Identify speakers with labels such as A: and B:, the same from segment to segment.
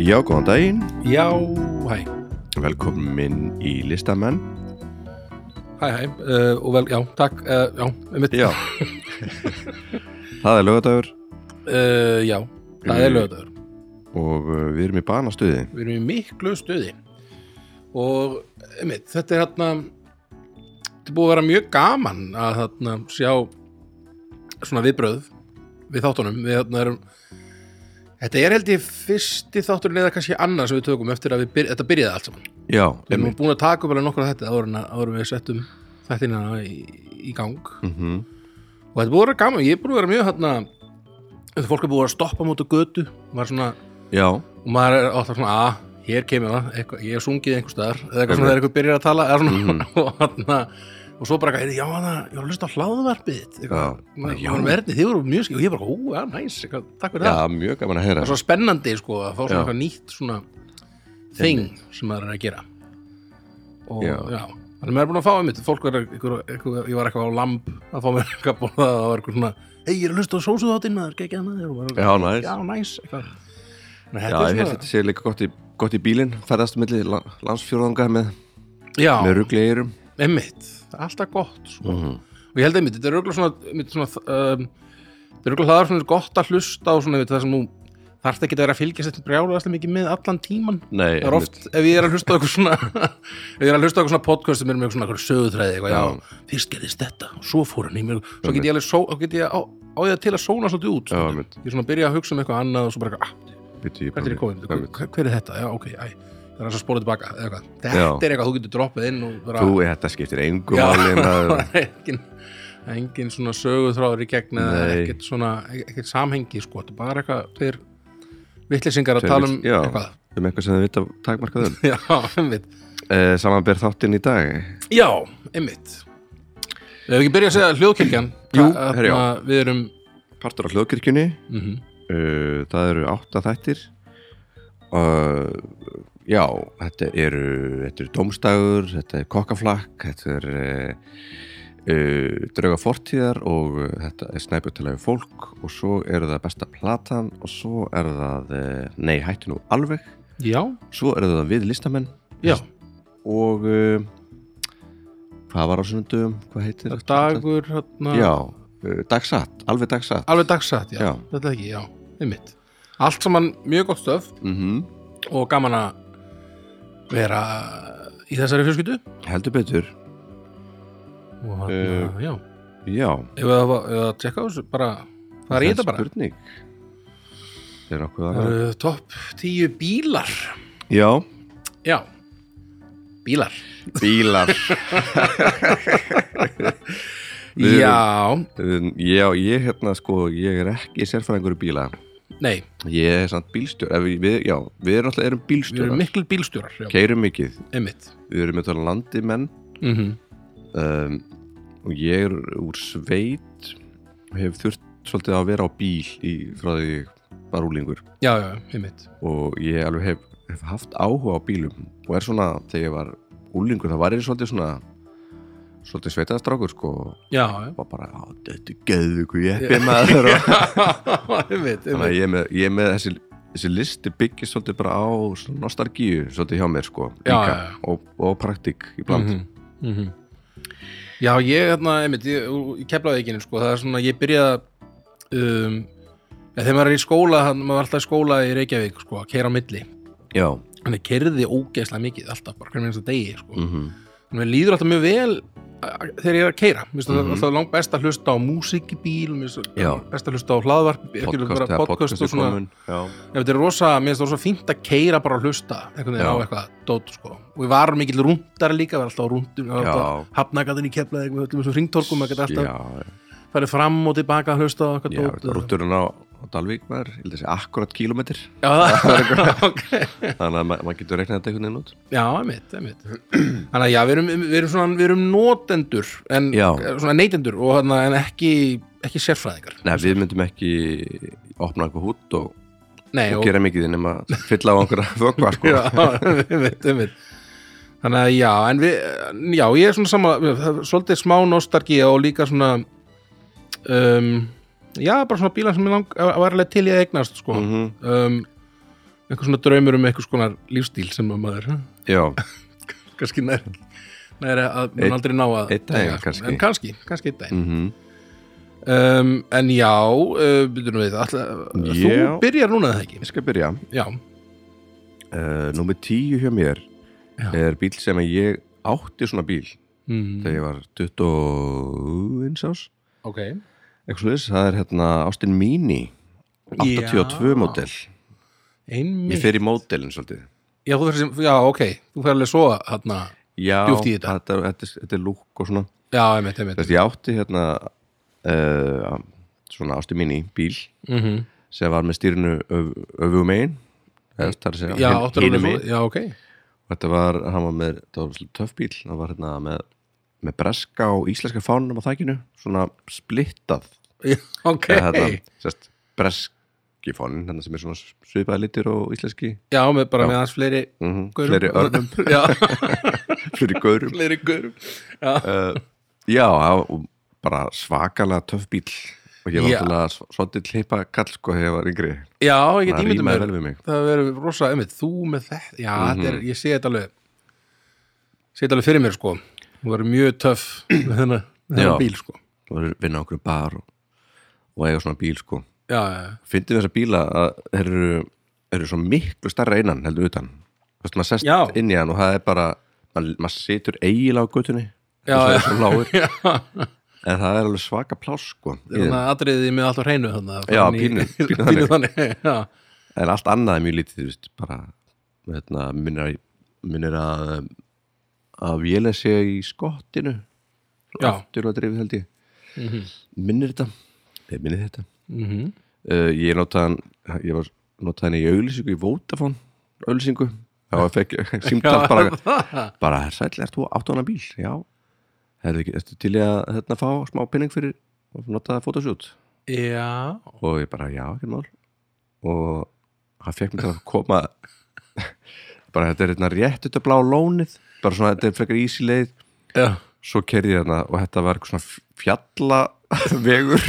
A: Já, góðan daginn,
B: Já, hæ,
A: velkomin í listamenn
B: hæ, hæ, uh, og vel, já, takk, uh, já, um mitt,
A: Já Það er lögadagur
B: uh, já, það er lögadagur,
A: og uh, við erum í banastuði
B: við erum í miklu stuði og um mitt, þetta er hérna, þetta er búið að vera mjög gaman að hérna sjá svona viðbröð við þáttunum, við hérna erum, þetta er held ég fyrsti þátturinn eða kannski annar sem við tökum eftir að við byrja, þetta byrjaði allt saman,
A: Já,
B: við
A: emmi
B: erum búin að taka upp alveg nokkra þetta áður, en að- áður en við settum þættina í, í gang
A: mm
B: og þetta er búið að vera gaman, ég er búið að vera mjög hérna, þetta fólk er búið að stoppa mútu götu, maður svona
A: Já,
B: og maður er alltaf svona, að, hér kemur það eitthvað, ég hef sungið einhver staðar, eða eitthvað svona þegar eitthvað byrjar að tala, eða svona
A: Mm.
B: og hérna, og svo bara, eitthvað, já, hana, ég var að hlusta á hláðvarpið þitt,
A: Já.
B: eitthvað, Maður, ég var verðið, þið voru mjög skil, og ég bara, ó, já, næs, eitthvað, takk fyrir
A: já,
B: það,
A: mjög gaman að
B: það
A: heyra
B: er svo spennandi, sko, að fá
A: Já.
B: svona eitthvað nýtt svona þing sem maður er að gera og,
A: Já.
B: já, Þannig maður er búin að fá einmitt, fólk er eitthvað, eitthvað, ég var eitthvað á lamb að fá mér eitthvað að borða og það var eitthvað svona, hei, ég er að hlusta á sósuðáttinn maður, gekkja maður, og maður,
A: Já, næs
B: já, næs eitthvað. Nei,
A: Já, ég
B: þetta er
A: held
B: svona-
A: þetta sé líka gott í, gott í bílinn ferðast á milli la- landsfjórðanga með,
B: Já,
A: með rugleirum
B: einmitt, alltaf gott
A: Mm.
B: sko. og ég held einmitt, þetta er auðvitað svona, einmitt svona um, þetta er auðvitað það er svona gott að hlusta og svona einmitt, það sem nú þarft ekki að vera að fylgja sér brjálaðast mikið með allan tíman
A: Nei,
B: það er oft, ef ég er að hlusta á eitthvað svona ef ég er að hlusta á eitthvað svona podcast sem er með svona eitthvað sögutræði, eitthvað, já, fyrst gerðist þetta og svo fór hann í mér, svo get ég alveg svo, get ég á, á ég til að sóna svolítið út
A: Já,
B: stundum.
A: einmitt.
B: ég svona byrja að hugsa um eitthvað annað og svo bara, eitthvað, ah,
A: Bittu, ég
B: hvert er ég komin,
A: Einmitt.
B: hver, hver er þetta já, ok, æ, það er að spóla tilbaka eða eitthvað.
A: Já.
B: þetta er eitthvað, þú getur droppað inn og bara,
A: Þú, sko þetta skiptir engum
B: Já.
A: máli
B: það
A: maður.
B: er engin, engin svona söguþráður í gegn eða
A: Nei.
B: ekkert svona e- ekkert samhengi sko, þetta er bara eitthvað þeir vittlisingar að
A: Tveir
B: tala um
A: vill- já.
B: eitthvað
A: Um eitthvað sem þið vita takmarkaðum
B: já, einmitt
A: eh, Samanber þáttinn í dag
B: já, einmitt við hefum ekki byrjað að segja hljóðkirkjan
A: Jú,
B: Þa-
A: herra, já.
B: þarna við erum
A: Partur á hljóðkirkjunni
B: mm
A: uh, það eru átta þættir uh, já þetta eru, þetta eru domstagur þetta er kokkaflakk þetta er uh, uh, drauga fortíðar og uh, þetta er snæputilega fólk og svo eru það besta platan og svo eru það uh, nei hættu nú alveg
B: já,
A: svo eru það við listamenn
B: já,
A: og uh, hvað var á sunnundum, hvað heitir
B: dagur Ah. þarna,
A: já, uh, dagsatt, alveg dagsatt
B: alveg dagsatt, já,
A: Já.
B: þetta ekki, já, einmitt allt saman mjög gott stöf
A: mm
B: og gaman að vera í þessari fjölskyldu
A: heldur betur
B: og hann,
A: Eh,
B: já,
A: já,
B: ef það var ef það tjekka á þessu, bara það er í þetta bara
A: spurning Það er nokkuð
B: Það
A: annað
B: eru topp tíu bílar
A: Já,
B: já, bílar
A: bílar Við
B: já,
A: Já, ég hérna sko, ég er ekki sérfæðingur í bíla
B: nei, ég
A: Ég er samt bílstjór ef við, já, við erum alltaf erum
B: við
A: bílstjórar
B: erum miklu bílstjórar já,
A: Keirum mikið,
B: einmitt
A: við erum eitthvað landimenn
B: mm
A: um, og ég er úr sveit og hef þurft svolítið að vera á bíl í, frá því ég var úlingur
B: já, já, einmitt
A: og ég alveg hef, hef haft áhuga á bílum og er svona, þegar ég var úlingur það var ég svolítið svona svolítið sveitaðastrákur sko og
B: já, já,
A: var bara, á, þetta er geðu hvað ég hefði maður og þannig
B: einmitt, einmitt
A: að ég er með, ég er með þessi, þessi listi byggist svolítið bara á svona nostalgíu svolítið hjá mér sko
B: Já,
A: líka,
B: já, já.
A: Og, og praktík í bland
B: Mhm, mhm. Já, ég hérna, einmitt, ég, ég keflaði ekki sko, það er svona, ég byrjaði um, ja, þegar maður er í skóla hann, maður var alltaf í skóla í Reykjavík sko, að keira á milli,
A: Já,
B: hann er kerði ógeðslega mikið alltaf, bara hvernig minnst að degi sko.
A: mm
B: þannig að mér líður alltaf mjög vel að- þegar ég er að keira, mér finnst mm -hmm. alltaf langt best að hlusta á músík í bíl, mér finnst
A: Mm-hmm. Já.
B: best að hlusta á hlaðvarp, ekki
A: podcast,
B: bara
A: eða
B: podcast og
A: er
B: svona,
A: komin Já,
B: ef þetta er rosa, mér finnst það rosa fínt að keira bara að hlusta einhvern veginn
A: Já.
B: á eitthvað dót sko og ég var mikill rúndar líka, var alltaf á rúndum
A: Já.
B: hafnagatinn í keflaði eitthvað öllum þessum ringtorkum, maður geti alltaf
A: já,
B: farið fram og tilbaka að hlusta á eitthvað
A: já,
B: dót eða-
A: rútturinn á, á Dalvík var, ég held að segja, akkurat kílómetr
B: Já, það ok.
A: þannig að ma- maður getur reiknað þetta einhvern veginn út
B: Já, einmitt, einmitt Þannig að já, við erum, við erum svona, við erum notendur en
A: Já.
B: svona neytendur og hann en ekki, ekki sérfræðingar
A: Nei, við myndum ekki opna eitthvað hút og,
B: Nei,
A: og gera mikið nema fylla á einhverja vökva sko.
B: já, einmitt, einmitt. þannig að já, en við já, ég er svona sama, það er svolítið smá nostalgía og líka svona um, já, bara svona bílar sem ég lang, var alveg til ég eignast sko.
A: Mhm.
B: um, eitthvað svona draumur um eitthvað skonar lífstíl sem að maður hm,
A: já,
B: kannski nær, nær að
A: Einn-
B: mann aldrei ná að
A: einn daginn
B: eiga, sko.
A: kannski.
B: en kannski, kannski einn dag
A: mhm
B: um, en já, uh, byrjum við all, þú
A: Já.
B: byrjar núna eða ekki
A: Ég skal byrja
B: já,
A: uh, Númer tíu hjá mér
B: Já.
A: er bíl sem að ég átti svona bíl
B: mm,
A: þegar ég var 21 ás
B: ok
A: eitthvað sliðis, það er hérna Austin Mini 82
B: Já.
A: módel Ég
B: einmitt,
A: fer í módelin svolítið
B: já, þú fyrir sem, já, ok þú fyrir alveg svo hérna
A: Já,
B: Djúpt í þetta.
A: þetta, þetta, er- þetta er lúk og svona
B: já, einmitt, einmitt
A: Þess, Ég átti hérna uh, svona Austin Mini bíl
B: mm
A: sem var með stýrinu öf, öfugum einn
B: já, áttur alveg svo,
A: og
B: já, ok
A: þetta var, hann var með þetta var svolítið töff bíl, hann var hérna með með breska og íslenska fánum á þækinu svona splittað
B: já, ok,
A: Eða hérna, sérst, breski fánin, hérna sem er svona svipaði litir og íslenski
B: já, með bara með hans fleiri
A: mm -hmm,
B: gaurum.
A: fleiri örnum,
B: já,
A: fleiri gaurum
B: fleiri gaurum já,
A: uh, já, það var bara svakalega töff bíl og ég var
B: Já.
A: alltaf sv- svolítið hlipa kall sko þegar ég var yngri
B: já ég get
A: það
B: ímyndum
A: rýmaði
B: mér
A: vel við Mhm. mig
B: það verður rosa, einmitt, þú með þetta já, þetta er, ég sé þetta alveg sé þetta alveg fyrir mér, sko þú verður mjög töff með þennan með
A: Já.
B: þennan bíl, sko
A: það var að vinna á okkur bar og, og eiga svona bíl sko
B: já, já, já.
A: fyndið við þessa bíla að þeir eru, eru svo miklu starra innan heldur utan þú veist, maður sest
B: Já.
A: inn í hann og það er bara maður, maður situr eiginlega á götunni
B: Já,
A: og það
B: já.
A: er svo lágur
B: já.
A: en það er alveg svaka pláss sko í
B: þannig
A: þeim.
B: að atriðið með allt á hreinu þannig að
A: Já,
B: fara inn í-
A: pínu, pínu
B: pínu þannig já,
A: en allt annað er mjög lítið þú veist, bara hérna, minnir, að- minnir að að vélega sé í skottinu
B: já,
A: aftur að drifið held ég minnir þetta, ég minnir þetta
B: mhm
A: uh, ég notaði hann ég var notaði hann í auðlýsingu í Vodafone auðlýsingu þá fekk ég símtall bara
B: það.
A: bara sæll, ert þú áttu hana bíl já, Herðu, ekki- ertu til í að hérna, fá smá penning fyrir og notaði fotoshoot
B: já,
A: og ég bara, já, ekki mál og hann fekk mig til að koma bara þetta er hérna rétt þetta blá lónið, bara svona þetta er frekar easy leið
B: já
A: svo kerði ég hérna og þetta var eitthvað svona fjallavegur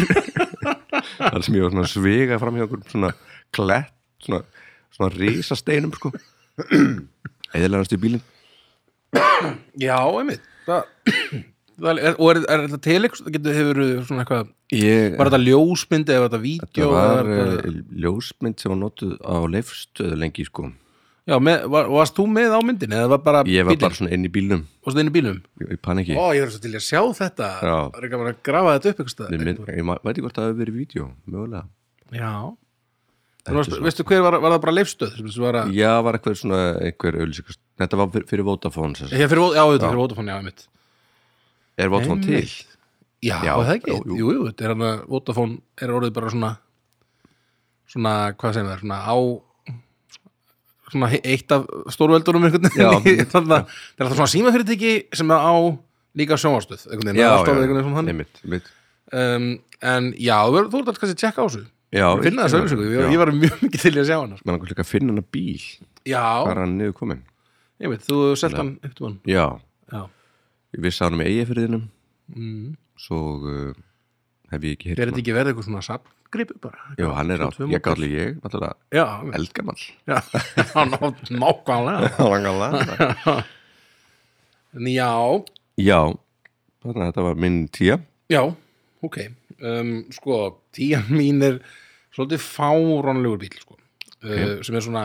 A: þar sem ég var svona að svega fram hjá einhverjum svona klett svona, svona risasteinum sko eðilegast í bílinn
B: já, einmitt það það er- og er, er þetta til eitthvað getur hefur svona eitthvað
A: ég,
B: var þetta ljósmynd eða var þetta vídeo
A: þetta var
B: eða
A: eh, ljósmynd sem var notuð á leifstöðu lengi sko
B: Já, með, var, varst þú með á myndinni eða var bara
A: ég var
B: bíllinn?
A: bara svona inn í bílnum
B: Varstu inn í bílum?
A: í paniki
B: Ó, ég verður svo til að sjá þetta
A: Já.
B: Það er ekki bara að grafa þetta upp einhverstað
A: ég, minn- ég ma- veit ekki hvort það hefur verið í vídeo mögulega
B: Já
A: er
B: En varstu,
A: svona-
B: Veistu hver var, var það bara leifstöð? sem þessu Var að,
A: já, var eitthvað svona einhver auðlýsingast þetta var fyr- fyrir Vodafone sem sagt.
B: ég, fyrir, Vod- já, þetta er fyrir Vodafone, já, mitt
A: er Vodafone til?
B: Einmitt. Já,
A: Já,
B: það ekki,
A: jú, jú.
B: jú, jú, þetta er hann að Vodafone er orðið bara svona svona, hvað segir það, svona á svona he- eitt af stórveldunum einhvern veginn
A: Já.
B: í- þarna. það er alltaf svona símafyrirtæki sem er á líka sjónvarstöð einhvern
A: já,
B: veginn, það er
A: já,
B: alltaf orðið einhvern veginn svona þannig.
A: einmitt, einmitt
B: um, en já, þú verður- þú ert alltaf kannski að tjekka á þessu
A: Já,
B: Ég finna þessu auðvitað, ég, ég var mjög mikið til í að sjá hann
A: Mér langar líka að finna hann að bíl
B: já,
A: Hvað er hann niður komin?
B: ég veit, þú hefur sett hann eftir hann
A: Já,
B: já,
A: ég vissi hann um eigafyrðinum
B: mm.
A: Svo uh, hef ég ekki heyrt um
B: er þetta
A: hann
B: ekki verið eitthvað svona sapgripu bara
A: Já, hann er á,
B: Svo tvö
A: ég gáli ég, náttúrulega
B: já,
A: eldgamall
B: já, hann átt nákvæmlega
A: Langalega
B: En já,
A: Já, þannig að þetta var minn tía
B: já, ok um, sko, tían mín er svolítið fáránlegur bíl sko. uh, sem er svona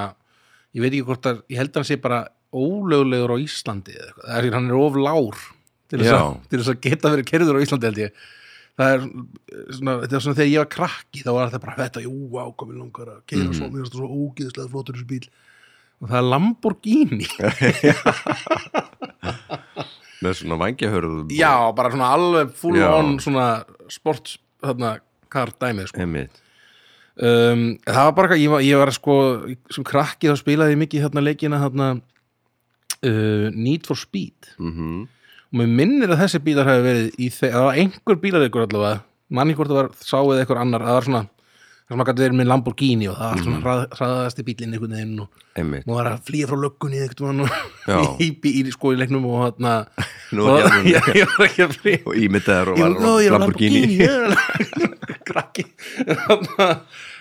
B: ég veit ekki hvort að, ég held að hann sé bara ólöglegur á Íslandi eða eitthvað, það er hann er of lár til þess, að,
A: Já.
B: til þess að geta verið kerður á Íslandi held ég það er eh, svona, þetta er svona þegar ég var krakki þá var þetta bara þetta, jú, ákomin langar að keira
A: Mm.
B: svo, mér er þetta svo ógeðslega flottur þessu bíl og það er Lamborghini
A: Með svona vangjahörðum
B: Já, bara svona alveg full
A: Já.
B: on svona sports þarna kar dæmið sko.
A: Einmitt
B: um, það var bara, eitthvað- ég var, ég var sko sem krakki þá spilaði ég mikið þarna leikina þarna uh, Need for Speed
A: mm -hmm.
B: og mér minnir að þessi bílar hafi verið í þeir, það var einhver bílarleikur allavega manni hvort það var, sá eða einhver annar að það var svona, það sem að gæti verið með Lamborghini og það var
A: Mhm.
B: svona hrað, hraðasti bílinn einhvern veginn og
A: Einmitt
B: maður var að flýja frá löggunni einhvern
A: Já.
B: veginn og í, í, í sko í leiknum og þarna
A: Nú
B: og,
A: er hérna-
B: já, ég var ekki að flýja
A: Og ímyndaður og
B: Ég
A: var
B: var góð, ég var Lamborghini Krakki Þannig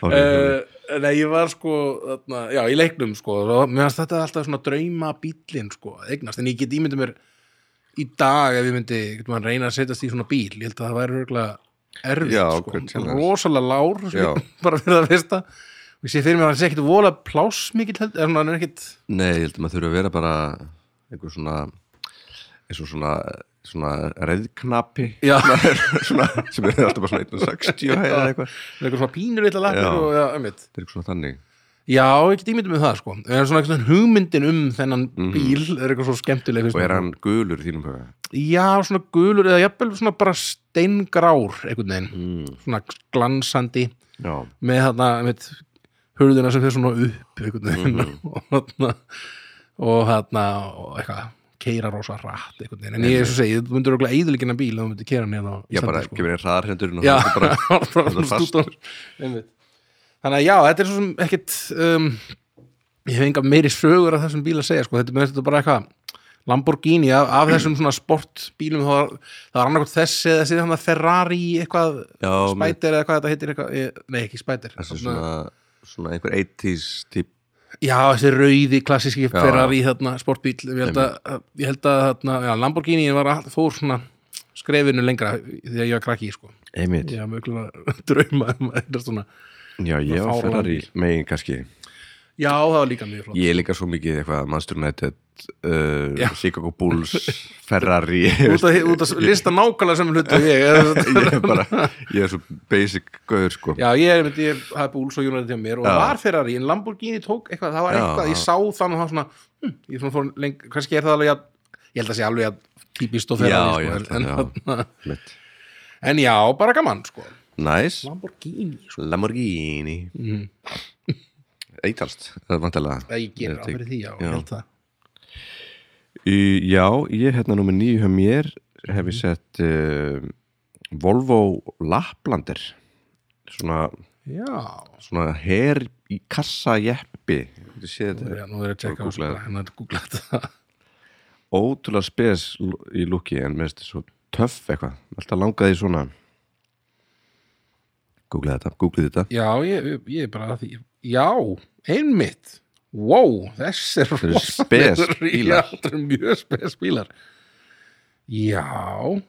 A: Árið,
B: að Nei, ég var sko, þarna, já, í leiknum sko, og mér finnst þetta alltaf svona drauma bílinn sko, að eignast, en ég get ímyndið mér í dag ef ég myndi, getur maður reyna að setjast í svona bíl, ég held að það væri örgulega erfitt
A: Já, ákveðin
B: sko,
A: challenge.
B: rosalega lár sem
A: Já.
B: ég bara fyrir það veist að og ég sé fyrir mér að hann sé ekkit vola pláss mikill, held- er hann er ekkit
A: Nei, ég held að maður þurfa að vera bara einhver svona eins og svona, svona reyðknapi
B: Já.
A: svona, sem er alltaf bara svona 160 eða eitthvað
B: eitthvað svona pínur eitthvað lappir
A: Já.
B: og já, einmitt
A: Það er eitthvað svona þannig
B: Já, ég get ímyndið með það sko Það er svona einhvern veginn hugmyndin um þennan bíl er eitthvað svo skemmtileg
A: Mhm. Og er hann gulur í þínum huga?
B: Já, svona gulur eða jafnvel svona bara steingrár einhvern veginn,
A: Mm.
B: svona glansandi
A: Já,
B: með þarna, með hurðina sem fyrir svona upp einhvern veginn
A: Mhm.
B: og þarna og þarna, og eitthvað keira rosa rætt einhvern veginn, en ég er svo segið, þú myndir okkur eðilegina bíl og þú myndir keira hann hérna á
A: já bara
B: Íslandi, sko.
A: kemur einn hraðarhendurinn og
B: Já,
A: það er bara
B: bara
A: þetta er
B: stúta- Einmitt. Þannig að já, þetta er svo sem ekkit um, ég hef enga meiri sögur af þessum bíl að segja, sko, þetta er þetta er bara eitthvað Lamborghini af, af þessum svona sportbílum það var, það var annarkot þessi eða síðan hann að Ferrari eitthvað
A: Já, með-
B: Spider eða hvað þetta heitir eitthvað, eh, nei ekki Spider
A: þessi
B: Þarna-
A: svona, svona einhver 80s típ
B: Já, þessi rauði klassíski
A: Já.
B: Ferrari þarna, sportbíl, ég held að, ég held að þarna, já, Lamborghini var all, fór svona skrefinu lengra þegar ég var krakki, sko
A: Einmitt
B: ég haf mögulega drauma um að þetta svona
A: Já, ég var
B: Svona fáránlegur
A: Ferrari
B: bíl.
A: megin kannski
B: Já, það var líka mjög flott
A: Ég er líka svo mikið eitthvað Manchester United, uh,
B: Já.
A: Chicago Bulls, Ferrari
B: út að, út að lista nákvæmlega sem hlutu ég
A: ég er bara, ég er svo basic gauður sko
B: Já, ég er myndi, ég hafði búls og United hjá mér og
A: Já.
B: var Ferrari, en Lamborghini tók eitthvað, það var
A: Já.
B: eitthvað, ég sá þann og það var svona, hm, ég svona fór leng, kannski er það alveg að, ég held að sé alveg að típist og
A: Já,
B: Ferrari,
A: ég
B: sko,
A: held
B: en,
A: að,
B: en,
A: Mitt.
B: en já, bara gaman, sko
A: Nice,
B: Lamborghini, sko,
A: Lamborghini mm. Eitalst, það er vantilega
B: það ég gerir á
A: Þetta-
B: fyrir því, já,
A: já.
B: ég held það
A: Já, ég er hérna nummer nýju hjá mér hef ég sett uh, Volvo Laplander svona,
B: Já,
A: svona her í kassa jeppi Þú sé
B: nú er
A: þetta
B: ég- nú er ég að
A: Bara
B: checka á þessu
A: googlaði.
B: bara, hennar googla þetta
A: ótrúlega spes lú- í lúki en mér finnst þetta svo töff eitthvað alltaf langaði í svona Google þetta, Google þetta
B: Já, ég, ég er bara að því Já, einmitt Wow, þess er
A: eru spes bílar.
B: Það eru mjög spes bílar Já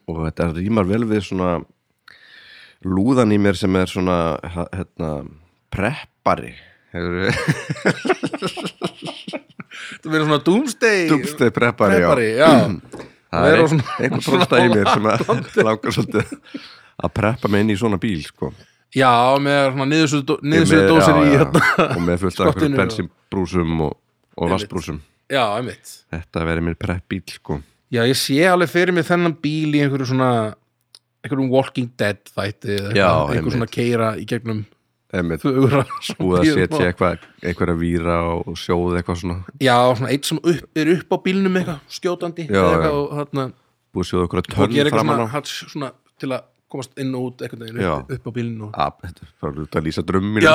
A: og þetta rýmar vel við svona lúðan í mér sem er svona h- hérna, preppari hefur
B: Þetta verður svona doomsday
A: dubsteg preppari,
B: preppari,
A: já.
B: já
A: það er
B: vera
A: ein,
B: svona-
A: einhver
B: svona
A: prósta í mér sem að langar svolítið að preppa mig inn í svona bíl sko.
B: Já, með svona niðursöðu
A: Með-
B: dósir í
A: já, já,
B: hérna
A: og með fullt af
B: skottinu
A: einhverjum
B: og-
A: bensinbrúsum og, og vassbrúsum
B: Já, einmitt
A: þetta verið mér preppbíl sko.
B: Já, ég sé alveg fyrir mig þennan bíl í einhverju svona einhverjum Walking Dead þætti eða
A: Já,
B: eitthvað, einhver
A: einmitt.
B: svona keira í gegnum
A: Einmitt,
B: þögur
A: búið að setja eitthvað einhverja víra og sjóð eitthvað svona
B: Já, svona eitt sem upp, er upp á bílnum eitthvað, skjótandi
A: Já,
B: eða
A: já.
B: eitthvað, og þarna
A: búið að sjóða einhverja
B: og gera
A: tönn
B: eitthvað
A: framan á
B: svona, hats, svona til að komast inn og út einhvern veginn upp, upp á bílinn og...
A: Ah, þetta er bara út að lýsa drömmin ég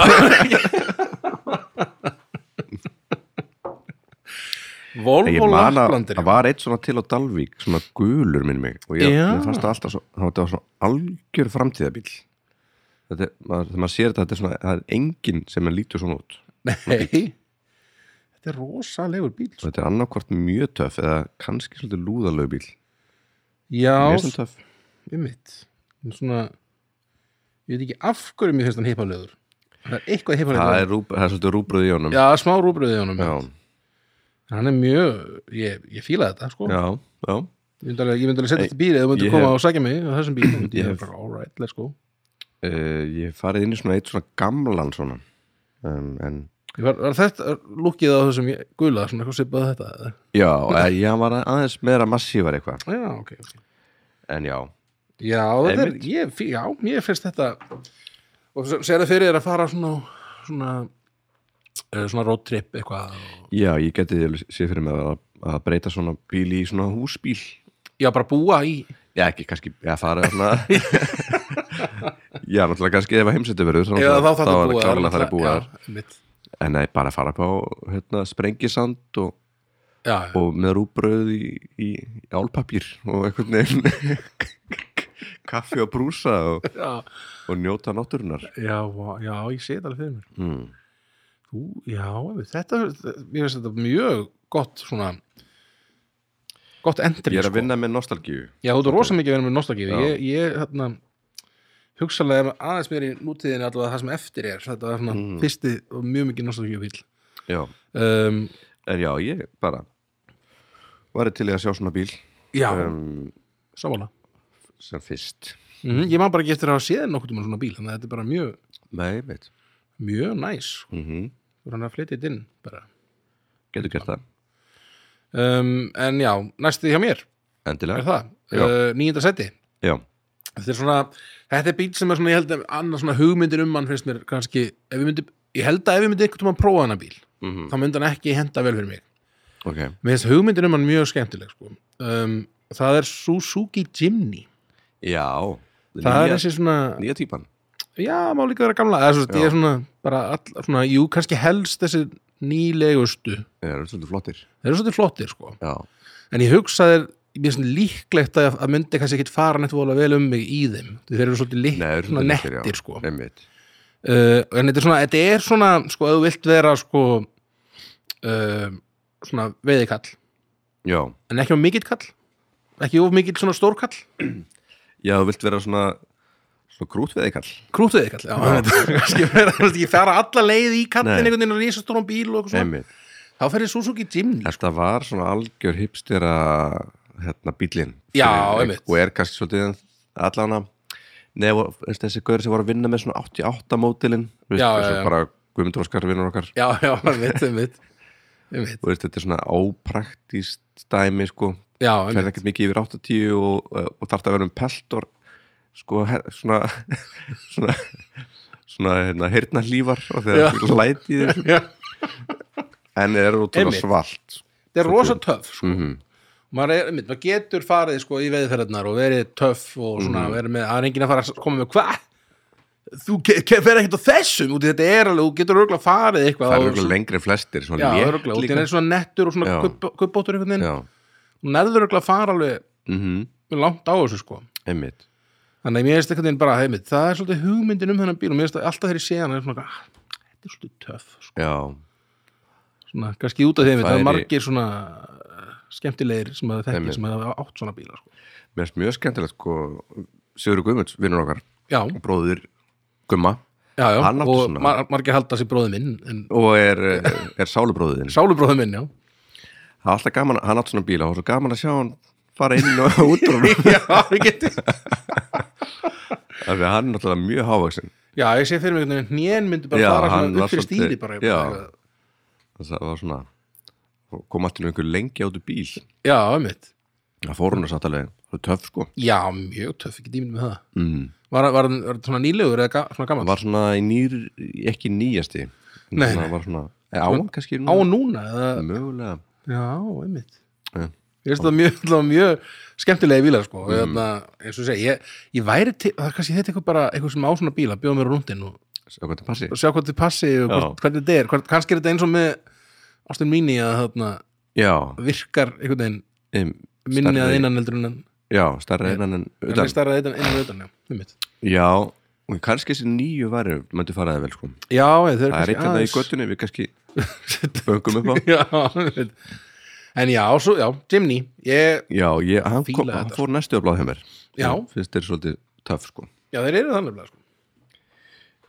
B: Volvo
A: man að
B: Laplandir
A: það var eitt svona til á Dalvík svona gulur minn mig og ég,
B: Já.
A: ég fannst það alltaf svo, það var þetta var svona algjör framtíðabíl þetta er, maður, þegar maður sér þetta, þetta er svona, það er enginn sem er lítur svona út
B: Nei Þetta er rosalegur bíl
A: og þetta er annarkvort mjög töff eða kannski svolítið lúðalög bíl
B: Já,
A: mjög svona töff
B: um mitt Svona Ég veit ekki af hverju mér finnst hann heipalegur Það er eitthvað
A: það
B: heipalegur
A: er, rúb, það er svolítið rúbröð í honum
B: Já, smá rúbröðið í honum
A: já,
B: Hann er mjög, ég, ég fíla þetta sko.
A: já, já.
B: Ég myndi alveg, ég myndi alveg setja þetta bíl eða þú myndir
A: ég
B: koma
A: hef-
B: og sækja mig á þessum bíl Ég
A: Ég
B: myndi ég
A: hef-
B: bara, all right, let's go
A: Uh, ég hef farið inn í svona eitt svona gamlan svona um, en
B: Ég Var, var þetta lukkið á þessum ég- gula, svona eitthvað svipað þetta? eða?
A: já, eh, ég var aðeins meira massívar eitthvað
B: Já, ok, ok.
A: en já,
B: Já, þetta er,
A: Einmitt.
B: ég, fí- já, ég finnst þetta og sér það fyrir þér að fara svona svona, eh, svona road trip eitthvað og,
A: já, ég geti séð fyrir mig að, að breyta svona bíl í svona húsbíl
B: já, bara búa í
A: já, ekki kannski, já, farið svona já, náttúrulega kannski ef að heimsættu verður þá
B: Já,
A: náttúrulega-
B: þá þarf
A: þá
B: það
A: er
B: búa
A: klárlega farið búa þar
B: Já, einmitt.
A: en nei, bara fara upp á hérna, sprengisand og,
B: já, já.
A: og með rúbröð í, í, í álpapír og einhvern veginn kaffi og brúsa og,
B: já,
A: og njóta náttúrunar
B: já, vá, já, ég sé þetta alveg fyrir mér
A: mm.
B: Þú, já, einmitt, þetta, ég veist þetta mjög gott svona gott endri
A: Ég er að vinna með nostalgíu
B: Já, þú er rosa mikið að vera með nostalgíu
A: Já.
B: Ég, ég hérna, hugsalega er aðeins mér í nútíðinni allavega það sem eftir er þetta var svona
A: Mm.
B: fyrsti og mjög mikið nostalgíu bíl
A: Já,
B: um,
A: en já, ég bara var til í að sjá svona bíl
B: Já, um,
A: um,
B: sávala
A: sem fyrst
B: Mhm, Ég man bara ekki eftir að hafa séð nokkuð um svona bíl þannig að þetta er bara mjög,
A: Nei, veit
B: mjög næs
A: mm
B: Þú er hann að flytja þetta inn bara
A: Getur gert það,
B: um, En já, næsti hjá mér er
A: endilega
B: það,
A: Já.
B: uh, nýjönda seti
A: Já,
B: þetta er svona þetta er bíl sem er svona, ég held að annars svona hugmyndir um hann finnst mér kannski, ef ég myndi ég held að ef ég myndi einhvern tímann prófa hann að bíl
A: Mhm.
B: þá myndi hann ekki henda vel fyrir mig
A: ok
B: mér finnst hugmyndir um hann mjög skemmtileg sko. um, það er Suzuki Jimny
A: Já,
B: það er
A: nýja,
B: þessi svona,
A: nýja típan
B: já, má líka vera gamla eða svo,
A: Já.
B: ég er svona, bara all, svona jú, kannski helst þessi nýlegustu
A: Það eru svolítið flottir
B: þeir eru svolítið flottir, sko
A: Já,
B: en ég hugsaði, mér finnst líklegt að, að myndi kannski ekkit fara neitt vola vel um mig í þeim þeir eru svolítið lit,
A: Nei, þeir eru
B: svona
A: svolítið litlir, já.
B: nettir, sko
A: einmitt
B: uh, en þetta er svona, þetta er svona sko, ef þú vilt vera sko uh, svona veiðikall
A: Já,
B: en ekki of mikill kall ekki of mikill svona stórkall
A: já, þú vilt vera svona svona krútveði kall
B: krútuveiðikall, já, já. kannski vera, þú veist, ekki fara alla leið í kallin
A: Nei.
B: einhvern veginn og rísa stórum bíl og eitthvað svona
A: Einmitt
B: þá ferði Suzuki Jimny
A: Þetta var svona algjör hipstera hérna bílinn
B: Já,
A: Fyrir-
B: einmitt.
A: og er kannski svolítið allan að þessi gaur sem voru að vinna með svona 88 mótilinn
B: Já, já, já.
A: bara Guðmundur Óskar vinnur okkar
B: já, já, einmitt, einmitt einmitt,
A: og veist, þetta er svona ópraktist dæmi sko,
B: já,
A: ferð
B: einmitt
A: ekkert mikið yfir 80 og, og þarf að vera um peltor sko, her, svona svona svona hérna, hérna hlífar og
B: Já.
A: þegar lætið er-
B: Já,
A: en er útrúlega
B: Einmitt.
A: svalt
B: þetta er rosa töff sko.
A: mm -hmm.
B: maður, er, einmitt, maður getur farið sko, í veiðferðarnar og verið töff og svona,
A: Mhm.
B: verið með, það er enginn að fara að koma með hvað þú ke- ke- fer ekkert á þessum út í þetta er alveg, þú getur örgulega farið eitthvað
A: það
B: og
A: eru örugglega
B: svona-
A: lengri flestir svona
B: já,
A: létt
B: örgulega, út í
A: líka.
B: þetta er svona nettur og svona
A: Já.
B: kubb- kubbóttur einhvern veginn,
A: já,
B: hún erður örgulega að fara alveg
A: mhm,
B: langt á þessu sko
A: einmitt
B: þannig að mér finnst einhvern veginn bara, heimitt, það er svolítið hugmyndin um þennan bíl og mér finnst að alltaf þegar ég sé hann er svona, ah, þetta er svolítið töff sko.
A: já,
B: svona, kannski út af þeim, það er
A: Væri-
B: margir svona eh, skemmtilegir sem að þekki
A: Einmitt.
B: sem að átt svona bíla sko.
A: mér finnst mjög skemmtilegt sko, Sigurður Guðmunds, vinnur okkar
B: já,
A: bróður Gumma
B: já, já,
A: Hann átti
B: og
A: svona-
B: mar margir halda sér bróði minn en
A: og er, er sálubróðin
B: sálubróði minn, já
A: það er alltaf gaman, hann átt svona bíla og svo gaman að sjá hann fara inn og út úr honum.
B: já, við getum
A: af því að hann er náttúrulega mjög hávaxin
B: já, ég sé fyrir mig einhvern veginn, hnén myndi bara
A: Já,
B: fara
A: hann
B: svona
A: var
B: upp fyrir
A: svolítið-
B: stíli bara
A: já.
B: bara-
A: þess að það var svona og kom alltaf einhver lengi át úr bíl
B: já, einmitt
A: það fór hann að satt alveg, það er töff sko
B: já, mjög töff, ekki dýmynd með það
A: mm.
B: var, var, hann- var þetta svona nýlegur eða ga, svona
A: það
B: gaman
A: var svona í nýr, ekki nýjasti
B: Nei, nei.
A: það var svona, eða á hann kannski
B: á
A: núna?
B: núna eða,
A: mögulega
B: já, einmitt
A: Já.
B: ég veist það mjög, allavega mjög skemmtilegi bílar sko, mm. eða, eins og ég segi ég, ég væri til, það er kannski þetta eitthvað bara eitthvað sem á svona bíla, bjóða mér á rúndin og,
A: sjá hvað það passi
B: og sjá hvað þið passi og hvort, hvernig þetta er, hvort, kannski er þetta eins og með Ástin Mini að þarna
A: já,
B: virkar einhvern veginn
A: um,
B: minni
A: stærri-
B: að innan heldur en en
A: já, starra innan en
B: hann
A: utan
B: er starra innan en utan, já, einmitt.
A: Já, og kannski þessi nýju varu mættu faraði vel sko
B: Já, ég,
A: Það er eitt hérna í göttunni, við kannski böngum upp á
B: Já, einmitt. en já, svo, já, Jimny, ég,
A: Já, ég, hann,
B: Fíla
A: kom,
B: þetta, sko.
A: hann fór næstu öflað hjá mér
B: Já.
A: Fyrst er svolítið töff sko
B: já, þeir eru þannig blað, sko.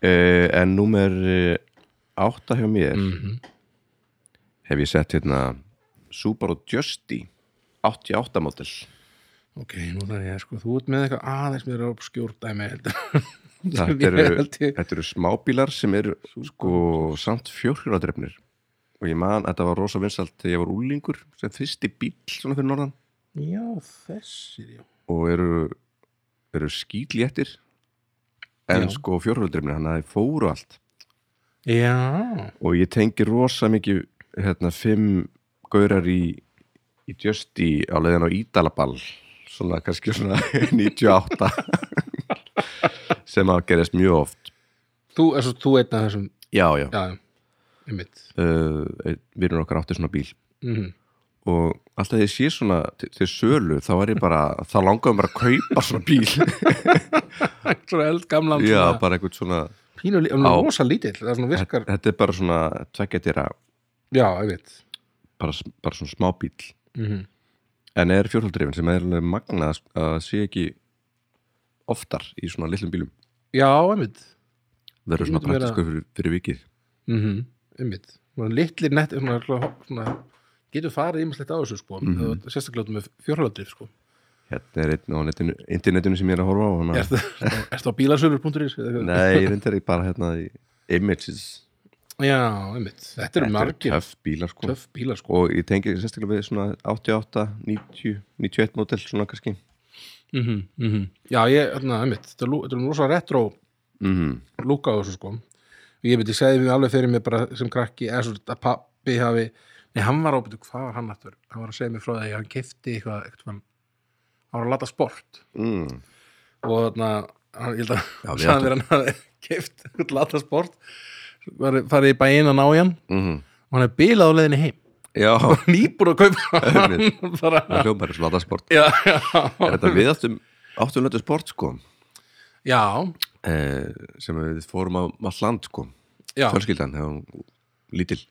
A: uh, En númer eh, átta hjá mér
B: Mhm.
A: hef ég sett hérna Subaru Justy 88 mótil
B: Ok, nú þarf ég, sko, þú ert með eitthvað aðeins mér á skjórndæmi, heldur.
A: Þetta
B: Ég
A: eru,
B: held ég-
A: þetta eru smábílar sem eru sko samt fjórhjóladrefnir og ég man, þetta var rosa vinsalt þegar ég var úlingur sem fyrsti bíl svona fyrir norðan
B: Já, þessir, já.
A: og eru, eru skýtléttir en
B: Já.
A: sko fjórhjóldrifnir hann að þeir fóru allt
B: Já,
A: og ég tengi rosa mikið hérna fimm gaurar í, í Justi á leiðin á Ídalaball svona kannski svona 98 sem að gerist mjög oft
B: þú, þessu, þú einn af þessum,
A: já, já,
B: já, já, einmitt.
A: Uh, einn vinur okkar átti svona bíl
B: Mm -hmm.
A: og alltaf þegar ég sé svona til, til sölu þá er ég bara, þá langaðum bara að kaupa svona bíl
B: Svo eldgamlan,
A: já,
B: svona
A: bara einhvern svona
B: pínu, lí- hann
A: Á.
B: er rosa lítill það er svona virkar,
A: þetta er bara svona tveggjadýra,
B: já, ég veit
A: bara, s- bara svona smá bíl
B: mm
A: en er fjórhaldrifin sem er alveg magna að sé ekki oftar í svona litlum bílum
B: já, ég veit
A: verður
B: Ég
A: svona
B: myndi vera-
A: praktisku fyrir, fyrir vikið
B: mm -hmm. einmitt svona litlir nett svona, svona, svona, getur farið ímislegt á þessu sko mm
A: Mhm.
B: sérstaklega út með fjórhaldrif sko
A: hérna er einn á netinu, internetinu sem ég er að horfa á hana.
B: ertu ertu á bílasölur.is eða eitthvað?
A: nei, ég reyndar ekki bara hérna í images
B: já, einmitt, þetta eru margir
A: töff bílar sko
B: töff bílar sko
A: og ég tengi sérstaklega við svona 88, 90, 91 mótel svona kannski
B: mm -hmm, já, ég, þarna, einmitt, þetta er lú- þetta er rosa retro
A: mm
B: lúka á þessu sko ég myndi segja mér alveg fyrir mér bara sem krakki eða svo að pappi hafi nei, hann var ábyrðu, hvað var hann aftur? hann var að segja mér frá því að hann kefti eitthvað, eitthvað hann var að lata sport
A: mm.
B: og þannig að hann, ég held að
A: Já, við
B: hann sagði mér hann hafi keft eitthvað lata sport var- farið í bæinn að ná í hann
A: Mm.
B: og hann er bilað á leiðinni heim
A: já,
B: nýbúr að kaupa
A: Einmitt.
B: hann bara,
A: það hljómar er svona sport
B: já, já,
A: er þetta við áttum, áttum lötu sport sko
B: já,
A: eh, sem við fórum á all land sko
B: já,
A: fjölskyldan, þegar hún lítil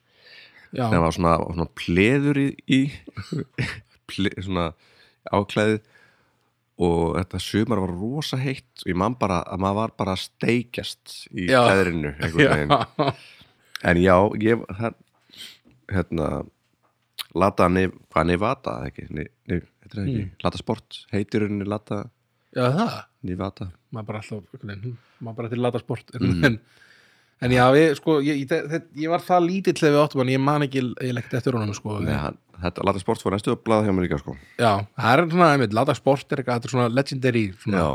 B: já,
A: það var svona, svona pleður í, í ple, svona áklæðið og þetta sumar var rosa heitt og ég man bara að maður var bara að steikjast í
B: Já.
A: klæðrinu einhvern veginn.
B: já,
A: en já, ég það, hérna Lata, nef, hvað Nevada eða ekki, ne, ne, þetta er
B: Mm.
A: ekki Lata Sport, heitir henni Lata
B: já, það
A: Nevada
B: maður bara alltaf einhvern veginn, maður bara til lata sport mm. en, en já, ég, sko ég, ég, þe- ég var það lítill þegar við áttum hann ég man ekki, ég lekti eftir honum sko.
A: Nei, hann, þetta, Lata Sport var næstu að blaða hjá mér líka sko.
B: já, það er svona, einmitt, lata sport er eitthvað, þetta er svona legendary svona
A: já,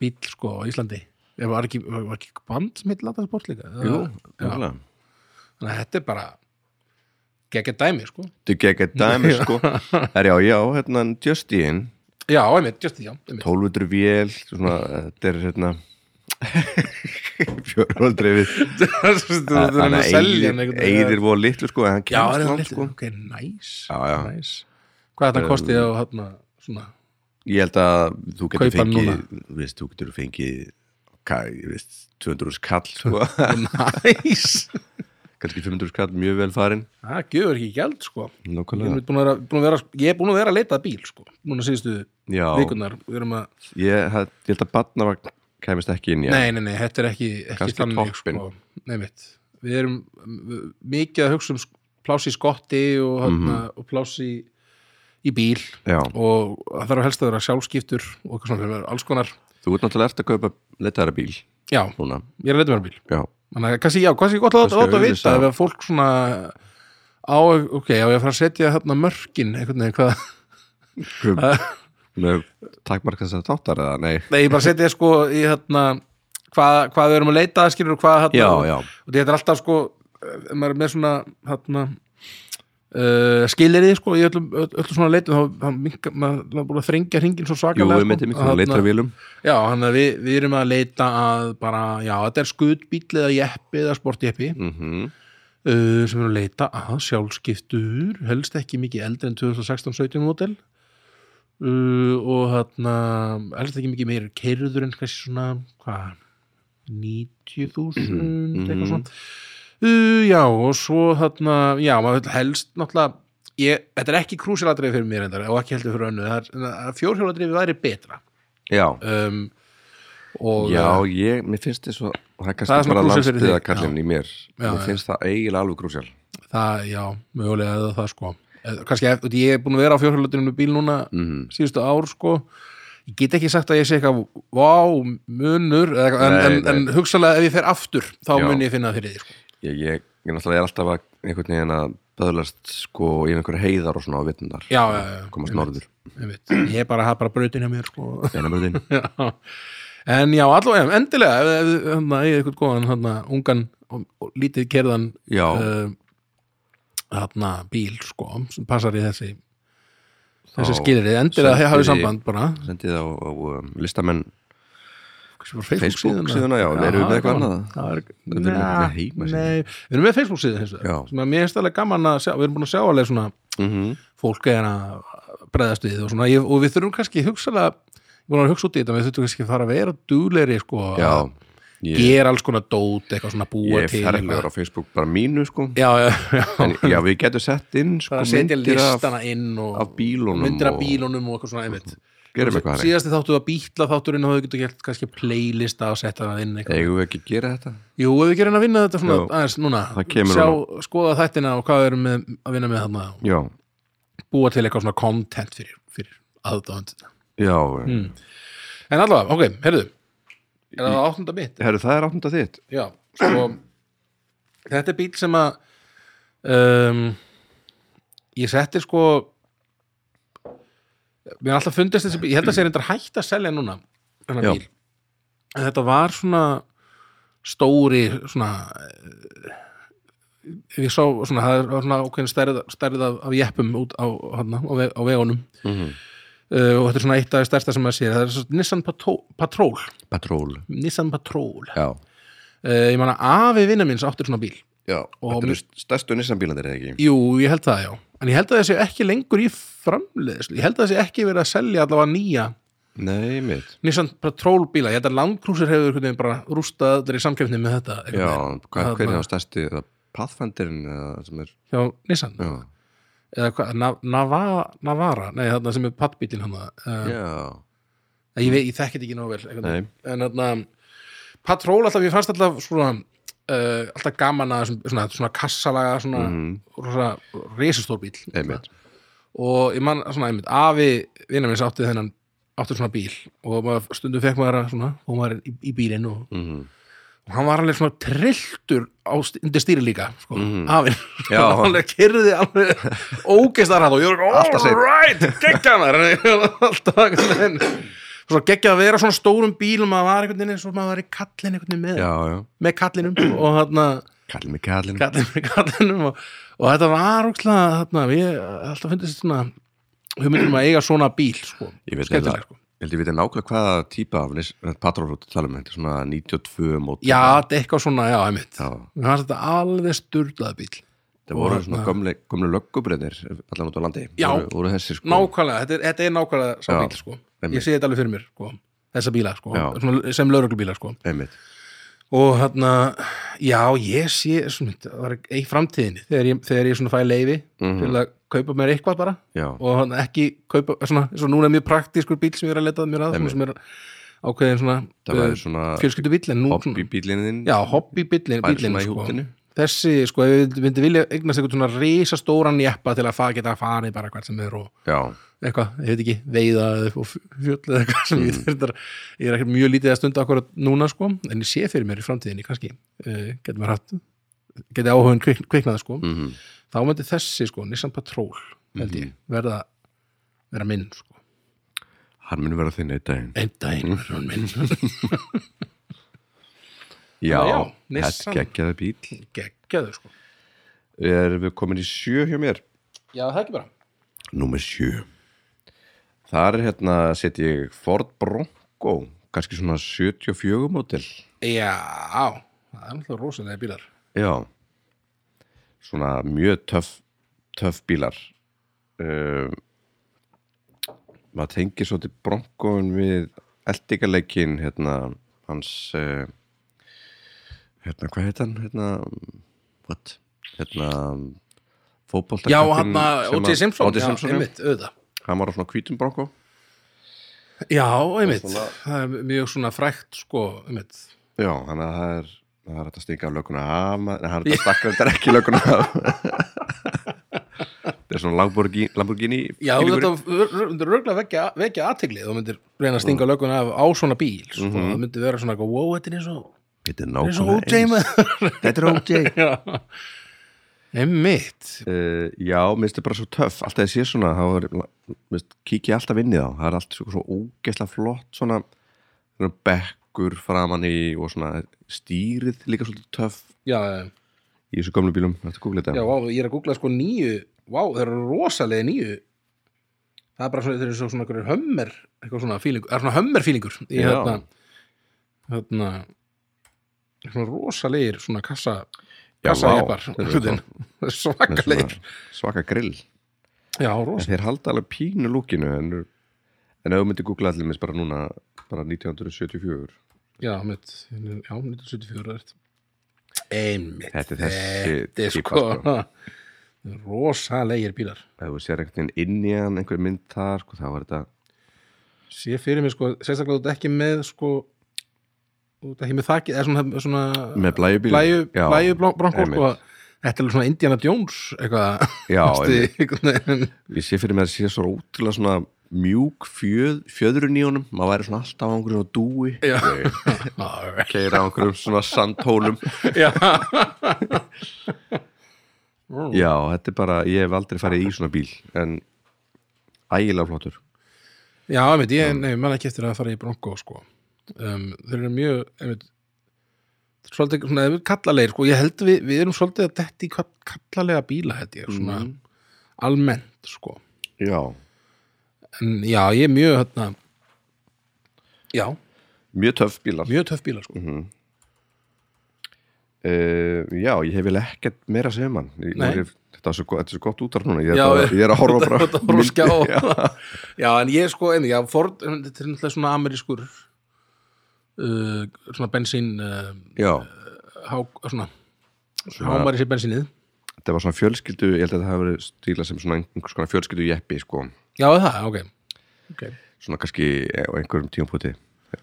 B: bíl sko á Íslandi Ég var ekki, var var ekki band sem heit lata sport líka
A: jú,
B: já,
A: já.
B: þannig að þetta er bara geggja dæmi sko
A: Þetta er geggjað dæmi sko Það er já, já, hérna Justin
B: já, einmitt, just því, já, einmitt
A: 1200 vél svona, þetta er hérna fjórhaldrifið
B: þetta er hann
A: Þannig
B: að selja hann
A: að
B: einhvern veginn.
A: eigðir voru litlu sko en hann
B: já, er
A: kemst
B: hann
A: langt
B: litlu,
A: sko
B: ok, nice
A: Já, já. Um,
B: nice. hvað þetta kostið á hérna svona
A: Ég held að þú getur
B: Kaupa hann
A: fengið
B: núna.
A: þú veist, þú getur fengið hvað, ég veist, 200 skall sko
B: nice
A: kannski 500 skall mjög vel farin
B: Það gefur ekki gjald sko Ég er,
A: Nákvæmlega
B: búin að vera, búin að vera, ég er búin að vera að leita að bíl sko Núna síðustu
A: Já,
B: vikunar Við erum að,
A: ég, hef- ég held að barnavagn kæmist ekki inn í hann.
B: nei, nei, nei, þetta er ekki, ekki
A: Kannski toppinn.
B: sko. Nei mitt Við erum við, mikið að hugsa um sk- pláss í skotti og, mm
A: Mhm.
B: og pláss í, í bíl
A: Já,
B: og það þarf helst að vera sjálfskiptur og eitthvað svona, það er alls konar
A: þú ert náttúrulega eftir að kaupa letaðara bíl
B: Já,
A: núna,
B: ég er að leita mér að bíl
A: já
B: Þannig að kannski, já, kannski gott að láta
A: Kannski
B: láta að vita
A: auglýsa.
B: ef að fólk svona á, ok, já, ég að fara að setja hérna mörkin, einhvern veginn, hvað
A: Hver- með takmarka þess að þáttar eða nei
B: Nei, ég bara setja sko í hérna hvað, hvað við erum að leita, skilur hvað hérna,
A: já, já,
B: og þetta er alltaf sko ef maður er með svona hérna Uh, skilirði sko í öllum, öll- öllum svona leitum þá, þá minka, maður maður er búin að þrengja hringin svo
A: jú,
B: svakalega sko.
A: við myndum
B: að
A: ykkur leitra
B: þarna-
A: vilum
B: já, hann að við, við erum að leita að bara, já, þetta er skutbíll eða jeppi eða sportjeppi
A: mm -hmm.
B: uh, sem eru að leita að sjálfskiptur helst ekki mikið eldri en 2016-17 model uh, og hérna helst ekki mikið meir keirður en kannski svona hvað 90.000 eitthvað svona uh, já og svo þarna já maður vill helst náttúrulega ég, þetta er ekki krúsiladrið fyrir mér endar og ekki heldur fyrir önnu það er fjórhjóladrið væri betra
A: já,
B: um, og
A: já, ég, mér finnst þess að það er
B: Það er
A: kannski
B: svona
A: bara
B: krúsjál fyrir þig,
A: landsbyða kallin í mér
B: Já,
A: mér
B: já.
A: finnst það eiginlega alveg krúsjál
B: það, já, mögulega eða það sko Eða kannski, eftir, ég er búin að vera á fjórhjóladrinu bíl núna
A: Mhm.
B: síðustu ár sko ég get ekki sagt að ég sé eitthvað vá, munur, eða eitthvað, en,
A: Nei,
B: en, en hugsalega ef ég fer aftur, þá
A: Já.
B: mun ég finna það fyrir því sko.
A: ég, ég, ég náttúrulega er alltaf að einhvern veginn að böðlast sko í einhverju heiðar og svona á vitundar
B: já, já, já,
A: komast
B: einmitt,
A: norður
B: einmitt. ég er bara að hafa bara brautin hjá mér sko
A: Einabröðin.
B: Já. en já, allavega, endilega ef, ef, hérna, ef hana, ég er eitthvað góðan hana, ungan og, og lítið kerðan
A: já,
B: uh, hana, Eh, bíl sko, sem passar í þessi þessi
A: Þá
B: skilrið, endilega
A: sendir
B: að hafa
A: í-
B: samband bara,
A: sendið á, á um, listamenn
B: Facebook,
A: Facebook síðuna, já, erum við með eitthvað annað?
B: Það er,
A: Þetta er með heimasíðu.
B: nei, við erum með Facebook síðan hins
A: Já.
B: vegar sem að mér finnst alveg gaman að sjá, við erum búin að sjá alveg svona
A: mm -hmm.
B: fólk er að bregðast við og svona, ég, og við þurfum kannski hugsalega, ég búin að hugsa út í þetta, við þurfum kannski að fara að vera dugleiri sko,
A: já,
B: að
A: ég,
B: gera alls konar dót, eitthvað svona búa
A: ég
B: til
A: fer
B: eitthvað.
A: á Facebook bara mínu sko
B: já, já, já,
A: en, já, við getum sett inn sko,
B: bara setja
A: myndir af,
B: listana inn og
A: af bílunum
B: myndir af
A: og-
B: bílunum og eitthvað svona einmitt
A: gerum eitthvað þannig.
B: síðasti þáttu að bítla þátturinn og þau getur gert kannski playlista og setja það inn eitthvað
A: eigum við ekki að gera þetta
B: Jú, ef við gerum að vinna þetta svona
A: Jú,
B: aðeins núna
A: það kemur
B: sjá, skoða þættina og hvað við erum með, að vinna með þarna og
A: já,
B: búa til eitthvað svona content fyrir, fyrir aðdáðan
A: já
B: Hmm. En allavega, ok, heyrðu Er það áttunda mitt?
A: herru, það er áttunda þitt
B: Já, sko Þetta er bíl sem að um, ég setti sko mér er alltaf fundist þessi bíl, ég held að sér reyndar hægt að selja núna þennan
A: Já.
B: bíl en þetta var svona stóri svona eh, ég sá svona, það var svona ákveðin stærð, stærð af, af jeppum út á, hana, á, veg, á vegunum
A: Mhm.
B: uh, og þetta er svona eitt af því stærsta sem maður sér það er svo, Nissan Patrol, Patrol
A: patról
B: Nissan Patrol
A: já,
B: uh, ég man að afi vinna minns áttur svona bíl
A: já,
B: Og
A: þetta eru stærstu nissanbílandir eða ekki
B: jú, ég held það já en ég held að það sé ekki lengur í framleiðslu ég held að það sé ekki verið að selja allavega nýja
A: nei, mitt
B: Nissan Patrol bíla, ég held að Land Cruiser hefur einhvern veginn bara rústað allir í samkjöfni með þetta einhvern
A: já,
B: veginn.
A: hvað, hver er
B: Þarna-
A: það stærsti eða Pathfinderinn eða sem er
B: hjá Nissan,
A: já,
B: eða hvað, Nav- Nava- Navara nei, þarna sem er pattbílinn hann uh,
A: já,
B: ég, veit- ég þekki þetta ekki nóg vel einhvern veginn.
A: nei
B: en þarna Patrol alltaf, ég fannst alltaf svona uh, alltaf gaman að þessum- svona, svona kassalaga svona
A: Mhm.
B: rosa risastór bíl
A: Einmitt.
B: og ég man svona einmitt afi vinnar minns átti þennan átti svona bíl og maður, stundum fekk maður að svona og maður í, í bílinn og,
A: Mhm.
B: og hann var alveg svona trilltur á st- undir stýri líka sko,
A: Mhm.
B: afinn
A: Já.
B: hann alveg kyrði alveg ógeistarhætt og ég var
A: Alltaf
B: all
A: seinn.
B: right, geggja maður alltaf einhvern veginn svo geggjað að vera svona stórum bílum maður var einhvern veginn eins og maður var í kallin einhvern veginn með,
A: já, já,
B: með kallinum og þarna
A: kallum mig kallum
B: kallinn með kallinum og, og þetta var úkslega þarna, ég alltaf fundist svona hugmyndum að eiga svona bíl sko,
A: Ég veit
B: skemmtilega
A: eiginlega-
B: sko
A: Ég held ég veit nákvæmlega hvaða típa af nis- patrófrúti tala um, þetta er svona 92 mót
B: já, þetta er eitthvað svona, já, einmitt
A: Já,
B: mér fannst þetta alveg sturlað bíl
A: það voru
B: Og
A: svona
B: þarna-
A: gömlu, gömlu löggubreðir allan út á landi
B: Já.
A: voru, voru þessir sko
B: nákvæmlega, þetta er, þetta er nákvæmlega sá
A: Já,
B: bíl sko,
A: einmitt.
B: ég sé þetta alveg fyrir mér sko, þessa bíla sko,
A: Já.
B: svona, sem lögreglubíla sko
A: einmitt
B: og hérna, já, ég sé svona, það var í framtíðinni þegar ég, þegar ég svona fæ leifi
A: Mhm.
B: til að kaupa mér eitthvað bara
A: Já,
B: og hann ekki kaupa svona, svona núna er mjög praktískur bíl sem ég er að letað mér að svona, sem er ákveðin svona,
A: það
B: eh,
A: væri svona
B: fjölskyldubíll en nú
A: hopp í bílinn þinn
B: já, hobby bíllinn
A: væri
B: bíllinn,
A: svona í
B: sko.
A: húttinu
B: þessi, sko, ef við myndum vilja eignast eitthvað svona risastóran jeppa til að fa geta að fara í bara hvert sem er og
A: Já,
B: eitthvað, ég veit ekki, veiða eða upp á fj- fjöll eða eitthvað sem
A: Mm.
B: ég þurftar ég er ekkert mjög lítið að stunda akkur núna, sko en ég sé fyrir mér í framtíðinni, kannski uh, getur maður hatt geti áhugin kvik, kviknaði, sko
A: mm
B: þá myndi þessi, sko, Nissan Patrol held ég, verða vera minn, sko Mhm.
A: hann muni vera þinn eitt daginn
B: einn daginn verður hann minn
A: Já,
B: Já,
A: þetta
B: Nissan.
A: geggjaði bíl
B: geggjaður sko
A: Erum við komin í sjö hjá mér?
B: já það ekki bara
A: Númer sjö Þar er hérna setji ég Ford Bronco kannski svona 74 mótil
B: já það er alltaf rosalega bílar
A: Já Svona mjög töff töff bílar um, maður tengir svo til bronkóin við eldingarleikin hérna hans uh, hérna hvað heit hann hérna what hérna fótbolta
B: já hann að O.J. Simpson
A: O.J.
B: já,
A: Simpson já.
B: einmitt auðvitað
A: hann var á svona hvítum bronkó
B: já einmitt
A: svona-
B: það er mjög svona frækt sko einmitt
A: já þannig að það er það er hægt að stinga löguna af maður- nei, það er hægt að stakka þetta ekki löguna af þetta er svona Lamborghini, Lamborghini
B: já
A: bílugurinn.
B: þetta myndir röglega vekja, vekja aðtegli þú myndir reyna að stinga mm. löguna af á svona bíl sko. það myndir vera svona eitthvað wow þetta er eins og
A: Þetta er
B: eins og O.J.
A: nákvæmlega eins.
B: maður."
A: Þetta er OJ.
B: Já. einmitt
A: Uh, já, mér finnst þetta bara svo töff. Alltaf ég sé svona, þá er, mér finnst, kík ég alltaf inn í þá. Það er allt svo, svo ógeðslega flott, svona, svona bekkur framan í og svona stýrið líka svolítið töff
B: já já
A: í þessu gömlu bílum. Þetta googla
B: Já,
A: þetta.
B: vá, ég er að googla sko nýju Vá, þeir eru rosalega nýju Það er bara svona, þeir eru svo svona einhverjir hömmer eitthvað svona fílingur, er svona hömmer fílingur í hérna,
A: Já.
B: þarna þarna svona rosalegir svona kassa
A: Já,
B: kassa
A: vá,
B: jeppar,
A: þeir eru
B: einhvern veginn.
A: Með
B: svakalegir
A: svona Svaka grill.
B: Já,
A: En
B: rosalegir
A: þeir halda alveg pínu lúkinu en, en ef þú myndir googla allir minnst bara núna, bara 1974,
B: já, mitt, já, 1974 er þetta einmitt
A: Þetta er þessi
B: þetta er
A: típa, sko.
B: sko, rosalegir bílar
A: ef þú sér einhvern veginn inn í hann einhver mynd þar, sko, þá var þetta
B: sé fyrir mig sko, sérstaklega þú ert ekki með sko, þú ert ekki með þakki eða svona, svona
A: með blæjubíl
B: blæju, blæju bronko
A: einmitt.
B: sko, þetta er alveg svona Indiana Jones eitthvað
A: Já,
B: Sti- einhvern veginn.
A: ég sé fyrir mér að sé svo ótrúlega svona mjúk fjöð, fjöðrun í honum maður væri svona alltaf á einhverjum og dúi
B: Já.
A: keira á einhverjum svona sandhólum
B: Já.
A: já, þetta er bara, ég hef aldrei farið í svona bíl en ægilega flottur
B: já, einmitt, ég nei, ég man ekki eftir að fara í bronko sko. um, þeir eru mjög einmitt, svolítið svona einmitt kallalegir sko. ég held við, við erum svolítið að detti í kall- kallalega bíla held ég, svona
A: Mhm.
B: almennt sko.
A: já,
B: en Mm, já, ég er mjög hérna, já,
A: mjög töff bílar
B: mjög töff bíla sko.
A: Uh, já, ég hef vel ekkert meira að segja mann ég,
B: Nei.
A: ég, þetta, er svo, go- þetta er svo gott útar núna ég,
B: Já,
A: já, bara, ég er að horfa bara
B: Þetta voru skjá já. en ég sko, en já, Ford um, þetta er náttúrulega svona amerískur uh, svona bensín uh,
A: já,
B: há, svona, hámæri sér bensínið
A: þetta var svona fjölskyldu ég held að þetta hafi verið stíla sem svona einhvers konar fjölskyldu jeppi sko,
B: Já, er það, ok, okay.
A: svona kannski á einhverjum tímpúti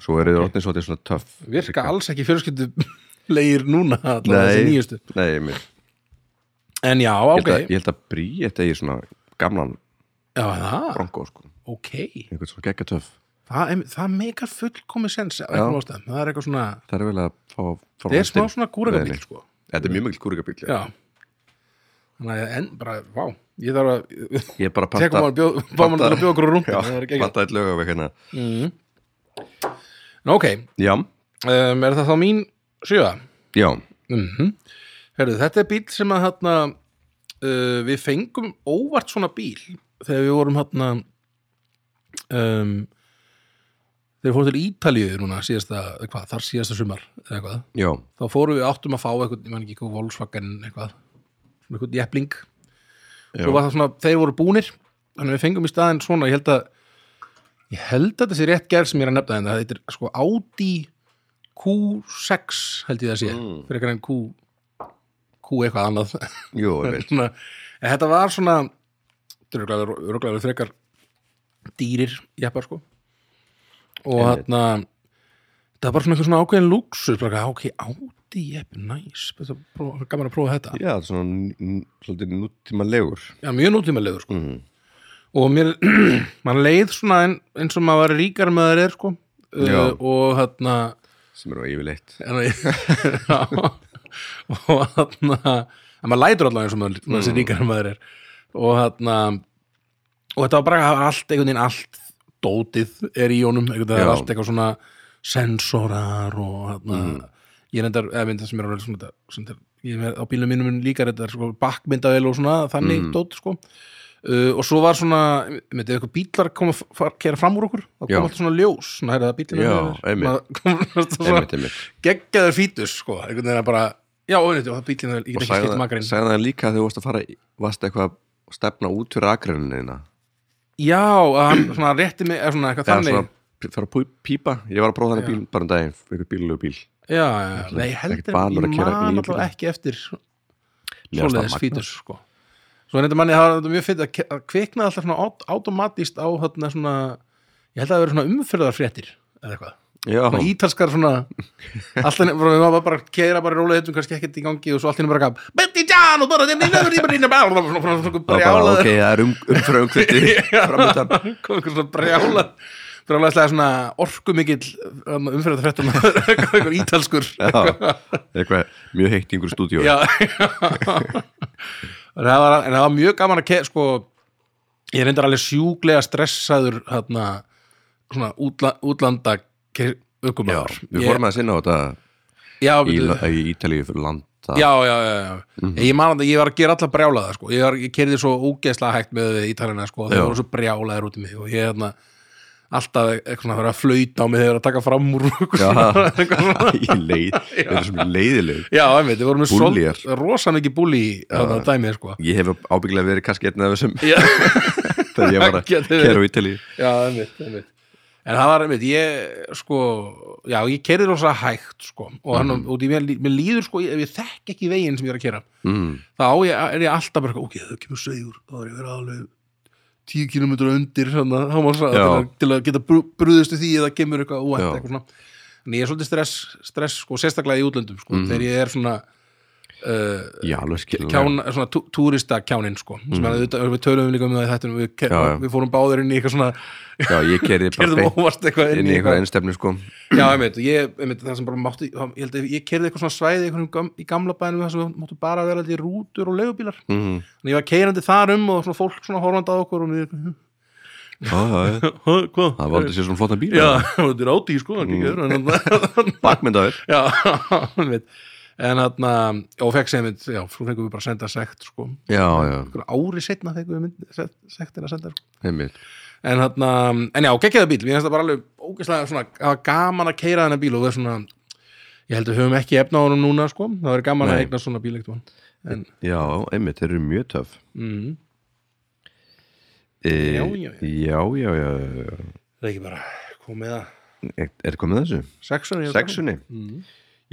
A: svo eru okay. orðin svo þetta er svona töff
B: Virka alls ekki fjölskyldu leir núna allavega þessi
A: nei,
B: nýjustu
A: nei mér,
B: En já,
A: ég, held
B: ok,
A: að, ég held að Bríett eigi svona gamlan
B: já, er það,
A: bronko sko,
B: ok
A: einhvern svona geggja töff
B: Það, em, það meikar fullkomi sens af einhverjum ástæðum, það er eitthvað svona
A: það er vel að fá fá
B: Það er smá
A: listinn.
B: svona kúrakabíl,
A: Nei, nei.
B: sko
A: þetta er mjög mikil kúrikabíl
B: Já Þannig að enn bara, vá, ég þarf að
A: ég bara
B: tekum
A: panta
B: maður bjóð, fá maður til að bjóða okkur rúnd
A: já,
B: það var ekki ekki
A: panta eitt lög af hérna
B: ok,
A: já,
B: um, er það þá mín sjöða
A: já,
B: mm Herðu, þetta er bíl sem að hérna, uh, við fengum óvart svona bíl þegar við vorum hérna, um, þegar við fórum til Ítalíu núna síðasta, eða hvað, þar síðasta sumar eða eitthvað,
A: já,
B: þá fórum við áttum að fá eitthvað, ég man ekki eitthvað Volkswagen eitthvað, svona eitthvað jepling
A: já.
B: svo var það svona, þeir voru búnir þannig að við fengum í staðinn svona, ég held að ég held að þetta sé rétt gerð sem ég er að nefna þetta þetta er sko Audi Q6 held ég það sé
A: Mm.
B: fyrir eitthvað en Q Q eitthvað annað
A: Jú, ég veit.
B: svona, en þetta var svona þetta er röglega frekar dýrir jeppar sko og
A: Einmitt.
B: þarna þetta var bara svona eitthvað svona ákveðin luxus bara "Ah, ok, Audi jepp, næs nice. gaman að prófa þetta
A: Já, þetta er svona n- n- svolítið nútímalegur
B: já, mjög nútímalegur sko
A: mm.
B: og mér, mann leið svona ein, eins og maður var ríkar með það er sko
A: Já.
B: uh, og hérna
A: sem eru yfirleitt
B: en ég- já, og hérna en maður lætur allavega eins og maður, maður
A: Mm.
B: sé ríkar með það er og hérna og þetta var bara það var allt einhvern veginn allt dótið er í honum einhvern veginn það
A: Já.
B: er allt eitthvað svona sensorar og hérna
A: Mm.
B: ég er endar, eða mynda sem er alveg svona þetta- sem þetta, ég er með á bílum mínum mun líka þetta er sko bakkmyndavel og svona þannig
A: Mm.
B: dót sko uh, og svo var svona, með þetta eitthvað bílar kom að far, kera fram úr okkur, það
A: Já.
B: kom alltaf svona ljós svona er hérna. það bílinu
A: Já, einmitt. Einmitt,
B: einmitt
A: einmitt.
B: geggjaður fítus sko, einhvern veginn að bara já, einmitt, og það bílinu, ég
A: Og
B: get ekki
A: sagði
B: skipt
A: það-
B: makarinn
A: sagði það líka þegar þú varst að fara í- varst eitthvað að stefna út fyrir akrenina
B: já, að hann svona rétti mig, eða svona eitthvað
A: eða
B: þannig
A: svona p- fyrir að pú- pípa ég var að prófa þannig bíl, bara um daginn, einhver bílulegu bíl
B: já, já, já, nei, ég
A: ekkert
B: heldur
A: vanur
B: ég
A: að keyra
B: man
A: nýja
B: alltaf
A: bíla.
B: ekki eftir
A: Mér fannst það
B: svoleiðis
A: magnað.
B: fítus sko svo reynda manni, það var þetta mjög fyrir að ke- að kviknaði alltaf svona át- automatíst á þarna svona, ég held að það hafi verið svona umfyrðarfréttir eða eitthvað
A: Já,
B: svona ítalskar svona alltaf nefnir, við varum bara að keira bara í rólega hittum kannski ekkert í gangi og svo alltaf nefnir bara gaf Betty Jan og bara nefnir nefnir nefnir nefnir bara svona svona
A: það var bara
B: svona
A: ok,
B: brjálað
A: það er um, umfram umkvæmdi framöndan
B: kom einhver svona brjálað brjálaðislega svona orku mikill umfyrir þetta fréttum einhver ítalskur
A: Já, eitthvað mjög heitt í einhverju stúdíu
B: já en það var, en það var mjög gaman að keira sko, ég reyndar alveg sjúglega stressaður hérna, svona útla, útlanda aukumar
A: við fórum að sinna á þetta
B: já,
A: í,
B: byrju.
A: í Ítalíu fyrir landa
B: já, já, já, já. ég man að ég var að gera allar brjálaða sko. ég, var, ég kerði svo ógeðslega hægt með ítalina sko. þeir
A: Já.
B: voru svo brjálaðir út í mig og ég hérna alltaf eitthvað svona að vera að flauta á mig þegar að taka fram úr eitthvað svona- eitthvað svona.
A: í leið, við erum svo leiðileg
B: já, einmitt, við vorum með
A: Búllýjar.
B: svolít- rosa mikið búli að dæmi sko.
A: ég hef ábyggilega verið kannski einn af þessum
B: já,
A: þegar ég var að
B: Gæti verið.
A: kæra á Ítalíu
B: já, einmitt, einmitt En það var, einmitt, ég, sko, já, ég kerði rosa hægt, sko, og hann, mm. út í mér, lí- mér líður, sko, ef ég þekk ekki veginn sem ég er að kera,
A: mm,
B: þá á ég, er ég alltaf bara, ok, það kemur segjur, þá er ég verið alveg tíu kilometra undir, hérna, svona, hámarsa,
A: Já.
B: til, að, til að geta brú- brugðist við því eða kemur eitthvað óætt,
A: Já.
B: eitthvað svona. En ég er svolítið stress, stress, sko, sérstaklega í útlöndum, sko,
A: Mhm.
B: þegar ég er svona, uh,
A: já, alveg skilur
B: kján, svona tú, túrista kjánin sko sem mm. auðvitað, við töluðum líka um það í þættunum við, já,
A: Já, já.
B: við fórum báður inn í eitthvað svona
A: já, ég kerði bara
B: kerðum
A: beint
B: óvart eitthvað
A: inn í einhverja einstefnu sko
B: já, einmitt, ég, einmitt, það sem bara mátti ég, held að ég kerði eitthvað svona svæði einhverjum gam, í gamla bænum þar sem máttu bara vera alltaf rútur og leigubílar
A: mm,
B: en ég var keirandi þar um og svona fólk svona horfandi á okkur og niður,
A: já, já, já.
B: hvað?
A: það var aldrei Mm. sér svona flottan bíl
B: já, þetta er átíð sko það gekk öðru en þarna-
A: bakmyndaður
B: já, einmitt en þarna, og fekk sem einmitt, já, frú fengum við bara að senda sekt sko
A: já, já,
B: Einhverju ári setna fengum við mynd, se- sektina að senda sko.
A: einmitt
B: en hérna, en já, geggjaði bíl mér finnst það bara alveg ógeðslega svona það var gaman að keira þennan bíl og það er svona ég held að við höfum ekki efna á honum núna sko það verður gaman að
A: Nei.
B: eigna svona bíl eitthvað en,
A: já, einmitt, þeir eru mjög töf
B: mm,
A: e,
B: Já, já,
A: já,
B: já.
A: já, já, já, já.
B: það er ekki bara komið að
A: Er- er komið að þessu?
B: sexunni
A: sexunni
B: mm.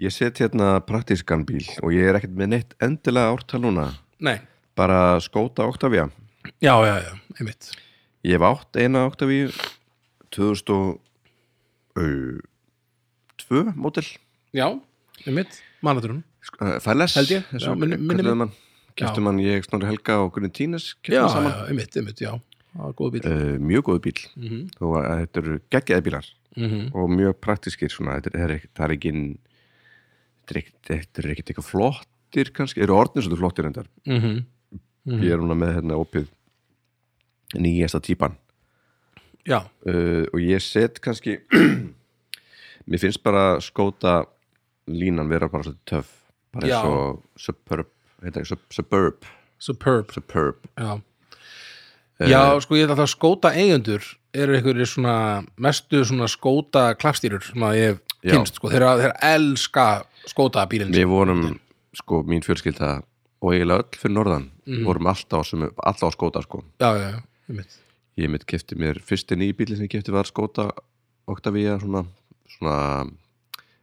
A: ég set hérna praktískan bíl og ég er ekkert með neitt endilega ártal núna
B: nei,
A: bara skóta Octavia
B: já, já, já, einmitt
A: ég hef átt eina Octavia 2002 mótil
B: já, einmitt, mannaturum
A: sko, Fælles
B: Held ég, já, minni- minni mig.
A: kæftum hann ég Snorri Helga og Gunni Tínes
B: já, já,
A: keyptum saman.
B: einmitt, einmitt, já það var góð bíl
A: Uh, mjög góð bíl
B: mm -hmm.
A: og að þetta eru geggjaði bílar
B: Eh. Mhm,
A: og mjög praktískir svona, þetta er, ekki- það er ekki þetta er ekkit- þetta er ekkit eitthvað flottir kannski, eru orðnir svolítið flottir endar
B: mhm.
A: ég er núna með hérna opið nýjasta típan
B: já,
A: uh, og ég set kannski mér finnst bara skóta línan vera bara svolítið töf bara
B: Já.
A: eins og suburb, heita, ekki, sub, suburb
B: superb
A: superb
B: Já, já sko ég held að það skóta eigendur eru einhverjir svona mestu svona skóta klapstýrur sem að ég hef
A: Já.
B: kynst sko, þeirra, þeirra elska skóta bílinn
A: við vorum, sko, mín fjölskylda og eiginlega öll fyrir norðan vorum alltaf, sem, alltaf á skóta, sko
B: Já, já, já, einmitt
A: ég mitt kefti mér, fyrsti nýbíli sem ég kefti var skóta Octavia, svona, svona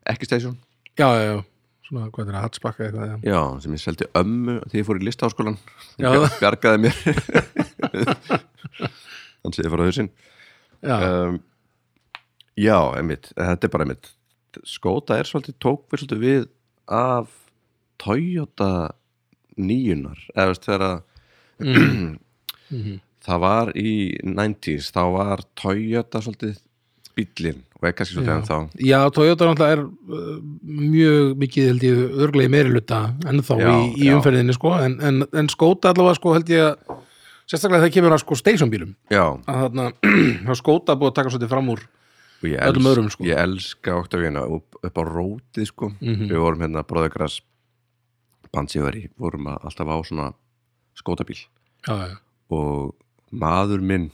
A: ekki station,
B: Já, já, já, svona hvað þetta er að hatsbakka eitthvað já.
A: já, sem ég seldi ömmu þegar ég fór í listaháskólan
B: Já.
A: Bjar- bjargaði mér hann segir frá hausinn
B: Já,
A: um, já, emitt, þetta er bara emitt skóta er svolítið, tók við svolítið við af Toyota nýjunar eða veist þegar að
B: Mm.
A: það var í 90s, þá var Toyota svolítið bíllinn og er kannski svolítið en þá
B: já Toyota náttúrulega er uh, mjög mikið held ég örglega í meiri luta ennþá
A: Já,
B: í, í
A: já.
B: umferðinni sko en, en, en skóta allavega sko held ég að sérstaklega þegar kemur að sko stationbílum
A: já,
B: að þarna, þá skóta búið að taka svolítið fram úr
A: og ég,
B: Öllum öðrum, sko.
A: ég elska Octavíana upp, upp á rótið sko
B: Mhm.
A: við vorum hérna bróðagras Pansiveri, vorum að- alltaf á svona skótabíl
B: Já, já, já
A: og maður minn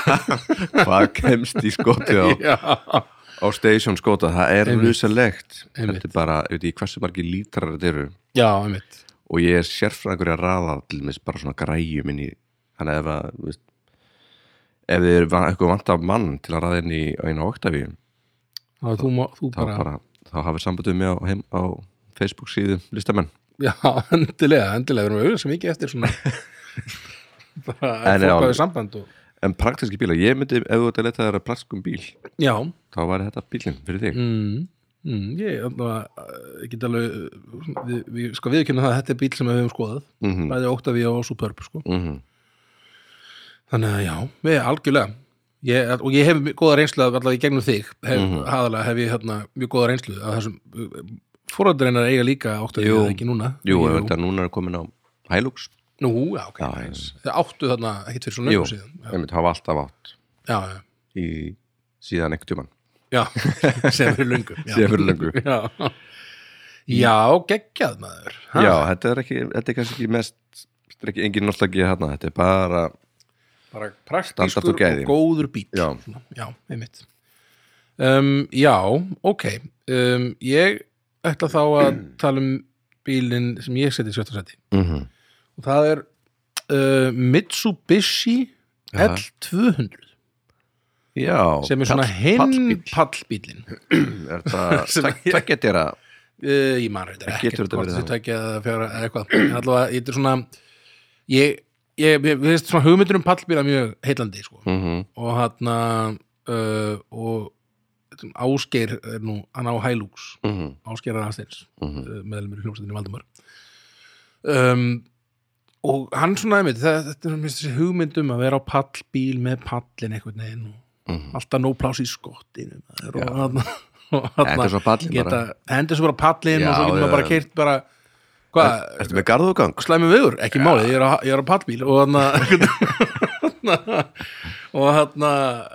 A: hvað kemst í skotið á,
B: já,
A: á station skotað, það er
B: Einmitt.
A: rusalegt
B: Einmitt.
A: þetta er bara, ég veit ég hversu margir lítrar þetta eru
B: já, einmitt
A: og ég er sérfræðingur að raða til mér bara svona græjum inn í þannig að ef að þú veist, ef þið eru va- eitthvað vant af mann til að raða inn í einu oktavíum
B: þá þú, má, þú
A: þá
B: bara,
A: bara, þá hafið sambandum mig á, heim, á Facebook síðu listamenn
B: já, endilega endilega, við erum auðvitað sem ekki eftir svona bara
A: En
B: en, fólk
A: já.
B: hafið samband og,
A: en praktiski bíla, ég myndi ef þú ert að leta þér að praktiskum bíl
B: já,
A: þá var þetta bílinn fyrir þig
B: mm, mm, ég allavega, eh, get alveg eh, svona, við, við, sko viðkynna það að þetta er bíl sem við höfum skoðað
A: mm -hmm.
B: bæði Octavia og Superb sko.
A: Mm -hmm.
B: þannig að já, við algjörlega ég, og ég hef mjög góða reynslu af- allavega í gegnum þig hef, mm
A: Mhm.
B: hef ég hérna, mjög góða reynslu að þessum fóræðreinar eiga líka Octavia
A: Jú.
B: eða ekki núna
A: Jú, jú. þetta núna er komin á Hilux
B: Nú, já, ok,
A: Já,
B: já, þeir áttu þarna ekkert fyrir svona
A: Jú.
B: löngu síðan Já,
A: einmitt hafa alltaf átt
B: já, já,
A: í síðan ekkert tjumann
B: já sem fyrir löngu já.
A: Síðan fyrir löngu.
B: Já, já geggjað maður ha?
A: Já, þetta er ekki, þetta er kannski ekki mest þetta er ekki engin nostalgía hérna, þetta er bara
B: bara
A: Standart
B: praktískur
A: og
B: og,
A: gæði.
B: góður bíl
A: Já.
B: Svona, já einmitt um, Já, ok um, Ég ætla þá að tala um bílinn sem ég seti í sjötta seti
A: mm -hmm.
B: og það er uh, Mitsubishi
A: Já.
B: L200
A: já,
B: sem er svona
A: pall-
B: hinn
A: pallbíll.
B: pallbílin
A: er það
B: Sem að-
A: tvekja dýra
B: uh, ég man
A: Getur
B: reyndar ekkert
A: þetta
B: hvort
A: verið
B: þessi
A: það?
B: tækja eða fjara eða eitthvað en allavega, þetta er svona ég, ég, ég veist svona hugmyndur um pallbíla mjög heillandi sko.
A: mm
B: og hann uh, og þetta ásgeir er nú, hann á Hælúks
A: -hmm.
B: Ásgeir Aðsteins
A: mm -hmm.
B: uh, meðlumur í hljómsveitinni Valdimar um, og hann svona einmitt, það, þetta er mér finnst þessi hugmyndum að vera á pallbíl með pallin einhvern veginn og
A: Mhm.
B: alltaf nóg pláss í skottinu maður, og hann
A: Þetta er svo pallin
B: geta,
A: bara
B: hendur svo bara pallin og
A: Já,
B: svo getur maður
A: já,
B: bara
A: já.
B: keirt bara hvað,
A: Ertu með garðugang?
B: slæmi viður, ekki málið, ég er á, ég er á pallbíl og hann og hann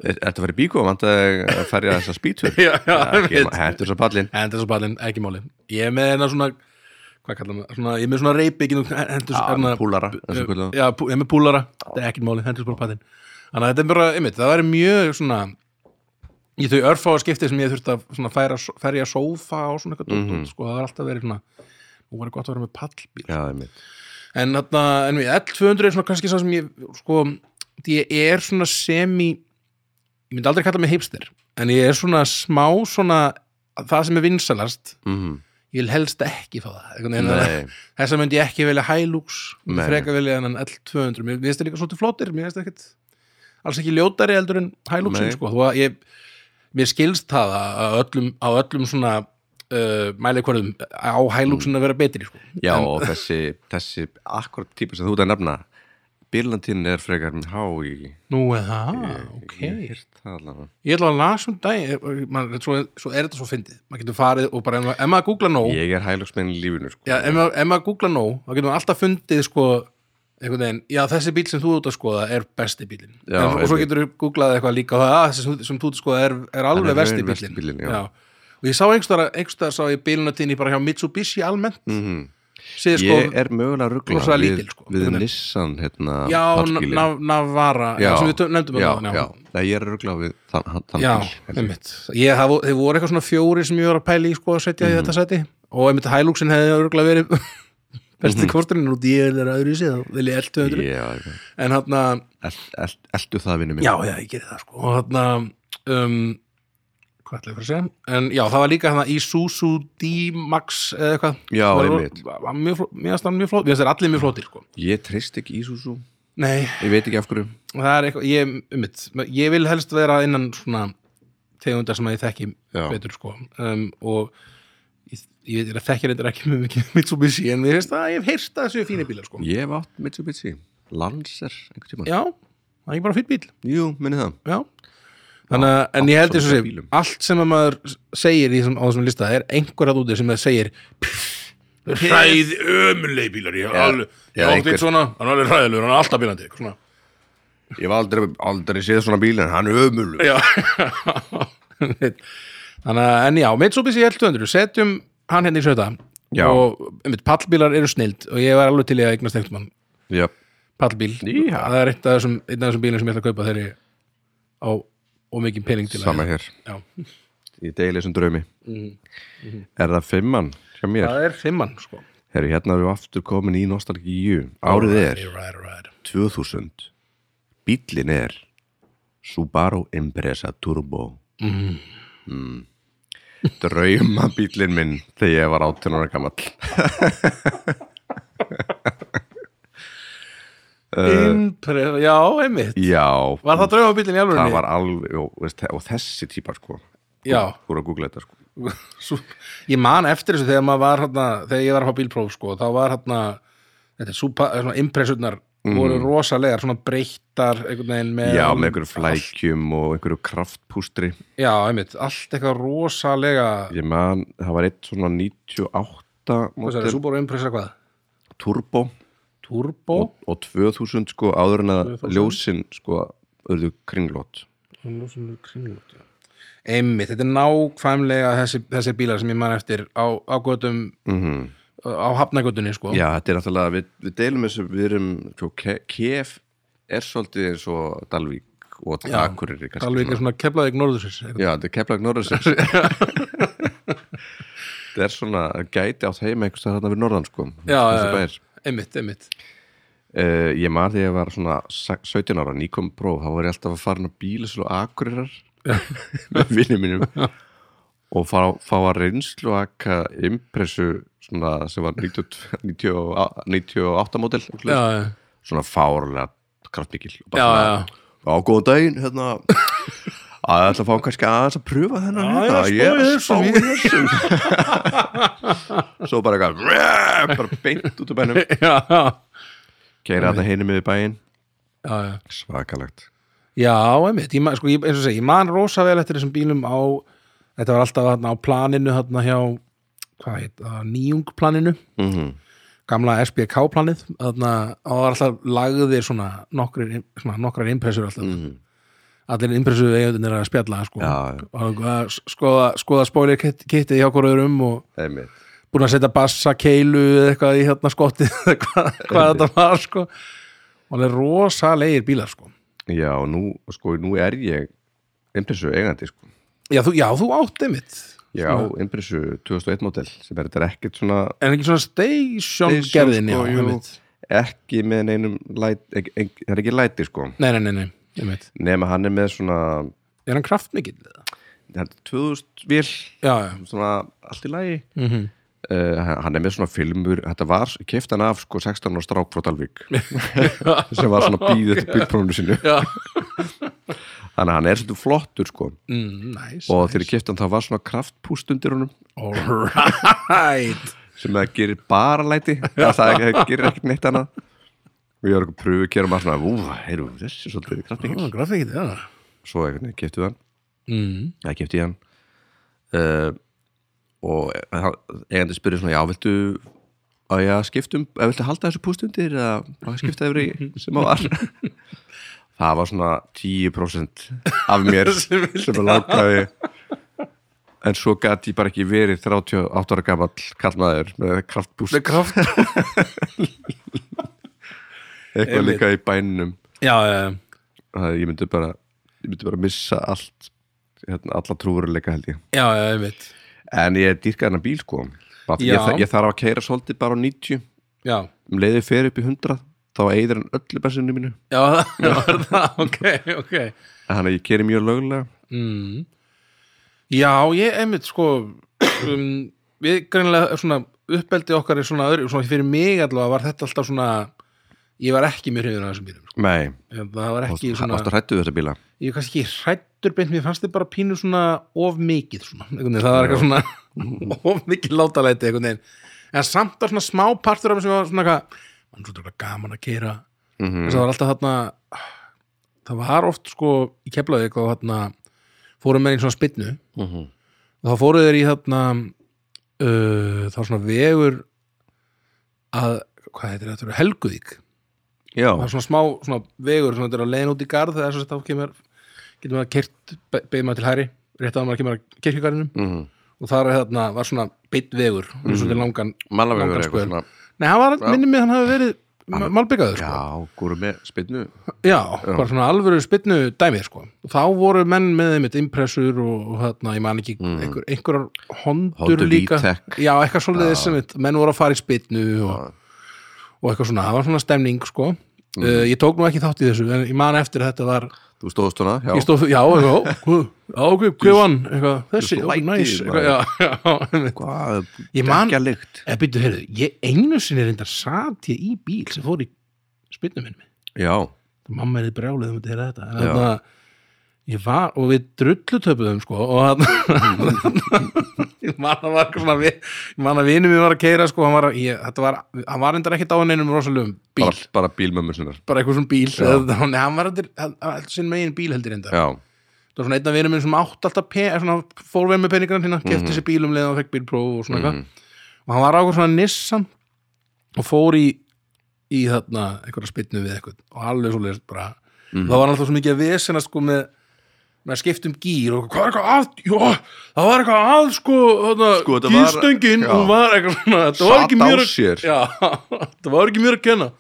A: Ertu að fara í bíkó og vant að fara þess að spýtur?
B: já, já, einmitt.
A: Hættur svo pallin
B: hendur svo pallin, ekki máli ég er með hennar svona hvað kallar maður, svona, ég er með svona reybyggin og hendur svo
A: Já,
B: hennar
A: Púlara eins og kallað.
B: já, pú- ég er með púlara, þetta er ekki máli, hendur svo bara pallin þannig að þetta er bara, einmitt, það væri mjög svona í þau örfáa skipti sem ég þurfti að svona færa, færja sófa og svona eitthvað mm
A: Mhm.
B: sko, það var alltaf verið svona nú var gott að vera með pallbíl
A: Já, einmitt
B: en þarna, en við, L200 er svona kannski sá sem ég, sko því ég er svona semi ég myndi aldrei kalla mig heipster en ég er svona smá svona það sem er vinsalast
A: Mhm.
B: ég vil helst ekki fá það einhvern veginn að-
A: Nei,
B: þess að myndi ég ekki velja Hilux myndi
A: Nei.
B: freka velja en L200 mér finnst það líka svolítið flottir mér finnst ekkit alls ekki ljótari heldur en Hiluxin
A: Nei.
B: sko þó að ég mér skilst það að að öllum, á öllum svona uh, mæleikvarðum á Hiluxin að vera betri sko
A: Já,
B: En-
A: og þessi, þessi akkurat típa sem þú ert að nefna Byrlandinn er frekar minn há í
B: nú er það, ok
A: Ég hýrt það allavega
B: ég ætla að lasa um daginn man, svo, svo er þetta svo fyndið maður getur farið og bara ef maður- ef maður googla nóg
A: Ég er hælugsmenn í lífinu sko
B: Já, ef maður, ef maður googla nóg, þá getur maður alltaf fundið sko, einhvern veginn, já þessi bíl sem þú ert að skoða er besti bílinn
A: Já,
B: en, og svo
A: einmitt.
B: getur þú googlað eitthvað líka og það, að þessi sem- sem þú ert að skoða er, er
A: Hann er
B: alveg versti
A: raun versti
B: bílinn
A: bíllinn, já.
B: og ég sá einhverstaðar, einhverstaðar sá ég bílunatíni bara hjá Mitsubishi almennt mm.
A: Mhm.
B: séð sko,
A: Ég er mögulega ruggla
B: rosalega
A: við,
B: lítil, sko.
A: við
B: Hvernig?
A: Nissan hérna,
B: já,
A: pallbílinn.
B: nav, Navara já, sem við tö- nefndum
A: já,
B: þarna,
A: já. Nei, ég er ruggla við þann, hann- þann
B: Já,
A: bíl, held ég.
B: einmitt ég, það, vo- Þeir voru eitthvað svona fjóri sem ég var að pæla í sko að setja
A: Mhm.
B: í þetta seti og einmitt Hiluxin hefði örgulega verið besti
A: Mhm.
B: mm -hmm. kosturinn og dýr er öðru í sig þá vil ég eltu öðru
A: Já, já.
B: en hann að,
A: Elt- elt- Eltu það vinnu minn
B: já, já, ég gerði það sko og hann að um, hvað ætlaði ég að fara að segja en já, það var líka hann að Isuzu D-Max eða eitthvað
A: Já,
B: Það var-
A: einmitt.
B: var mjög fló- Mér finnst hann mjög flótt, mér finnst þeir allir mjög flóttir sko
A: Ég treyst ekki Ísúsú
B: Nei,
A: Ég veit ekki af hverju
B: það er eitthvað, ég, einmitt ég vil helst vera innan svona tegundar sem að ég þekki
A: Já.
B: betur sko um, og ég, ég veit að þekkja reyndar ekki mjög mikið um Mitsubishi en ég veist að ég hef heyrst að þessu fínir bílar sko
A: Ég hef átt Mitsubishi Lancer einhvern tímann
B: Já, það er ekki bara fýtt bíl
A: Jú, minni það
B: Já Þannig að, en ég held þess
A: svona
B: að
A: bílum.
B: allt sem að maður segir í þessum, á þessum lista er einhver að úti sem það segir hræð ömuleg bílar ég,
A: Já,
B: alveg,
A: já,
B: ég átti
A: einhver-
B: eitt svona, hann er alveg hræðilegur, hann er alltaf bílandi eitthvað svona.
A: Ég hef aldrei, aldrei séð svona bíl en hann er ömul
B: Já Þannig að, en já, Mitsubishi L200 setjum hann hérna í sjöta
A: Já.
B: og einmitt, pallbílar eru snild og ég var alveg til í að eignast einhvern mann
A: Já,
B: pallbíl,
A: Já.
B: það er eitt af þessum, einn af þessum bílum sem ég ætla að kaupa þegar ég á og mikið pening til
A: sama hér
B: Já.
A: Ég deili þessum draumi Er það fimmann hjá mér?
B: mhm. það er fimmann sko
A: Herru, hérna erum við aftur komin í nostalgíu Árið er
B: right, right.
A: 2000 Bíllinn er Subaru Impreza Turbo
B: Mhm.
A: mm. Mm. Drauma bíllinn minn þegar ég var 18 ára gamall Eh,
B: Impress, já, einmitt
A: Já,
B: Var það draumabílinn í
A: það
B: alveg?
A: var alveg og, veist, og þessi típa sko
B: Já.
A: Þú voru að googla þetta sko
B: Svo, ég man eftir þessu þegar maður var hana, þegar ég var að fá bílpróf sko, þá var hana, þetta súpa, svona impressurnar voru rosalegar, svona breyttar einhvern veginn með
A: Mhm. Já, með einhverju flækjum og einhverju kraftpústri
B: Já, einmitt, allt eitthvað rosalega
A: Ég man, það var eitt svona 98
B: Hvað sagði,
A: mótil,
B: Subaru Impressa hvað?
A: turbo
B: Turbo?
A: og 2000 sko áður en að
B: 2000?
A: ljósin sko auðvitað kringlót
B: Einmitt, þetta er nákvæmlega þessi, þessi bílar sem ég man eftir á, á götum,
A: mm -hmm.
B: á hafnagötunni sko
A: Já, þetta er náttúrulega, við, við deilum þessu við erum, sko, Ke- KF er svolítið eins og Dalvík og
B: Já,
A: Akureyri kannski
B: Alveg ekki
A: svona.
B: svona keflaði ignorðursins
A: Já, þetta er Keflag Norðursins Þetta er svona gæti átt heima einhvers þar þarna við Norðan sko
B: Já,
A: Þessi
B: já,
A: bær.
B: já, einmitt, einmitt
A: uh, ég man þegar ég var svona sa- 17 ára, nýkom próf þá var ég alltaf að fara á bílislu akurirar með vinnum mínum og fá, fá að reynslu aka impressu svona sem var 92 98 mótel
B: já, já,
A: svona fárlega kraftmikil og
B: já,
A: bara svona,
B: já.
A: Já, góðan daginn, hérna að ég ætla að fá kannski aðeins að pröfa þennan
B: Já,
A: hérna,
B: já,
A: ég er að
B: spá
A: spá
B: í
A: í þessum Svo bara eitthvað bara beint út úr bænum
B: já, já,
A: Keira þarna heinu miður bæinn
B: já, já.
A: Svakalegt
B: Já, einmitt, ég, man- sko, ég, eins og segi, ég man rosa vel eftir þessum bílum á, þetta var alltaf þarna á planinu þarna hjá, hvað heit, nýjungplaninu,
A: mm
B: gamla SBK-planið, þarna og það var alltaf lagðir svona, nokkrir, svona nokkrar impressur alltaf, allir impressu eigundin er að spjalla, sko,
A: Mhm. Já, já.
B: og að skoða, skoða spoiler kit- kittið hjá hverjur um og
A: Einmitt
B: búin að setja bassa keilu eða eitthvað í hérna skottið, eða hvað, hvað þetta var, sko, og alveg rosalegir bílar, sko.
A: Já, og nú, sko, nú er ég Impressu eigandi, sko
B: Já, þú, já, þú átti mitt
A: Ég á Impressu 2001 model sem er þetta er ekkert svona
B: En ekki svona station
A: Station,
B: gerðin já,
A: sko, jú.
B: einmitt
A: ekki með neinum læt, ekki, ekki, það er ekki læti, sko
B: Nei, nei, nei, nei, einmitt
A: nema hann er með svona
B: Er hann kraftmikill? eða?
A: hann er 2000 vél
B: Já, já,
A: svona allt í lagi
B: mm
A: uh, hann er með svona filmur þetta var, ég kefti hann af sko 16 ára strák frá Dalvík sem var svona býðið eftir bílprófunu sínu
B: Já.
A: þannig að hann er svolítið flottur sko
B: mm, nice
A: og þegar ég kefti hann þá var svona kraftpúst undir honum
B: All right
A: sem það gerir bara læti það, það, það gerir ekkert neitt annað og ég var eitthvað pröfu að gera maður svona ú, heyrðu, þessi er svolítið kraftmikill
B: Grafikkill, já
A: svo einhvern veginn keftið hann
B: mm.
A: það kefti ég hann uh, og hann- eigandi spurði svona já, viltu að ég skiptum, að viltu halda þessu pústundir eða bara skipta yfir í sem það var það var svona 10% af mér sem, sem langaði en svo gæti ég bara ekki verið 38 ára gamall kallmaður með kraftpúst
B: Kraft
A: eitthvað líka í bænum
B: Já, já,
A: það, ég myndi bara ég myndi bara missa allt hérna, alla trúveruleika held ég
B: já, já, einmitt
A: En ég dýrka hennar bíl sko Bara því
B: Já.
A: ég, þa- ég þarf að keira svolítið bara á 90
B: Já,
A: um leiðið fer upp í 100 þá eigður hann öllu bensinu mínu
B: já, já, var það, ok, ok
A: þannig að ég keiri mjög lögulega
B: mm. Já, ég einmitt sko um, við greinlega svona uppeldi okkar er svona öðru, svona fyrir mig allavega var þetta alltaf svona ég var ekki mjög hrifin að þessum bílum sko.
A: Nei,
B: það var ekki
A: ástu
B: svona,
A: hrættu þetta bíla
B: ég var kannski ekki hrættur beint, mér fannst þið bara pínu svona of mikið svona, einhvern veginn, það var eitthvað svona of mikið látalæti einhvern veginn en samt var svona smá partur af mér sem var svona eitthvað, mann svo þetta gaman að keira
A: mm
B: þess að það var alltaf þarna það var oft sko í keflaði eitthvað þarna fórum með einn svona spynnu
A: -hmm.
B: og þá fóruð þeir í þarna uh, þá svona vegur að, hvað heitir þetta, Helguvík
A: Já,
B: það er svona smá svona vegur svona þetta er að leiðin út í garð það er svo að þá kemur getur maður kert, beðið maður til hæri rétt að maður kemur að kirkjugarðinum
A: mm -hmm.
B: og þar er þarna, var svona beitt vegur mm -hmm. svona langan,
A: malavegur Mhm.
B: langan
A: eitthvað
B: skör
A: svona
B: nei, hann var, minnir mig að hann hafi verið ma- malbikaður sko.
A: Já, gúru með spynnu
B: Já, bara svona alvöru spynnu dæmið sko. Og Þá voru menn með einmitt impressur og, og þarna, ég man ekki einhver, einhverjar hondur
A: Mm. Hondur
B: líka
A: Vitek.
B: Já, eitthvað svolítið sem mitt, menn voru að fara í spynnu og, og eitthvað svona, það var svona stemning sko.
A: Mm.
B: Uh, ég tók nú ekki þátt í þessu en ég man eftir að þetta var
A: Þú stóðst hana, já
B: já, stóð, já, já, já, já ok, hvað vann eitthvað, þessi,
A: svo
B: ok,
A: lætið,
B: næs
A: maður.
B: eitthvað, já, já, einmitt.
A: Hvað,
B: Ég man-
A: ekki að lykt
B: eða byrju, Eh, heyrðu, ég einu sinni reyndar sat ég í bíl sem fór í spynnu minni
A: Já,
B: mamma er þið brjálið um að heyra þetta en
A: Já.
B: þannig að ég var og við drullutöpuðum sko og þannig ég man að var eitthvað svona vi- ég man að vinur mér var að keira sko hann var, að- ég, þetta var, hann var endar ekkert á neinum rosalugum bíl,
A: bara,
B: bara,
A: bara bílmömmu sinnar
B: eitthvað svona bíl eða- þannig að hann var endur, hann hann var alltaf sinn megin bíl heldur endar,
A: Já,
B: það var svona einn af vinur minn sem átt alltaf pe, eh, svona, fór vel með peningarna hérna kefti
A: Mhm.
B: mm -hmm. sér bílum leðan og fekk bílpróf og svona eitthvað og hann var á eitthvað svona Nissan og fór í í þarna einhverja spynnu við eitthvað og alveg svo leist bara
A: Mhm.
B: það var alltaf svo mikið að vesina sko með með að skipta um gýr og hvað er eitthvað að jó, það var eitthvað að sko, þarna,
A: Sko, þetta var-
B: gýrstöngin
A: já.
B: hún var eitthvað svona þetta var
A: Sat
B: ekki
A: á
B: mér að,
A: sér.
B: já, það var ekki mér að kenna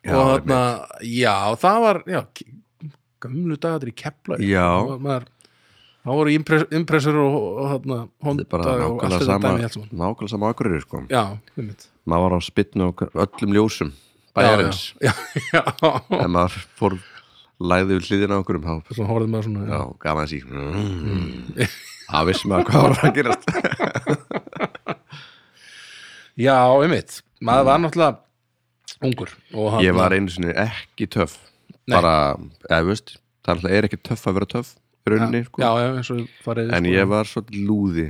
A: Já,
B: og þarna, já, það var já, ke- gömlu dagar í kepla
A: Já.
B: maður, það voru impress, impressur og, og, og þarna,
A: þetta
B: honda
A: er bara
B: og allt
A: nákvæmlega
B: þetta
A: sama
B: dæmi allt saman.
A: Nákvæmlega sama akkurir, sko
B: já, einmitt
A: maður var á spytnu á öllum ljósum bæjarins
B: já, já, já.
A: ef maður fór læði við hliðina á okkur um háp
B: Svo horfðum maður svona
A: já, gaf hann sík mm. það vissi maður hvað var að gerast
B: Já, einmitt, maður var náttúrulega ungur og hann
A: ég var einu sinni ekki töff
B: Nei.
A: bara, eða veist það náttúrulega er ekki töff að vera töff í rauninni, sko.
B: Já, já, eins og farið
A: en
B: sko.
A: ég var svolítið lúði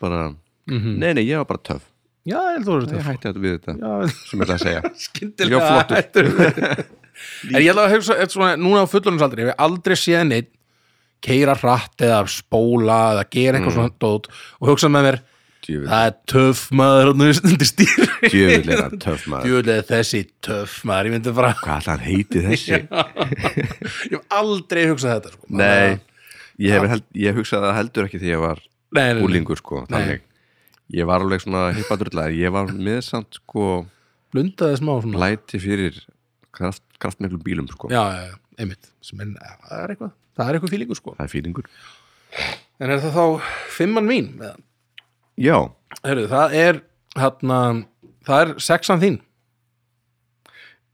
A: bara,
B: Mhm.
A: nei, nei, ég var bara töff
B: Já, ég held að þú
A: Mm. ég
B: verður
A: hætti þetta við þetta,
B: þetta
A: sem ég ætla að segja
B: Skyndilega
A: Ég var flottur.
B: hættur við. En ég held að hugsa, eftir svona, núna á fulluninsaldri Ég hef aldrei séð neitt keira hratt eða spóla eða gera
A: Mm.
B: eitthvað svona dót og hugsa með mér
A: djöfull,
B: það er töff maður hann undir stýri
A: djöfull er það töff maður
B: djöfulega þessi töff maður ég myndi bara,
A: hvað ætla hann heiti þessi
B: ég hef aldrei hugsað þetta sko.
A: nei, ég, hef held, ég hugsaði það heldur ekki þegar ég var
B: Nei, Um, nei, nei.
A: úlingur sko, þannig ég var alveg svona hippadrullar, ég var með samt sko
B: blundaði smá svona
A: læti fyrir kraft, kraftmiklu bílum sko,
B: já, já, já, einmitt sem er, það er eitthvað, það er eitthvað fílingur sko
A: það er fílingur
B: en er það þá fimmann mín eða?
A: já,
B: Heyrðu, það er hérna, það er sexan þín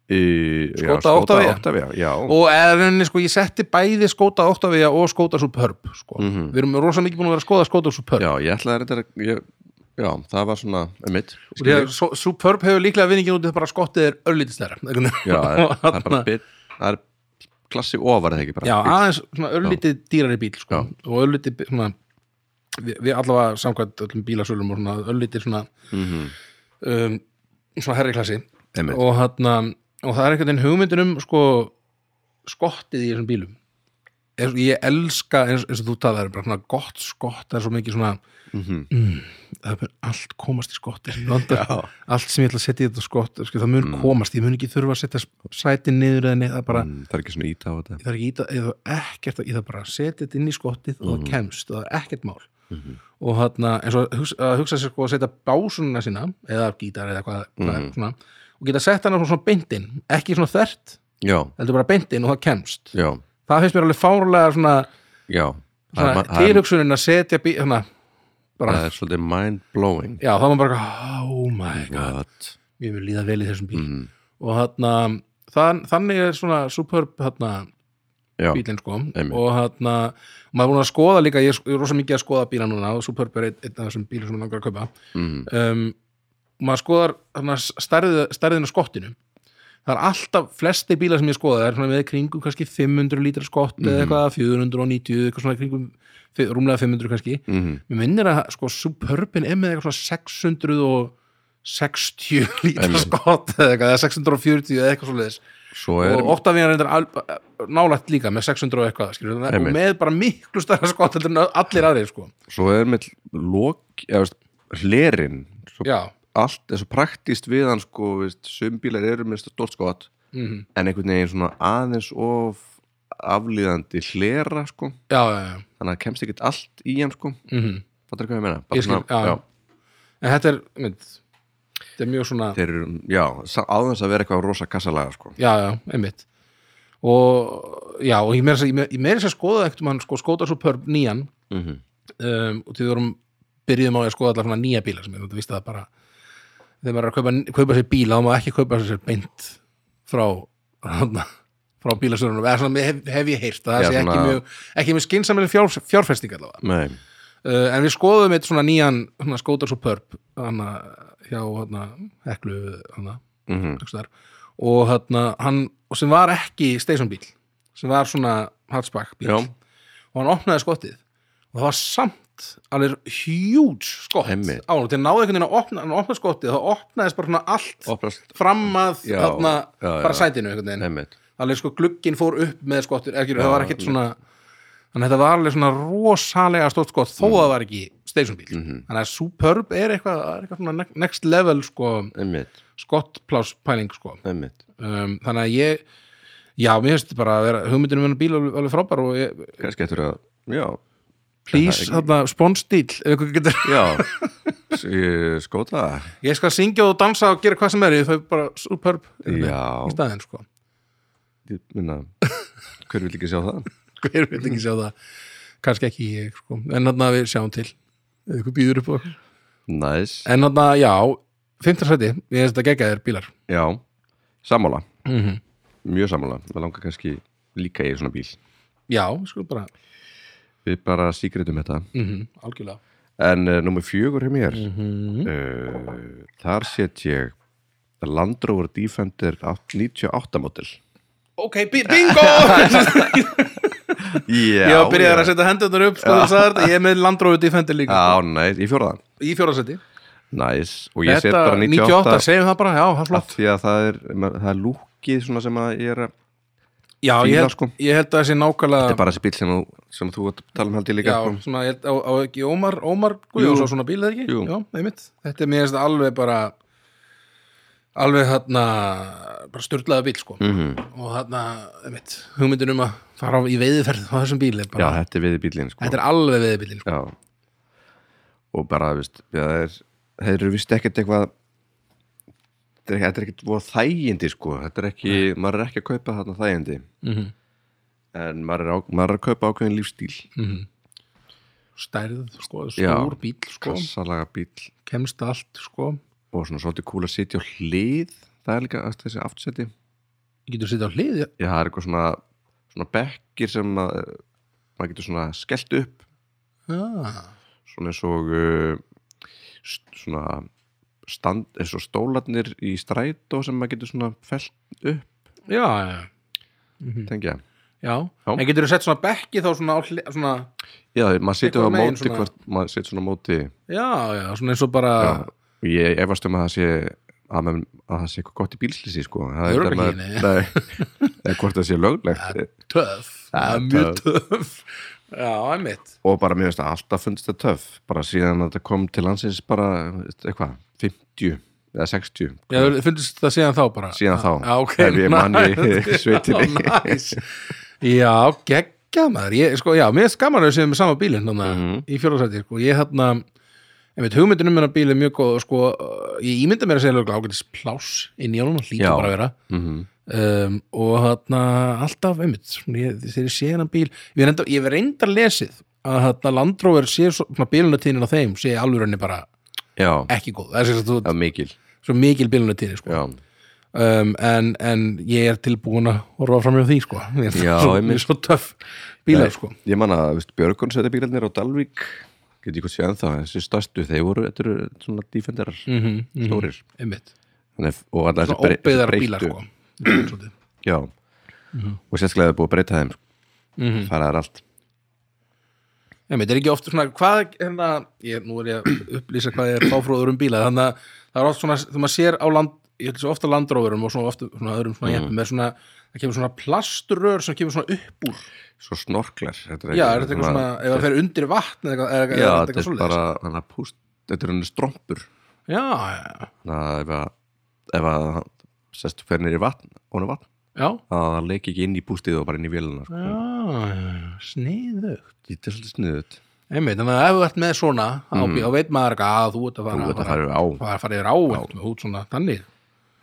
A: e,
B: Skota Oktavía.
A: Oktavía, já,
B: og eða rauninni sko, ég setti bæði skóta Octavia og skóta Superb sko. við erum rosa mikið búin að vera að skoða skóta Superb
A: Mhm. já, ég ætlaði þetta ég, já, það var svona um mitt,
B: Því að Su- Superb hefur líklega vinningin út í það bara skottið er örlítið stærra einhvern veginn.
A: já, það er- það er bara
B: Þarna-
A: bit, það er klassi ofar eða ekki bara
B: Já, aðeins svona örlítið dýrari bíl sko. og örlítið bí- svona, við, við allavega samkvæmt öllum bílasölum og svona örlítið svona um, svona herri klassi
A: Mhm. Einmitt.
B: og, þarna, og það er einhvern veginn hugmyndin um sko, skottið í þessum bílum er, ég elska eins, eins og þú talaðir bara svona gott skott það er svo mikið svona
A: Mhm.
B: mm, það er bara allt komast í skotti allt sem ég ætla að setja í þetta skott sko, það mun komast, ég mun ekki þurfa að setja sætin niður eða neitt, það er bara
A: Mm, það er ekki svona ít á þetta
B: ég þarf ekki íta, ég þarf ekkert að, ég þarf bara að setja þetta inn í skottið og
A: Mhm.
B: það kemst og það er ekkert mál og þarna, eins og að hugsa, að hugsa sér sko að setja básununa sína eða gítar eða hvað, hvað
A: Mhm.
B: er svona og geta sett hana svona beintinn, ekki svona þvert
A: já,
B: heldur bara beintinn og það kemst
A: já,
B: það finnst mér alveg fárlega svona,
A: já það er,
B: svona
A: ma- það er,
B: tilhugsunin að setja bí, svona, bara,
A: það er svolítið mind blowing
B: já þá er maður bara eitthvað, oh my god
A: God.
B: ég vil líða vel í
A: Mhm.
B: þessum bíl
A: Mm,
B: og þarna, þann, þannig er svona superb þarna
A: já,
B: bílinn sko
A: Einmitt.
B: og hérna, og maður er búin að skoða líka ég er ég er rosa mikið að skoða bíla núna og Superb er einn einn af þessum bílum sem maður langar að kaupa
A: mm,
B: um, og maður skoðar hérna, stærð, stærðin á skottinu það er alltaf, flestir bílar sem ég skoða er svona með kringum kannski 500 lítra skott
A: Mhm.
B: eða eitthvað 490, eitthvað svona kringum fi- rúmlega 500 kannski
A: mm,
B: mér minnir að sko Superbin er með eitthvað svona 660 lítra
A: Einmitt.
B: skott eða eitthvað, eða 640 eða eitthvað svo
A: svo er
B: og Octavia reyndar al- eh, nálægt líka með 600 og eitthvað skilur, og
A: Einmitt.
B: með bara miklu stærra skott heldur en allir aðrir sko
A: svo er með lok, eða veist, hlerin svo
B: já,
A: allt er svo praktíst við hann sko, veist, sum bílar eru með stórt skott
B: Mhm.
A: en einhvern veginn svona aðeins of aflíðandi hlera sko,
B: já, já, já.
A: þannig að það kemst ekkert allt í hann sko,
B: Mm
A: fattar hvað ég meina
B: ég skil, já, en þetta er mynd, þetta er mjög svona
A: þeir eru, já, sa- án þess að vera eitthvað rosa kassalaga sko,
B: já, já, einmitt og já, og ég meira þess að- ég meira- ég meira þess að skoða ekkert um hann sko skóta svo pörp nýjan
A: mm
B: um, og því við vorum byrjuðum á að skoða allar svona nýja bíla sem ég þetta víst að það bara þegar maður er að kaupa, kaupa sér bíla þá má ekki kaupa sér beint frá hana, frá bílasörunum eða svona hef, hef ég heyrt að það
A: Já,
B: sé ekki
A: svona-
B: mjög, ekki mjög skynsamileg fjár, fjárfesting allavega
A: nei,
B: uh, en við skoðum eitt svona nýjan svona skótar svo pörp hana, hjá hana, heklu hana,
A: mm
B: einhvers staðar. og hana, hann sem var ekki stationbíl sem var svona hatsbakk bíl
A: já,
B: og hann opnaði skottið og það var samt alveg hjúts skott
A: Einmitt.
B: á hann, þegar náði einhvern veginn að opna, hann opnaði skottið þá opnaðist bara svona allt
A: opnast
B: fram að
A: Já, já,
B: þarna
A: já.
B: bara sætinu einhvern veginn
A: einmitt,
B: alveg sko glugginn fór upp með skottir ekki, það var ekkert
A: einmitt.
B: svona þannig að þetta var alveg svona rosalega stórt skott þó að það var ekki stationbíl þannig að Superb er eitthvað, það er eitthvað svona ne- next level sko,
A: einmitt,
B: skottpláspæling sko
A: einmitt
B: um, þannig að ég já, mér finnst bara að vera hugmyndinu með bíl alveg, alveg frábær og ég,
A: kannski eftir að, já,
B: please, þarna, sponsdíl ef ykkur getur
A: já s- eh, skóta,
B: ég skal syngja og dansa og gera hvað sem er ég þau bara superb
A: Já.
B: í staðinn sko
A: ég minna hver vil ekki sjá það
B: hver veit ekki sjá það kannski ekki ég sko en þarna við sjáum til ef ykkur býður upp á okkur.
A: næs,
B: en þarna já 15 sæti ég veist að gegga þér bílar
A: já sammála,
B: mm
A: mjög sammála við langar kannski líka í svona bíl
B: Já, sko bara
A: við bara síkretum þetta
B: mm Algjörlega
A: en uh, nummer fjögur hjá mér Mhm.
B: -hmm.
A: uh, þar set ég Land Rover Defender 98 model
B: Ok, bi- bingo!
A: já,
B: ég var byrjaður að setja hendunar upp sko, þú sagðir þetta, ég er með landróðu defendi líka
A: já, næs, í fjórðan
B: í fjórasetti
A: næs, og ég set bara 98,
B: segjum það bara, já, það er
A: af
B: flott
A: því að það er, það er lúkið svona sem að ég er að
B: Já, ég,
A: Fíla,
B: held-
A: sko.
B: ég held að það sé
A: þetta er
B: nákvæmlega
A: bara þessi bíl sem, þú- sem þú ert að tala um held ég
B: Já,
A: líka sko.
B: svona, ég held á, á ekki Ómar, Ómar Guðjón
A: Jú.
B: svo svona bíl eða ekki?
A: Jú.
B: Já, einmitt Þetta er mér finnst alveg bara alveg þarna bara styrlaða bíl, sko
A: Mhm.
B: og þarna, einmitt, hugmyndin um að fara á- í veiðiferð á þessum bíl er
A: já,
B: bara,
A: þetta er við bílinn sko.
B: þetta er alveg veiðibíl, sko
A: já. og bara, veist já, það er, þeir eru vist ekkert eitthvað þetta er ekki- þetta er ekkert voru þægindi sko, þetta er ekki maður er ekki að kaupa þarna þægindi
B: mm -hmm.
A: en maður er, á, maður er að kaupa ákveðin lífstíl
B: Stærð, sko,
A: Já.
B: stór bíl, sko
A: kassalaga bíl
B: kemst allt, sko
A: og svona svolítið kúl að sitja á hlið það er líka þessi aftseti
B: Ég getur sitt á hlið, já
A: já, það er eitthvað svona, svona bekkir sem að, maður getur svona skellt upp
B: ah.
A: svona eins og uh, st- svona stand, eins og stólarnir í strætó sem maður getur svona fellt upp,
B: Já, já,
A: tengja
B: já
A: Já.
B: En getur þú sett svona bekki þá svona á hlið svona,
A: já, maður situr á
B: Eitthvað megin
A: móti
B: svona.
A: hvort, maður situr svona á móti
B: Já, já, svona eins og bara
A: já, og ég efast um að það sé að, menn, að það sé eitthvað gott í bílslýsi sko. það
B: Það er
A: þetta
B: örugglega
A: maður- Nei. eða hvort það sé löglegt
B: töff
A: Já,
B: Já, mjög töff Já, einmitt
A: og bara mér finnst að alltaf fundist það töff bara síðan að þetta kom til landsins bara veist, eitthvað, 50 eða 60
B: Já, þú fundist það síðan þá bara
A: síðan þá,
B: Já, ok
A: ef ég man í sveitinni
B: Já, næs Já, geggjað maður ég, sko, Já, mér er skaman að við séum með sama bílinn þannig,
A: Mhm.
B: í fjóðarsætti sko. Ég þarna einmitt, hugmyndin um hennar bíl er mjög góð sko, uh, ég ímynda mér að segja lögulega ágætis plás inn í honum,
A: Já.
B: hann hlýtur bara að vera
A: mm -hmm.
B: um, og þarna alltaf, einmitt, svona, ég, þegar ég sé hennan bíl ég reyndar, ég reyndar lesið að þarna landróver sé svo- svona bílunatíðin á þeim sé alvörinni bara
A: já,
B: ekki góð, það er sem sagt
A: það er mikil
B: þú- svo mikil bílunatíðin sko.
A: já,
B: um, en, en ég er tilbúin að horfa fram hjá því sko. ég er
A: Já,
B: svo,
A: einmitt.
B: ég er svo töff
A: Nei,
B: bílar sko.
A: ég man að veist, Björgun setja bílarnir á Dalvík get ég hvort séðan þá, þessi stærstu þeir voru, þetta eru svona defenderar
B: Mhm, mhm.
A: stórir
B: einmitt,
A: Þannig, að- og alltaf
B: svona
A: brei-
B: óbyðar
A: breyttu-
B: bílar sko. Svolítið.
A: já, og sérstaklega það er búið að breyta þeim
B: Mhm.
A: það er allt
B: einmitt, er ekki oft svona hvað, hérna, ég, nú er ég að upplýsa hvað ég er fáfróður um bíla, þannig að það er oft svona, þegar maður sér á land ég held svo ofta landróðurum og svona ofta svona öðrum
A: Mm.
B: svona jeppum, er svona, það kemur svona plaströr sem kemur svona upp úr
A: svo snorklar þetta
B: já, er þetta eitthvað svona, ef það fer undir vatn eða eitthvað, eða eitthvað,
A: já,
B: eða
A: þetta
B: eitthvað
A: er
B: svoleiðis?
A: bara hann að púst, þetta er henni strompur
B: já, já,
A: þannig að ef að, ef að sest fer nýri vatn, honum vatn
B: já,
A: að það leiki ekki inn í pústið og bara inn í vélina sko.
B: já sniðu
A: þetta er svolítið sniðut
B: Einmitt, þannig að ef þú ert með svona ábí, þá veit maður ekki að þú ert að fara
A: þú veit að fara á,
B: fara, fara yfir á ert með út svona þannig,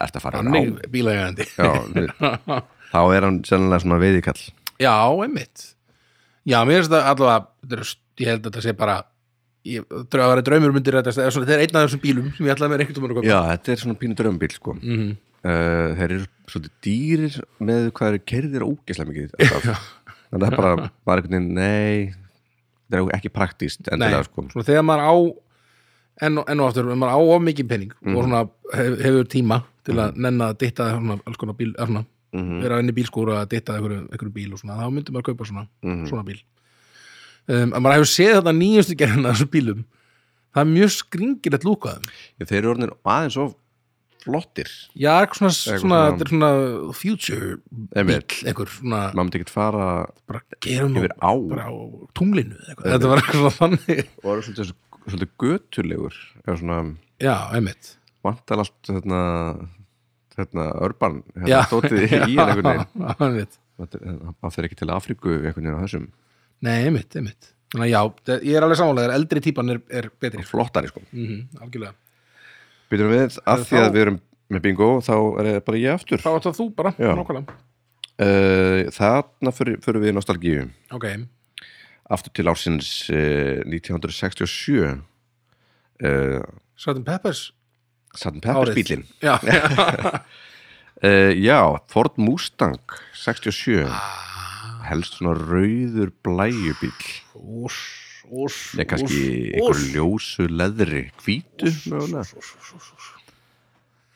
A: ert að fara á
B: þannig bílagjandi
A: já, við- þá er hann sennilega svona veiðikall
B: Já, einmitt Já, mér finnst það allavega þetta er- ég held að þetta sé bara ég, það var draumur myndir þetta eða svona, þetta er einn af þessum bílum sem ég ætlaði mér einhvern tímann að
A: já, þetta er svona pínu drömbíl sko.
B: Mhm.
A: uh, þeir eru svolítið dýrir með hvað eru kerðir ógeðslega mikið alltaf. þannig að það er bara, bara einhvern veginn, nei þetta er ekki praktíst endilega sko.
B: svona þegar maður á enn og, enn og aftur, ef maður á of mikið pening
A: Mhm.
B: og svona hef, hefur tíma til að nenna að ditta svona, alls konar bíl eða svona,
A: Mhm.
B: vera inn í bílskúr og að ditta einhverju, einhverju bíl og svona, þá myndi maður kaupa svona
A: Mhm.
B: svona bíl um, að maður hefur séð þetta nýjustu gerðina af þessum bílum það er mjög skringilegt lúkaðum
A: þeir eru orðinir aðeins of flottir
B: já, eitthvað svona,
A: Eitthvað
B: svona,
A: svona-
B: þetta er svona future
A: Einmitt.
B: bíl, einhver svona
A: maður myndi ekkert fara
B: bara gerum
A: yfir á
B: bara á tunglinu eða eitthvað. þetta var eitthvað svona þannig
A: og eru svolítið, svolítið götulegur eða svona
B: já, einmitt
A: vantar allt hérna, hérna örban
B: Já.
A: hérna stótið í hann einhvern veginn
B: Já, einmitt
A: Þetta- hann fer ekki til Afríku einhvern veginn á þessum
B: Nei, einmitt, einmitt Þannig að já, þe- ég er alveg samanlega, eldri típan er, er betri sko.
A: flottari sko
B: mm Algjörlega
A: byrjum við að því að við erum með bingo þá er það bara ég aftur
B: Þá átt það þú bara,
A: Já.
B: nákvæmlega
A: uh, þarna fyrir, fyrir við í nostalgíu
B: Ok,
A: aftur til ársins uh, 1967 uh, Eh,
B: Satan Peppers
A: Sutton Peppers
B: árið.
A: bílinn
B: Já, já,
A: Uh, já, Ford Mustang 67
B: Ah,
A: helst svona rauður blæjubíl
B: ús, ús,
A: eða kannski einhver ljósu leðri hvítu mögulega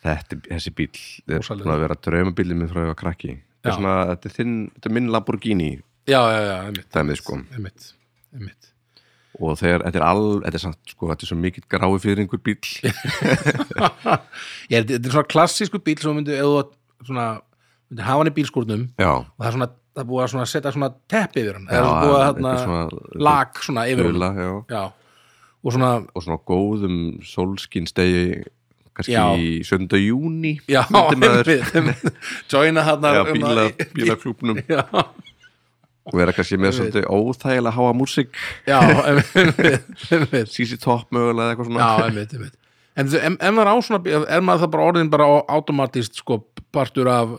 A: þetta, er- þessi bíl er
B: Ósalegu.
A: svona að vera draumabílið minn frá ég var krakki þetta
B: Já.
A: er, svona, þetta, er þinn, þetta er minn Lamborghini
B: Já, já, já, einmitt,
A: dæmið sko
B: einmitt, einmitt.
A: og þegar, þetta er all, þetta er samt sko þetta er svo mikill grái fyrir einhver bíl
B: Ég, þetta er svona klassísku bíl sem myndi, ef þú átt svona, myndi hafa hann í bílskúrnum og
A: já,
B: það er svona, það er búið að svona setja svona teppi yfir hann, það
A: Já,
B: er búið að um.
A: einhver
B: hérna
A: svona-
B: lag svona yfir hann,
A: Fula, já.
B: já, og svona
A: og svona góðum solskinstegi kannski
B: Já.
A: í 7. júni
B: já,
A: maður
B: einmitt, einmitt. joina hann
A: Já, bíla, bílaklúbnum
B: já,
A: og vera kannski með svolítið óþægilega háa músík
B: já, einmitt, einmitt
A: sísi topp mögulega eða eitthvað svona
B: Já, einmitt, einmitt. En þú- en- ef maður á svona, bíl- er maður það bara orðin bara á- automatist sko partur af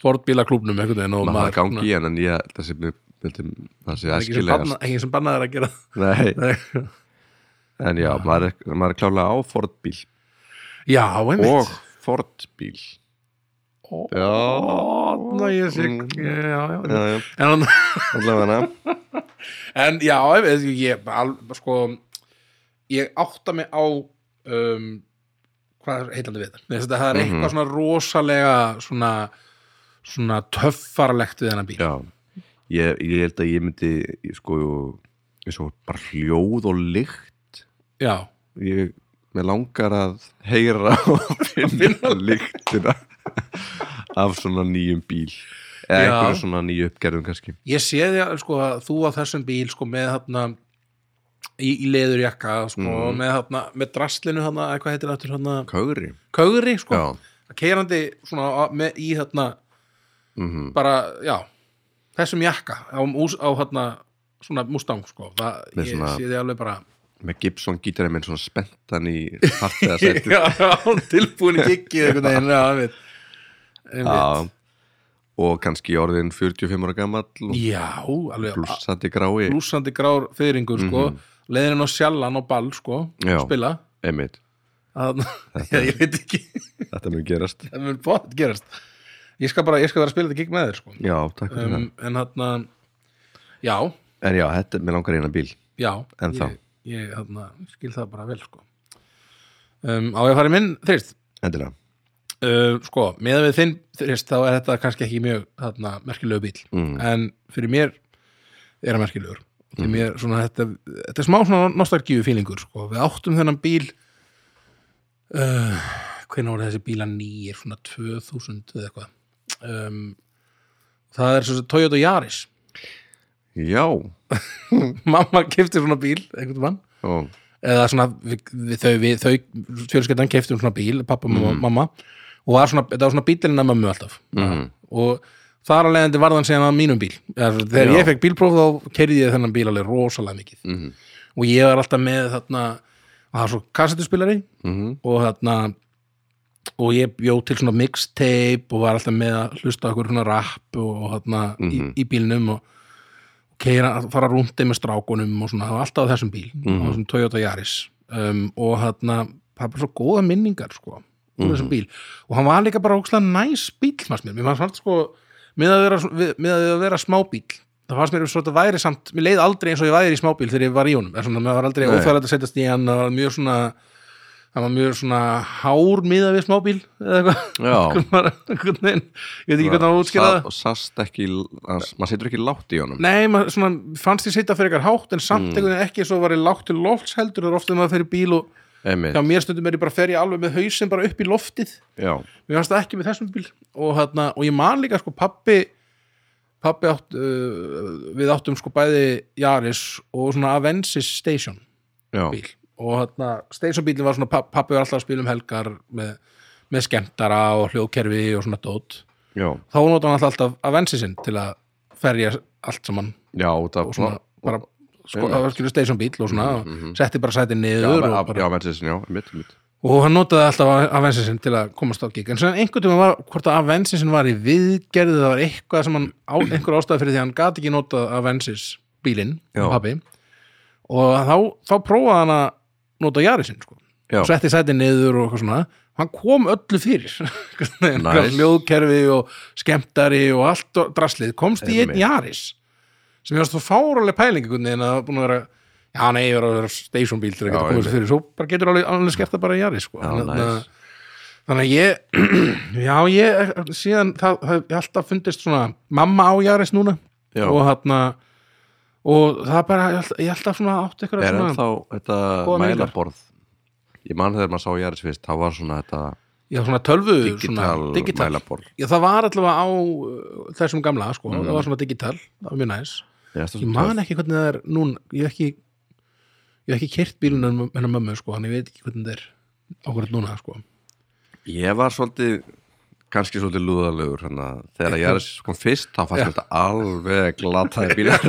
B: Ford bílaklúbnum einhvern veginn og
A: maður hafa
B: svona-
A: gangi í hann en ég held að sé mjög- held að- það sko. sé
B: ekki sem
A: æskilegast
B: banna- ekki sem bannaður að gera
A: Nei,
B: Nei.
A: en já, maður er, maður er klálega á Ford bíl
B: Já,
A: og
B: einmitt.
A: Ford bíl
B: Og,
A: Já,
B: Ná, ég sé,
A: Mm.
B: já, já,
A: já,
B: já.
A: já,
B: En, hann-
A: allavega hana
B: en já, ég, ég, al, sko, ég átta mig á um, hvað er heitandi við það? Nei, þetta- Það er eitthvað
A: Mhm.
B: svona rosalega svona, svona töffarlegt við hennar bíl.
A: Já, ég, ég held að ég myndi ég sko, ég svo bara hljóð og lykt
B: Já,
A: ég, mér langar að heyra og finna lyktina af svona nýjum bíl eða
B: Já.
A: einhverju svona nýju uppgerðum kannski
B: ég sé því að, sko, að þú á þessum bíl sko með þarna í, í leðurjakka, sko,
A: Mhm.
B: með þarna með draslinu þarna, eða hvað heitir það aftur þarna,
A: Kögri,
B: kögri, sko
A: já,
B: keirandi svona á- með, í þarna
A: Mhm.
B: bara, já þessum jakka á, mús- á þarna svona Mustang sko það,
A: Með
B: ég
A: svona-
B: sé því alveg bara
A: með Gibson gítarið minn svona spenntan í fartiða sættu
B: já, tilbúin í kikkið einhvern veginn, já, einmitt Einmitt.
A: og kannski orðin 45 ára gamall og
B: já, alveg
A: blússandi grái
B: blúsandi grár fyrringur sko leðurinn á sjallan og ball sko
A: Já.
B: spila
A: einmitt,
B: að, ég, ég veit ekki,
A: þetta mun gerast
B: það mun bótt gerast ég skal bara, ég skal vera að spila þetta gikk með þér sko
A: Já, takk fyrir
B: um, en þarna já,
A: það En já, þetta, mér langar eina bíl
B: Já,
A: En þá?
B: ég, ég þarna, skil það bara vel sko. um, Á ég að fara í minn þrist
A: Endilega
B: uh, sko, meðan við þinn þrist þá er þetta kannski ekki mjög þarna, merkilegu bíl
A: Mm.
B: en fyrir mér er það merkilegur mm. mér, svona, þetta, þetta er smá svona nostalgíu fílingur sko. við áttum þennan bíl uh, hvernig voru þessi bíla nýjir svona 2000 eða eitthvað um, það er svo sem Toyota Yaris
A: Já,
B: mamma kefti svona bíl einhvern mann
A: og
B: eða svona við, við, þau, við, þau fjölskyldan keftum svona bíl, pappa mm. og mamma og var svona, þetta var svona bílinn að mömmu alltaf mm. og þar að leiðandi varðan síðan að mínum bíl Eða svona, þegar
A: Já.
B: ég fekk bílpróf þá kerði ég þennan bíl alveg rosalega mikið
A: Mhm.
B: og ég var alltaf með þarna og það var svo kassettuspilari
A: Mhm.
B: Mm. og þarna og ég bjó til svona mixtape og var alltaf með að hlusta okkur svona rap og, og þarna í, í bílnum og keira, fara rúndi með strákunum og svona, það var alltaf á þessum bíl á þessum Toyota Yaris um, og þarna, það er bara svo góða minningar sko, úr þessum bíl og hann var líka bara ókslega næs bíl fannst mér, mér fannst samt sko með að vera, við- með að vera smábíl það fannst mér svona væri samt, mér leið aldrei eins og ég væri í smábíl þegar ég var í honum, er svona, mér var aldrei
A: Nei.
B: óþægilegt að setjast í hann, það var mjög svona það var mjög svona hár miða við smábíl eða eitthvað
A: Já,
B: Bara einhvern veginn. ég veit ekki hvernig að útskýra það
A: Sa- og sast ekki hans, maður setur ekki látt í honum
B: Nei, maður svona, fannst ég sitja fyrir eitthvað hátt en samt einhvern veginn ekki svo var ég lágt til lofts heldur það er ofta þegar maður fer í bíl og
A: Einmitt,
B: já, mér stundum er ég bara fer ég alveg með hausinn bara upp í loftið
A: já,
B: mér fannst það ekki með þessum bíl og, hana, og ég man líka sko pappi pappi átt uh, við áttum sko bæði Jaris og svona Avensis Station
A: já,
B: bíl og hana, Station bílinn var svona papp- pappi var alltaf að spila um helgar með, með skemmtara og hljóðkerfi og svona dót
A: já,
B: þá notar hann alltaf Avensisinn til að ferja allt saman
A: já, út af
B: og svona bara sko,
A: einmitt.
B: það var skilur station bíl og svona og setti bara sæti
A: já,
B: niður
A: já,
B: og, bara,
A: já, verðsins, já, einmitt, einmitt
B: og hann notaði alltaf Avensinsin til að komast á gig en svona einhvern tímann var, hvort að Avensinsin var í viðgerði það var eitthvað sem hann á, einhver ástæð fyrir því að hann gat ekki notað Avensis bílinn,
A: Já.
B: pappi og þá, þá prófaði hann að nota Jarisinn sko
A: Já,
B: setti sæti niður og eitthvað svona hann kom öllu fyrir nice.
A: Nice.
B: hljóðkerfi og skemmtari og allt og draslið komst í einn
A: Einmitt.
B: Jaris sem ég varst þú fáraleg pæling einhvern veginn að það er búin að vera já, nei, ég var að vera stationbíl til að
A: Já,
B: geta komið sér fyrir, svo bara getur alveg, alveg skert það bara í Jaris sko.
A: Já,
B: Þannig að-
A: nice.
B: Þannig að ég, já ég, síðan það, það ég alltaf fundist svona mamma á Jaris núna
A: Já.
B: og hann og það bara, ég alltaf, ég alltaf svona átti ykkur
A: er
B: svona,
A: ennþá þetta
B: Góða minningar.
A: mælaborð ég man þegar maður sá Jaris fyrst þá var svona þetta
B: já svona tölvu
A: digital,
B: svona, digital.
A: mælaborð
B: Já það var allavega á uh, þessum gamla sko, það var svona digital, það var mjög næs
A: Ég, ertu svo
B: Ég
A: töff?
B: man ekki hvernig það er núna, ég hef ekki ég hef ekki kert bílun hennar mömmu sko, hann ég veit ekki hvernig það er ákvörð núna sko
A: ég var svolítið kannski svolítið lúðalegur hana. þegar Jaris kom fyrst þá fannst mér þetta alveg glataði bílar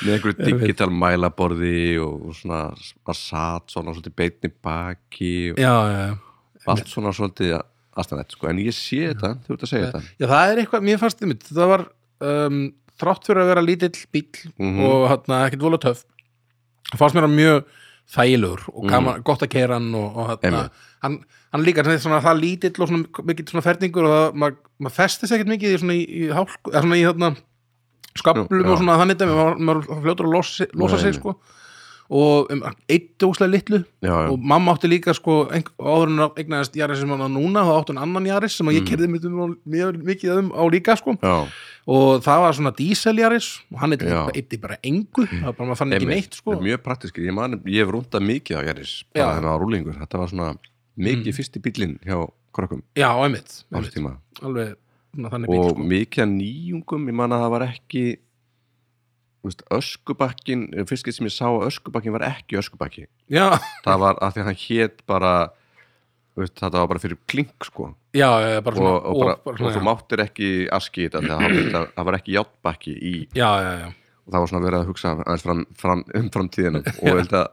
A: með einhverju digital mælaborði og og svona að satt svona svolítið beitni baki og
B: Já, já, já
A: allt svona svolítið astanett sko. en ég sé þetta, þú ert að segja þetta
B: Já, það er eitthvað, mér fannst einmitt, það var um, þrátt fyrir að vera lítill bíl
A: Mhm.
B: og hérna, ekkert vola töf fannst mér hann mjög þægilegur og gaman, gott að keira hann og, og hérna,
A: Mhm. Einmitt.
B: hann, hann líka hann er svona, það lítill og svona mikill svona ferningur og það, maður mað festist ekkert mikið í svona í, í hálku, eða svona í hérna skaplum
A: Já.
B: og svona þannig dæmi, maður, maður fljótur að losa, losa
A: Nei,
B: sig
A: nei.
B: sko og um, eitt óslega litlu
A: já, já.
B: og mamma átti líka sko einh- áður en hún eignaðist Jaris sem hann á núna þá átti hún annan Jaris sem að
A: Mm.
B: ég kerði mjög, mjög mikið um á líka sko
A: Já,
B: og það var svona diesel Jaris og hann
A: Já. Mm.
B: eitti bara engu það var bara maður fann ekki
A: einmitt.
B: neitt sko
A: mjög praktískir, ég, man, ég hef rúndað mikið á Jaris bara
B: Já.
A: þennan á rúlingur, þetta var svona mikið fyrsti bílinn hjá krökkum
B: já, einmitt,
A: á þessu
B: einmitt.
A: tíma
B: alveg svona, þannig bíl
A: og
B: sko
A: mikið að nýjungum, ég man að það var ekki þú veist, öskubakkin fyrst gett sem ég sá að öskubakkin var ekki öskubakki,
B: já,
A: það var að því að hann hét bara þú veist, þetta var bara fyrir klink sko
B: já, já, bara
A: og,
B: svona
A: og, bara,
B: bara
A: og,
B: svona,
A: þú máttir ekki aski þetta því að það- þetta- það var ekki játbakki í
B: já, já, já,
A: og það var svona verið að hugsa aðeins fram, fram, um framtíðina og ég held að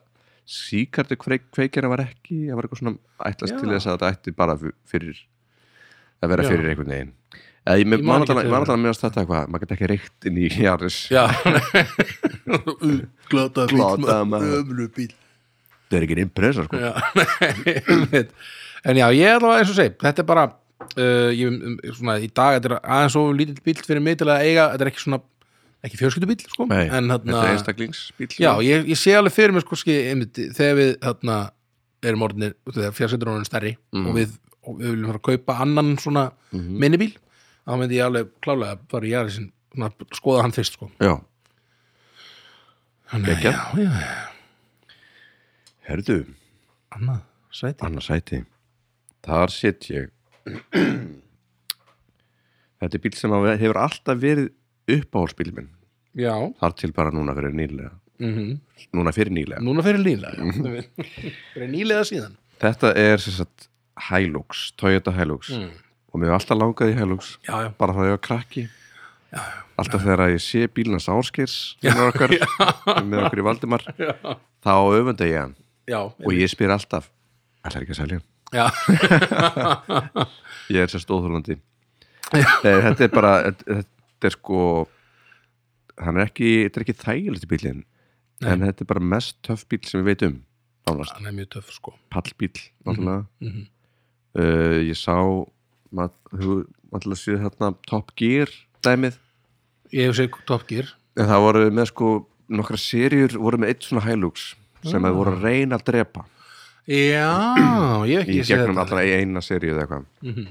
A: síkartu kveikina var ekki það var eitthvað svona ætlast
B: Já.
A: til þess að þetta ætti bara f- fyrir að vera
B: Já.
A: fyrir einhvern veginn eða ég
B: Ég
A: með- man
B: man ekki
A: alltaf
B: eftir
A: ég man alltaf að meðast þetta eitthvað maður geti ekki reykt inn í Jaris
B: já. glata
A: Glataður maður.
B: ömlu bíl
A: þetta er ekki impresa sko
B: Já, einmitt. en já, ég er alveg eins og segi þetta er bara uh, ég, um, svona, í dag, þetta er aðeins of lítill bíl fyrir mig til að eiga, þetta er ekki svona ekki fjölskyldubíl, sko
A: Nei,
B: en,
A: þetta er
B: þarna,
A: einstaklingsbíl
B: já, ég, ég sé alveg fyrir mig sko, ski, einmitt, þegar við þarna, erum orðinir, þegar fjársetur orðin stærri
A: Mm.
B: og, við, og við viljum fara að kaupa annan svona
A: Mhm.
B: minnibíl þá myndi ég alveg klálega að fara í jæri sin skoða hann fyrst, sko
A: já.
B: Þannig,
A: Geggjað.
B: já, já, já,
A: herðu,
B: annað, sæti
A: annars sæti þar set ég þetta er bíl sem að hefur alltaf verið uppáhalsbíl minn
B: já,
A: þar til bara núna fyrir nýlega
B: mm
A: núna fyrir nýlega
B: núna fyrir nýlega já.
A: Mhm.
B: fyrir nýlega síðan
A: þetta er sem sagt Hilux, Toyota Hilux og mér hefur alltaf langað í Hilux
B: já, já,
A: bara það ég var krakki já, já, alltaf þegar að ég sé bílnars áskers með okkur, með okkur í Valdimar já. þá öfunda ég hann
B: já,
A: og ég spyr alltaf ætlar ekki að selja hann,
B: já,
A: ég er sem stóðhólandi þetta er bara þetta þetta er sko hann er ekki, þetta er ekki þægilegt í bílinn en þetta er bara mest töff bíl sem ég veit um nánast
B: hann er mjög töff sko
A: pallbíl náttúrulega
B: Mhm.
A: uh, ég sá maður séð hérna Top Gear dæmið
B: ég hef segið Top Gear
A: en það voru með sko nokkra serjur voru með eitt svona hælúks sem
B: Ah.
A: þeir voru að reyna að drepa
B: já, ég hef
A: í
B: ekki séð
A: gegnum
B: þetta Mhm.
A: allra í eina serju eða eitthvað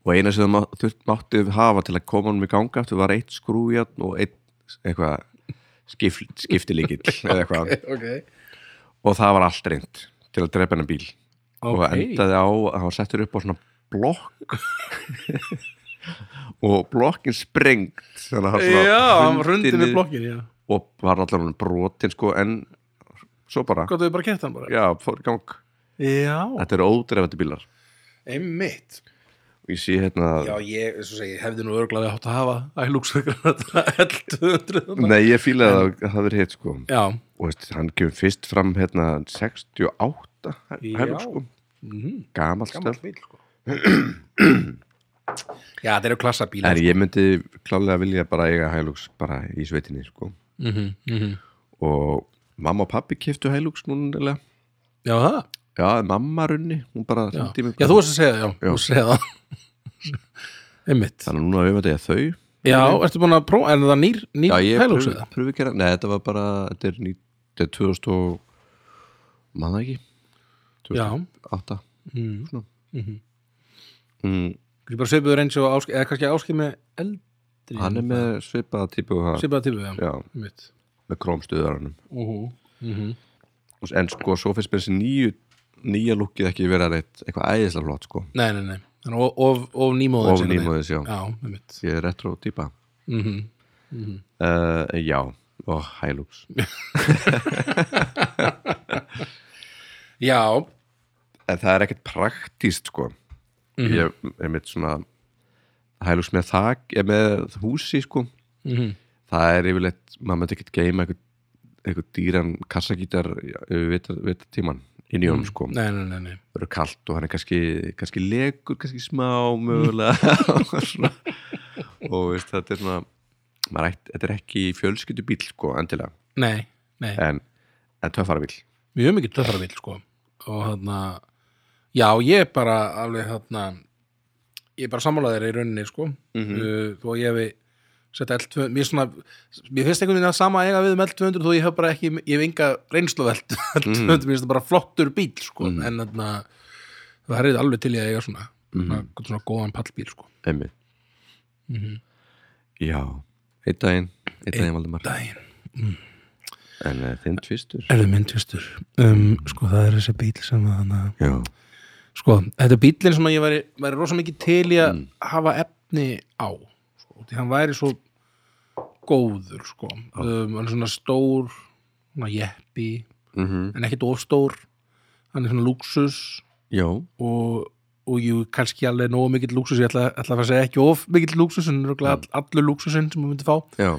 A: og eina sem það þurft máttu hafa til að koma honum í ganga aftur var eitt skrújarn og eitt eitthvað skif, skiftilíkil eða eitthvað
B: ok,
A: og það var allt reynd til að drepa hennar bíl og
B: Ok.
A: það endaði á að hann var settur upp á svona blokk og blokkin sprengt þannig að
B: já, hann
A: hrundi
B: rundi með
A: niður
B: blokkin já.
A: og var allar hann brotin sko en svo bara,
B: gott að við bara kert hann bara
A: já, fór í gang
B: já,
A: þetta eru ódreifandi bílar
B: einmitt
A: og ég sé hérna
B: já, ég, eins og segi, hefði nú örglaði átt að hafa Hilux já,
A: nei, ég fílaði að það- það verið hitt sko og veist, hann kemur fyrst fram hérna 68
B: Já. Mhm.
A: hælu sko gamalt stöf
B: bíl sko já, þetta eru klassabílar
A: En ég myndi klálega vilja bara eiga hælúks bara í sveitinni sko.
B: mm -hmm.
A: og mamma og pappi keftu hælúks núna nefnilega.
B: já, það
A: já, mamma runni, hún bara
B: Já,
A: hringdi í mig.
B: já þú varst að segja, já,
A: Já.
B: þú varst að segja það Einmitt
A: þannig að núna öfum þetta ég þau
B: Já, ertu búin að prófa, er það nýr, nýr
A: já, ég
B: Hilux
A: pröfu,
B: eða?
A: pröfu gera, nei, þetta var bara þetta er, ný, þetta er 2000 og manna ekki
B: Já,
A: 2008
B: mm.
A: svona.
B: Mhm.
A: mm,
B: ég bara svipuður eins og áskip eða kannski áskip með eldri
A: hann er með svipaða típu ha,
B: svipaða típu, já,
A: já,
B: einmitt
A: með kromstuðaranum
B: Óhú, mhm
A: en sko, svo finnst mér þessi nýju nýja lukkið ekki vera reitt eitthvað æðislega flott sko,
B: Nei, nei, nei, Þannig of, of, of nýmóðins
A: of nýmóðis, já
B: Já, einmitt
A: ég er retro típa
B: mm
A: uh, já, og hælúks
B: Já,
A: en það er ekkert praktíst sko ég er mitt svona hælúks með þak, ég með húsi sko
B: mhm
A: það er yfirleitt, maður myndi ekkert geima einhver, einhver dýran kassagítar við þetta tíman inn í honum sko,
B: Nei, nei, nei, nei
A: það eru kalt og hann er kannski, kannski legur, kannski smá mögulega og svona. og veist, þetta er svona maður ætti, þetta er ekki fjölskyldu bíl sko, endilega,
B: Nei, nei,
A: en, en töffara bíl
B: mjög mikið töfrarvill sko og þarna já, ég er bara alveg þarna ég er bara sammálaðir í rauninni sko mm þó ég hefi sett L2 mér, svona, mér finnst einhvern veginn að sama eiga við um L200 þó ég hef bara ekki, ég hef enga reynslu af L200, mér finnst það bara flottur bíl sko, en þarna það er alveg til ég að eiga svona svona, svona góðan pallbíl sko
A: emmi
B: Mhm.
A: já, einn daginn einn daginn Valdimar,
B: daginn
A: en eh, þinn tvistur
B: Er það myndvistur? Um, sko, það er þessi bíl sem að hana
A: já,
B: sko, þetta er bílinn sem að ég væri, væri rosa mikið til í að hafa efni á sko, því hann væri svo góður sko, um, hann er svona stór svona jeppi
A: mm
B: en ekkit ofstór hann er svona luxus
A: já,
B: og, og jú, kannski alveg nógu mikill luxus, ég ætla, ætla að fara að segja ekki of mikill luxus, en örugglega all, allur luxusinn sem maður myndi fá,
A: já,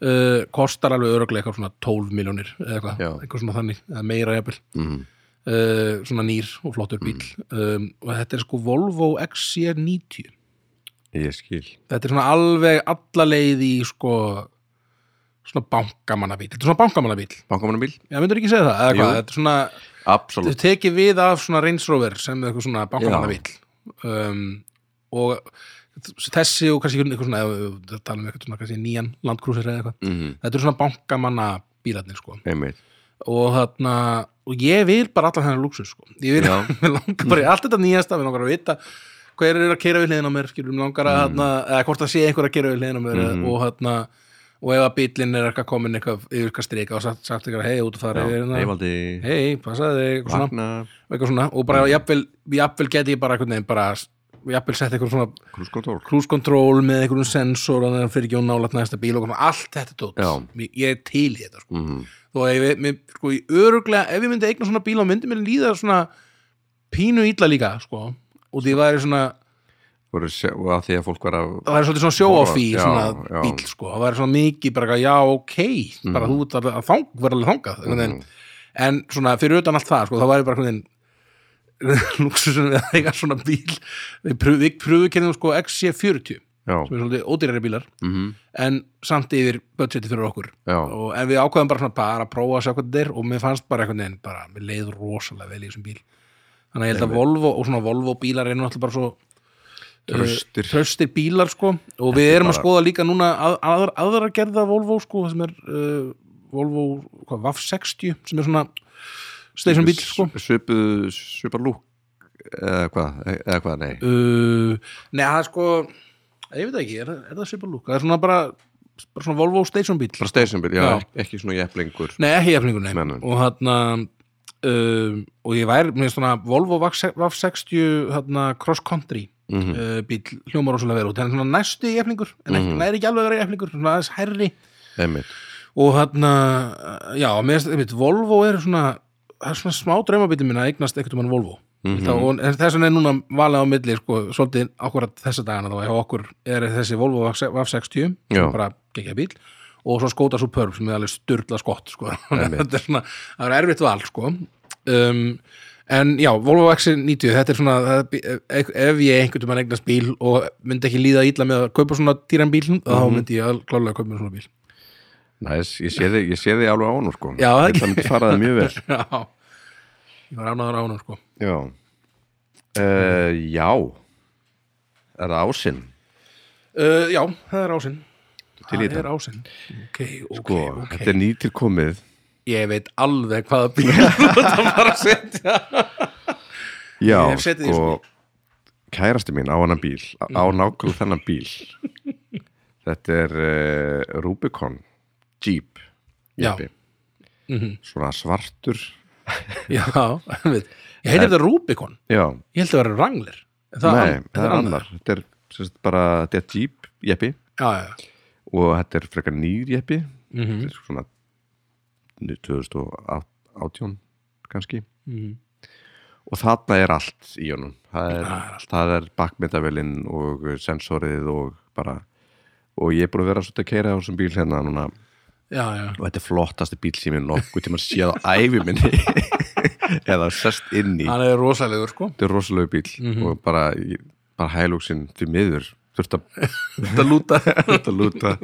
B: uh, kostar alveg örugglega eitthvað svona 12 miljónir eða eitthvað,
A: Já.
B: eitthvað svona þannig, eða meira jafnvel
A: mm.
B: uh, svona nýr og flottur bíl
A: Mhm.
B: um, og þetta er sko Volvo XC90
A: ég skil
B: þetta er svona alveg alla leið í sko svona bankamannabíl þetta er svona bankamannabíl,
A: bankamannabíl,
B: ég myndur ekki segja það eða
A: Jú.
B: hvað, þetta er svona,
A: absolutt
B: þetta tekið við af svona Range Rover sem eitthvað svona bankamannabíl um, og þessi og kannski eitthvað svona, ef við tala um eitthvað svona kannski nýjan landkrúsir eða eitthvað
A: mm
B: þetta er svona bankamannabílarnir sko
A: einmitt
B: og þarna og ég vil bara allan hennar lúksus sko. ég vil,
A: Já.
B: mér langar bara í allt þetta nýjasta mér langar að vita hver er að kera við hliðin á mér skilur, mér langar að,
A: Mm.
B: þarna, eða hvort það sé einhver að kera við hliðin á mér
A: Mm-hmm.
B: og þarna og ef að bíllinn er eitthvað komin eitthvað yfir eitthvað strika og sagt, sagt eitthvað hei út og fara yfir hérna
A: heimaldi,
B: hei, passaði þig eitthvað svona,
A: vakna
B: eitthvað svona og bara
A: Mm.
B: jafnvel, jafnvel geti ég bara eitthvað neginn bara jafnvel sett eitthvað svona
A: krúskontól
B: cruise control með einhverjum sensor þannig að hann fyrir ekki og nálægt næsta bíl og svona, allt þetta tótt,
A: Já.
B: ég er til í þetta sko
A: mm -hmm.
B: þó að ég, mér, sko, ég öruglega ef ég myndi eigna svona bíl á myndi mér líða svona pínu illa líka sko. og því væri svona
A: voru sjá, og að því að fólk var að
B: það væri svolítið svona show off í
A: Já,
B: svona
A: já. Mm.
B: bíl sko. það væri svona mikið bara eitthvað, já ok bara þú ert alveg að þang, verður alveg þangað mm. en svona fyrir utan allt það sko, það væri bara hvernig lúksusun við að eiga svona bíl við pröfu, við pröfu kennum sko XC40
A: já,
B: sem er svolítið ódýrari bílar
A: mm -hmm.
B: en samt yfir budgeti fyrir okkur
A: já,
B: og, en við ákveðum bara svona bara að prófa að sjá hvað þetta er og mér fannst bara einhvern veginn bara, mér leið rosalega vel í þessum bíl þannig að ég held að Volvo og svona Volvo bílar er náttúrulega bara svo
A: Traustir.
B: uh, traustir bílar sko og við erum að
A: bara-
B: skoða líka núna að, aðra, aðra gerða Volvo sko sem er uh, Volvo hvað, VAF 60 sem er svona station bíl sko
A: svipuð svipar lúk eða hvað, eða hvað, nei
B: uh, Nei, það er sko ég veit það ekki, er, er það svipa lúk það er svona bara, bara svona Volvo station bíl
A: bara stationbíl, já,
B: Já.
A: ek- ekki svona jeflingur
B: Nei, ekki jafningur, nei.
A: Nei, nei.
B: Og þarna, um, og ég væri, mér finnst svona Volvo VAF 60 þarna, cross country
A: mm
B: uh, bíl hljómar rosalega vel út. Það er svona næstu jafningur, en ekki,
A: Mhm.
B: það er ekki alveg að vera jafningur, svona aðeins herri.
A: einmitt,
B: Og þarna, já, mér finnst, einmitt, Volvo er svona, það er svona smá draumabítið minna að eignast ekkert um hann Volvo. Mm -hmm. þá, þess vegna er núna valið á milli sko, svolítið akkurat þessa dagana þá hjá okkur er þessi Volvo VAF 60
A: Já.
B: sem bara gekkja bíl og svo skóta svo pörf sem er alveg styrla skott sko. þetta er svona, það er erfitt val sko. um, en já, Volvo XC90 þetta er svona, það, er bí- ef, ef ég einhvern veginn eignast bíl og myndi ekki líða ítla með að kaupa svona dýran bíl þá myndi ég al- klárlega að kaupa mér svona bíl
A: næs, ég sé þig, ég sé þig alveg án sko,
B: Já, það
A: Ég held að myndi fara það mjög vel
B: já, ég var ánæður á honum sko
A: Já uh, Já Er það ásinn?
B: uh, já, það er ásinn
A: til í
B: það
A: þetta?
B: er ásinn ok, ok,
A: Sko,
B: ok
A: þetta er nýtilkomið
B: ég veit alveg hvaða bíl það var að setja
A: Já,
B: Ég hef setið í Mm.
A: sko Kærasti mín á hennan bíl Á nákvæmlega þennan bíl Þetta er uh, Rubicon Jeep
B: Já. Mhm.
A: jeppi. Svona svartur
B: já, einmitt. ég heiti þetta Rubicon
A: Já,
B: ég held að vera Wrangler En það,
A: nei,
B: er ann-
A: það er annar Þetta er sem sagt, bara, þetta er Jeep jeppi
B: já, já, já.
A: og þetta er frekar nýr jeppi þetta er svona 2018 kannski og þarna er allt í honum það er,
B: Það er
A: það er bakmyndavelin og sensorið og bara og ég er búin að vera svolítið að keira á þessum bíl hérna núna
B: já, já,
A: og þetta er flottasti bíl sem ég nokkuð tíma séð á ævi minni eða sest inn í
B: hann er rosalegur sko
A: þetta er rosalegu bíl og bara, ég- bara hælúksinn því miður þurft að
B: þetta lúta
A: þetta lúta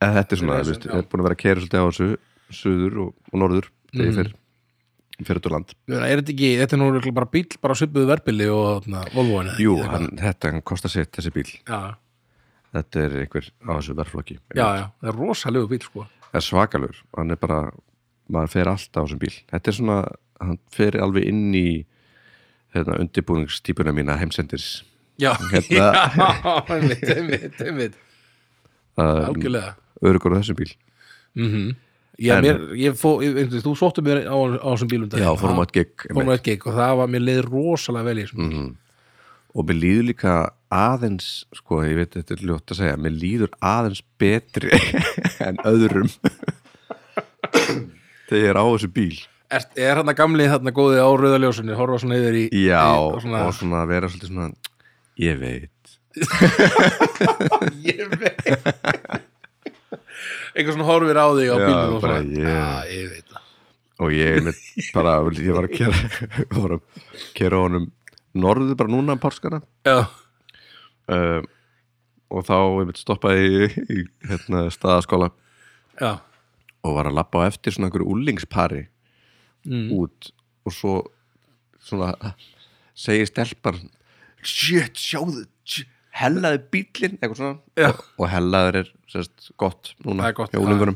A: en þetta er svona,
B: Þetta er
A: þú veist,
B: vesen,
A: ég er búin að vera að keira svolítið á þessu suður og, og norður þegar ég fer fyrir út á land
B: Ég meina, er þetta ekki, þetta er nú örugglega bara bíl bara svipuðu verbili og þarna, Volvo henni
A: Jú, hann, þetta hann kostar sitt þessi bíl
B: já,
A: þetta er einhver á þessu verflokki
B: já, já, það er rosalegu bíl sko
A: það er svakalur, hann er bara maður fer alltaf á þessum bíl þetta er svona, hann fer alveg inn í hérna, undirbúningstípuna mína heimsendis
B: já,
A: Hérna.
B: já, einmitt, einmitt, einmitt
A: Ehm,
B: algjörlega
A: örugur á þessum bíl
B: Já,
A: En-
B: mér, ég fó, ég, einhvern veginn, þú sóttu mér á, á þessum bílum
A: Já, fórum á eitt gig, einmitt. Mhm.
B: Fórum á eitt gig og það var, mér leið rosalega vel í þessum mm.
A: og mér líður líka aðeins sko, ég veit þetta er ljótt að segja mér líður aðeins betri en öðrum þegar ég er á þessu bíl
B: Er, er hann að gamli þarna góði á rauðaljósunni horfa svona yfir í
A: já,
B: í- og svona,
A: og svona vera svolítið svona ég veit
B: Ég veit Eitthvað svona horfir á þig
A: Já,
B: á bílum og
A: bara
B: svona
A: ég-
B: Já, ég veit það
A: og ég, einmitt bara, ég var að kera var að kera honum norður bara núna um párskana
B: Já,
A: uh, og þá einmitt stoppaði ég í, í hérna, staðaskóla
B: já,
A: og var að lappa á eftir svona einhverju úlingspari
B: Mm.
A: út og svo svona segir stelpar shit, sjáðu shit, hellaði bílinn, eitthvað svona
B: Já.
A: og, og hellaður er sérst gott
B: Það
A: núna
B: er gott,
A: hjá úlingunum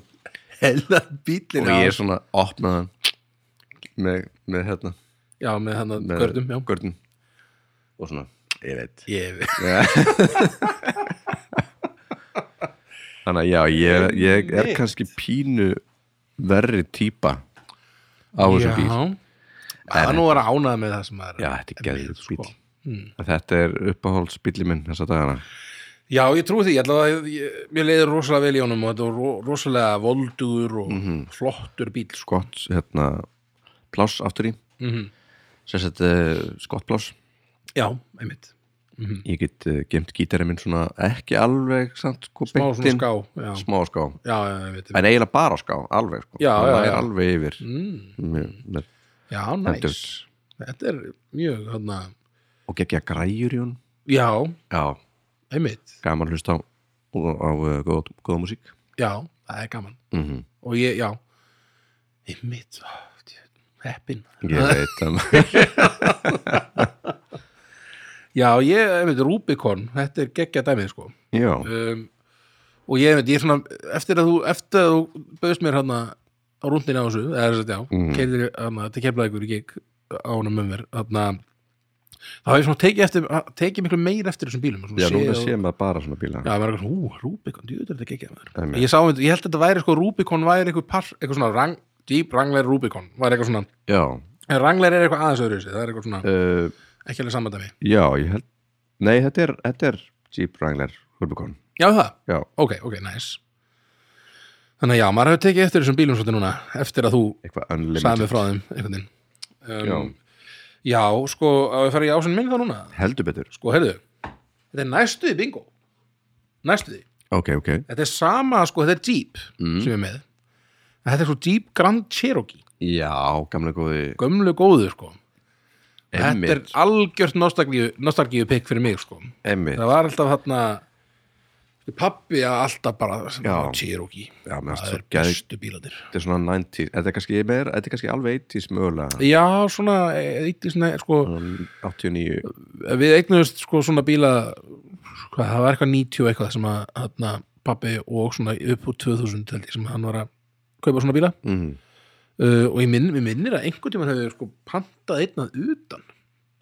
B: hella bílinn
A: og ég er svona opnaðan með, með hérna
B: Já, með hann að
A: með
B: gördum, já
A: gördum. og svona, ég veit
B: Ég veit
A: þannig að já, ég, ég er kannski pínu verri típa á þessum bíl
B: Já Það er nú að vera ánað með það sem maður
A: Já, þetta er geðið
B: sko.
A: bíl
B: Hmm.
A: Þetta er uppáhaldsbíli minn þessa dagana
B: Já, ég trúi því, ég ætla að ég, mér leiðir rosalega vel í honum og þetta er ro, rosalega voldugur og flottur bíl sko.
A: Skott, hérna, pláss aftur í mm
B: Mhm.
A: -hmm. Sess þetta skottpláss
B: Já, einmitt, Hmm.
A: Ég get uh, gemt gítari minn svona ekki alveg samt sko
B: smá
A: beint
B: svona
A: inn.
B: ská Já,
A: Smá á ská
B: já, já, einmitt, einmitt.
A: En eiginlega bara á ská, alveg sko
B: Já,
A: Það
B: já, Hmm.
A: er
B: já.
A: alveg yfir mm.
B: já næs Þetta er mjög, þarna
A: Og gekkja græjur í hún
B: Já,
A: Já,
B: einmitt,
A: gaman hlust á, á, á uh, góð, góða músík
B: já, það er gaman
A: mm -hmm.
B: og ég, já einmitt, heppin
A: Ég veit að
B: Já, ég, einmitt, Rubicon, þetta er geggja dæmið sko
A: Já,
B: um, og ég veit, ég er svona eftir að þú, eftir að þú bauðst mér hann á rúndinni á þessu, eða þess að já mm. keilir hann að kemla ykkur í gig á hann með mér, þannig að þá hef ég svona tekið eftir, tekið miklu meira eftir þessum bílum, svona
A: já núna
B: og-
A: sé maður bara svona bíla
B: Já, það var eitthvað svona, ú, Rubicon, djúður þetta gekkja maður
A: Einmitt.
B: Ég sá, einmitt- ég held að þetta væri sko, Rubicon væri eitthvað par, eitthvað svona rang, dýp rangleir Rubicon, væri eitthvað svona
A: Já,
B: en rangleir er eitthvað aðeins öðru það er eitthvað svona,
A: uh,
B: ekki alveg samandami
A: Já, ég held Nei, þetta er, þetta er Jeep Wrangler Rubicon
B: Já, það,
A: Já,
B: ok, ok, nice Þannig að já, maður hefur tekið eftir þessum bílum svolítið núna eftir að þú
A: eitthvað
B: sagði mig
A: unlimited
B: frá þeim einhvern veginn um, já. sko, að við fara í ásinn minn þá núna
A: Heldur betur
B: sko, heyrðu, þetta er næstu því bingo næstu því,
A: Ok, ok
B: þetta er sama sko, þetta er Jeep
A: Mm.
B: sem er með En þetta er svo Jeep Grand Cherokee
A: Já, gamla góði
B: gömlu góðu sko þetta er
A: Emmitt,
B: algjört nostalgíu, nostalgíu pikk fyrir mig sko
A: emmitt
B: það var alltaf þarna pappi að alltaf bara sem
A: Já.
B: var Cherokee
A: Já, mér finnst
B: það
A: svo
B: er
A: geð-
B: bestu bílandir
A: þetta er svona 90s, þetta er kannski, meira, þetta er kannski alveg 80s mögulega
B: já, svona, eitthi svona sko,
A: Svona 89,
B: við eignuðust sko svona bíla hvað, það var eitthvað 90 og eitthvað sem að þarna, pappi og svona upp úr 2000 held ég sem hann var að kaupa svona bíla
A: mm,
B: uh, og ég minn, ég minnir að einhvern tímann hefur sko pantað einn að utan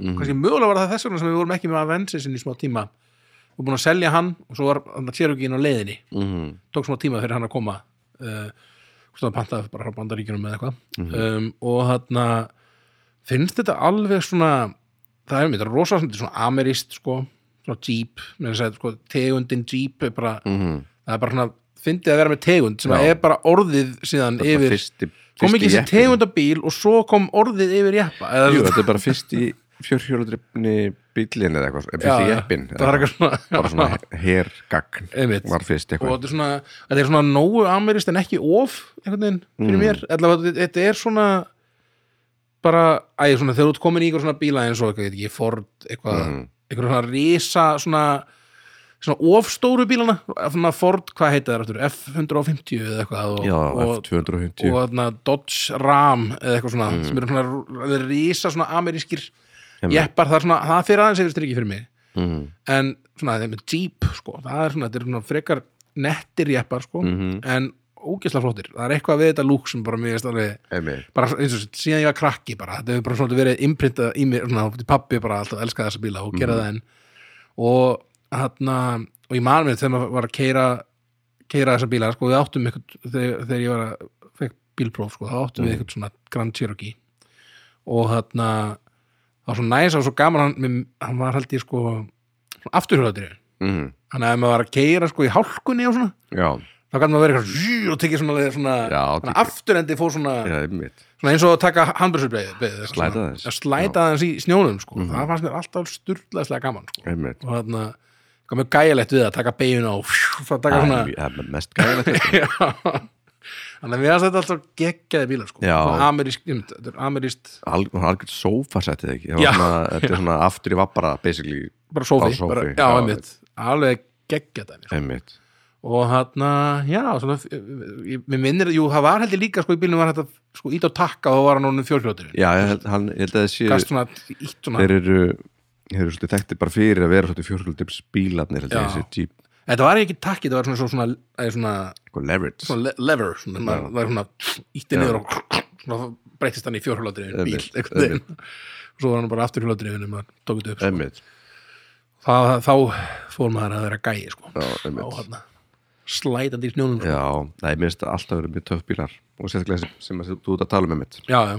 A: mm,
B: kannski mögulega var það þess vegna sem við vorum ekki með Avensis í smá tíma við vorum búin að selja hann og svo var hann að Cherokee inn á leiðinni
A: mm,
B: tók smá tíma fyrir hann að koma uh, hvort hann pantaði bara frá bandaríkjunum eða eitthvað
A: Mhm.
B: um, og þarna finnst þetta alveg svona það er mér, þetta er rosa þetta er svona amerist sko, svona jeep með þess að segja, sko, tegundin jeep er bara,
A: mm.
B: það er bara svona fyndið að vera með tegund sem
A: Já.
B: er bara orðið síðan
A: Þetta er
B: yfir,
A: fyrsti, fyrsti
B: kom ekki þessi
A: jeppinn.
B: tegund af bíl og svo kom orðið yfir jeppa eða,
A: Jú, þetta er bara fyrsti fjörhjóladrifni bílinn eða eitthvað, eða
B: Já,
A: fyrsti
B: já,
A: jeppin
B: það var eitthvað svona-
A: bara svona hergagn
B: Einmitt.
A: var fyrst
B: og
A: eitthvað
B: þetta er svona þetta er svona nógu amerist en ekki of einhvern veginn
A: Mm.
B: fyrir mér allavega þetta- þetta er svona bara, æ, svona þegar þú ert komin í einhver svona bíla eins og eitthvað, ég veit ekki, Ford eitthvað,
A: Mm.
B: einhver svona risa svona, svona ofstóru bílana svona Ford, hvað heita það aftur F150 eða eitthvað og,
A: Já,
B: og,
A: F250
B: og þarna, Dodge Ram eða eitthvað svona, sem eru svona risa svona amerískir
A: Mm. Einmitt.
B: jeppar, það, er svona, það fyrir aðeins yfir strikki fyrir mig
A: mm,
B: en svona þeim er Jeep sko, það er svona, þetta er svona frekar nettir jeppar sko,
A: Mhm.
B: en ógeðslega flottir, það er eitthvað við þetta lúk sem bara mér veist alveg,
A: einmitt.
B: bara eins og síðan ég var krakki bara, þetta hefur bara svona verið imprintað í mér, svona, pappi bara alltaf elskaði þessa bíla og gera það enn og hann, og ég man mér þegar maður var að keira keira þessa bíla, sko, við áttum ykkur, þegar, þegar ég var að, fekk bílpróf sko, þá áttum við ykkur svona Grand Cherokee og hann það var svo næs, það var svo gaman hann, mér- hann var held ég sko afturhjóðatrið
A: Mm,
B: þannig að ef maður var að keira sko í hálkunni og svona
A: Já,
B: þá gæti maður verið eitthvað zzzz og tekið svona, svona,
A: Já,
B: svona
A: tekið-
B: afturendi fór svona,
A: já, einmitt
B: svona eins og að taka handbjörnsubreið
A: Slæta aðeins. Mhm.
B: slæta aðeins í snjónum sko. það fannst mér alltaf styrlaðislega gaman sko.
A: einmitt
B: og þannig að kom mjög gæjalegt við að taka beiguna og fjú, það taka svona
A: Það er mest gæðilegt
B: Já. þannig að við að þetta alltaf geggjaði bílar sko.
A: Já.
B: Svona amerísk, einmitt, þetta er amerískt
A: Alg- það var algjörð sófasettið ekki Það
B: Já.
A: var svona, þetta er svona aftur í vappara basically,
B: bara sófi,
A: Bara sófi,
B: bara, já,
A: já.
B: einmitt, alveg geggjaði sko.
A: einmitt
B: og hann já, svona, ég, mér minnir, jú, það var heldur líka sko í bílnum var þetta sko ít á takka og þá var hann honum fjórhljótturinn,
A: Já, ég held, hann, ég held að þessi
B: gast svona ít svona,
A: þeir eru, þeir eru svolítið þekktir bara fyrir að vera svolítið fjörhjóladrifs bílarnir held
B: Já.
A: að þessi típ,
B: þetta var ekki takki þetta var svona, svona, svona, svona,
A: eitthvað leverage
B: svona le- lever svona, maður, það er svona ítti niður og svona, þá breytist hann í fjórhljótturinn bíl,
A: Einmitt,
B: einhvern veginn svo var hann bara aftur hjólátturinn um að tók þetta upp sko.
A: einmitt,
B: það, þá fór maður að vera gæi sko,
A: já,
B: á
A: einmitt
B: hann slætandi í snjónum sko.
A: Já, nei, mér finnst það alltaf verið mjög töff bílar og sérstaklega sem, sem að þú ert að tala um, með mitt
B: já, já,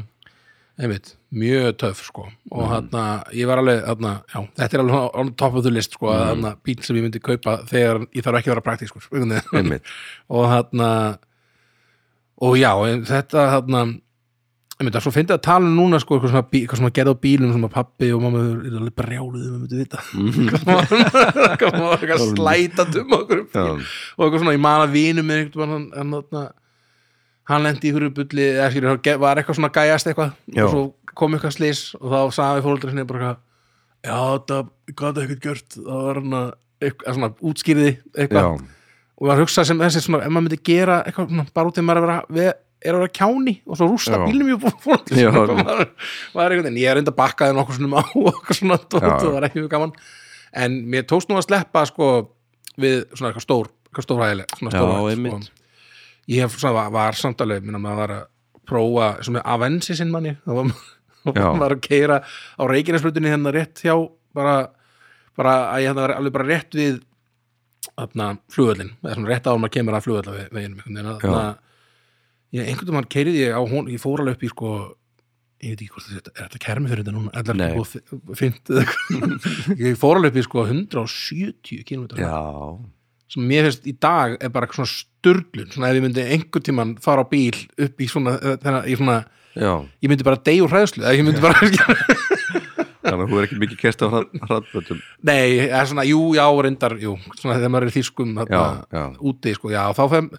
B: einmitt mjög töff sko og
A: Mhm.
B: mm. hann, ég var alveg, hann, já, þetta er alveg on top of the list
A: Mhm.
B: sko, að hann, bíl sem ég myndi kaupa þegar ég þarf ekki að vera praktískur sko, einhvern veginn.
A: Einmitt,
B: og hann og já, en þetta hann einmitt, það er svo fyndið að tala um núna sko, eitthvað sem, að bí, eitthvað sem að gerða á bílum sem að pappi og mamma eru alveg brjáluð um að vita hvað maður- hvað maður var eitthvað slætandi um okkur um
A: Mhm. já,
B: bíl og eitthvað svona, ég man að vinum með einhvern hann, hann, hann, hann lendi í hverju bulli eða skilur, hann ge- var eitthvað svona gæjast eitthvað
A: Já.
B: og svo kom eitthvað slís og þá sagði fólkdur sinni bara eitthvað já, þetta gæti ekkert gjört það var hann að, eitthvað svona útskýrði
A: já,
B: eitthvað og var að hugsa sem þessi svona, ef maður myndi gera eitthvað svona, bara út í maður er að vera við- er að vera kjáni og svo rústa
A: Já.
B: bílum ég fólk
A: Já.
B: var einhvern veginn, ég er enda bakkaði nokkuð svona á og eitthvað svona tótt,
A: Já.
B: það var ekki mjög gaman en mér tókst nú að sleppa sko við svona eitthvað stór eitthvað stórhægileg, svona
A: Já,
B: stórhægileg
A: einmitt.
B: sko. ég hef svona, var, var samtalið minna maður var að prófa, sem er Avensi sinn manni, þá var
A: Já.
B: maður var að keira á reikinnesblutinni hérna rétt hjá bara, bara að ég hérna var alveg bara rétt við þarna flugvöllin, eða svona rétt árum að kemur að flugvöllaveginum einhvern veginn
A: Já.
B: að ég, einhvern veginn keirið ég á hún ég fór alveg upp í sko ég veit ekki hvort þetta, er þetta kermi fyrir þetta núna Ætlar
A: Nei.
B: þetta búið að fi- fínt eða eitthvað? ég fór alveg upp í sko 170 km
A: já
B: sem mér finnst í dag er bara svona sturlun, svona ef ég myndi einhvern tímann fara á bíl upp í svona, eh, þennan, í svona
A: Já,
B: ég myndi bara deyja úr hræðslu eða ég myndi bara,
A: þannig að þú er ekki mikið kerst á hraðbötum
B: nei, eða svona jú, já, reyndar, jú, svona þegar maður er í þýskum þarna,
A: Já, já.
B: úti, sko, já, þá fem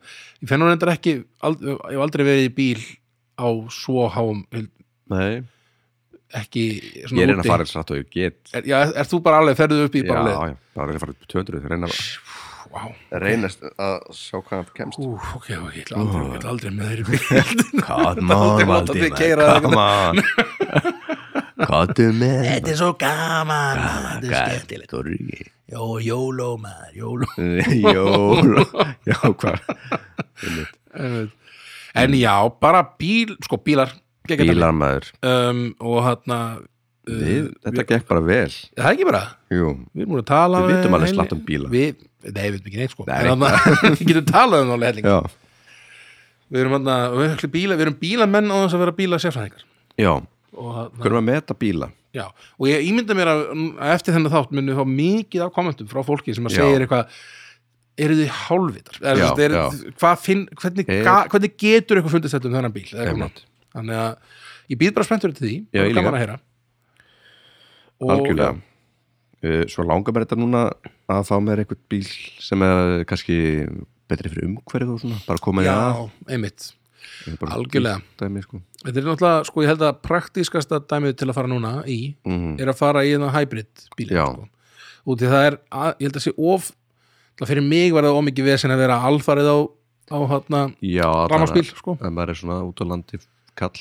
B: ég fenn hún reyndar ekki, ald, ég hef aldrei verið í bíl á svo háum
A: Nei,
B: ekki
A: ég
B: svona
A: reyna að
B: úti
A: fara eins rætt og ég get
B: er, já, er, er þú bara alveg, ferðu upp í
A: Já,
B: bara alveg
A: já, bara reyna að fara upp í 200 reyna að
B: Vá,
A: reynast að sjá hvað hann kemst
B: ú, ok, ok, ég ætla aldrei, ég ætla aldrei með þeirri bíl
A: Come
B: Aldrei láta þig keyra það einhvern
A: on Kottu með
B: er svo gaman, þetta
A: skemmtilegt
B: Jó, jóló maður, jóló
A: Jól Já, hvað
B: Einmitt. En já, bara bíl, sko bílar geggjað dæmi.
A: Bílarmaður
B: um, Og hann
A: Við, þetta gekk bara vel
B: Það er ekki bara,
A: Jú,
B: við erum múin að tala
A: Við vitum
B: við-
A: alveg slatt um bíla.
B: við, Nei, við vitum ekki neitt sko
A: Nei.
B: En þarna- Við getum talað um nálega helling
A: já,
B: Við erum, hana, við, erum bíla, við erum bílamenn á þess að vera bíla sérfræðingar
A: já
B: og, hana,
A: Hvernig að meta bíla
B: já, og ég ímynda mér að, að eftir þennan þátt muni þá mikið af kommentum frá fólki sem að
A: Já.
B: segja eitthvað eru þið hálfvitar Eða,
A: Já,
B: þú veist, eru- hvað finn, hvernig,
A: Er-
B: ga, hvernig getur eitthvað fundist þetta um þennan bíl Eða eitthvað.
A: Einmitt.
B: þannig að ég býð bara spenntur til því
A: Já, ég
B: og
A: líka.
B: gaman að heyra Og-
A: Algjörlega Eh, Svo langar mér þetta núna að fá mér einhvern bíl sem er kannski betri fyrir umhverfið og svona, bara koma í
B: já,
A: að
B: einmitt,
A: Ég er bara
B: algjörlega
A: dæmi, sko.
B: þetta er náttúrulega, sko, ég held að praktískasta dæmið til að fara núna í
A: mm,
B: er að fara í þennan hybrid bíl
A: Já.
B: sko. út í það er, að, ég held að sé of það fyrir mig var það ómikið vesen að vera alfarið á, á hana,
A: Já,
B: rafmarsbíl sko.
A: að maður er svona út á landi kall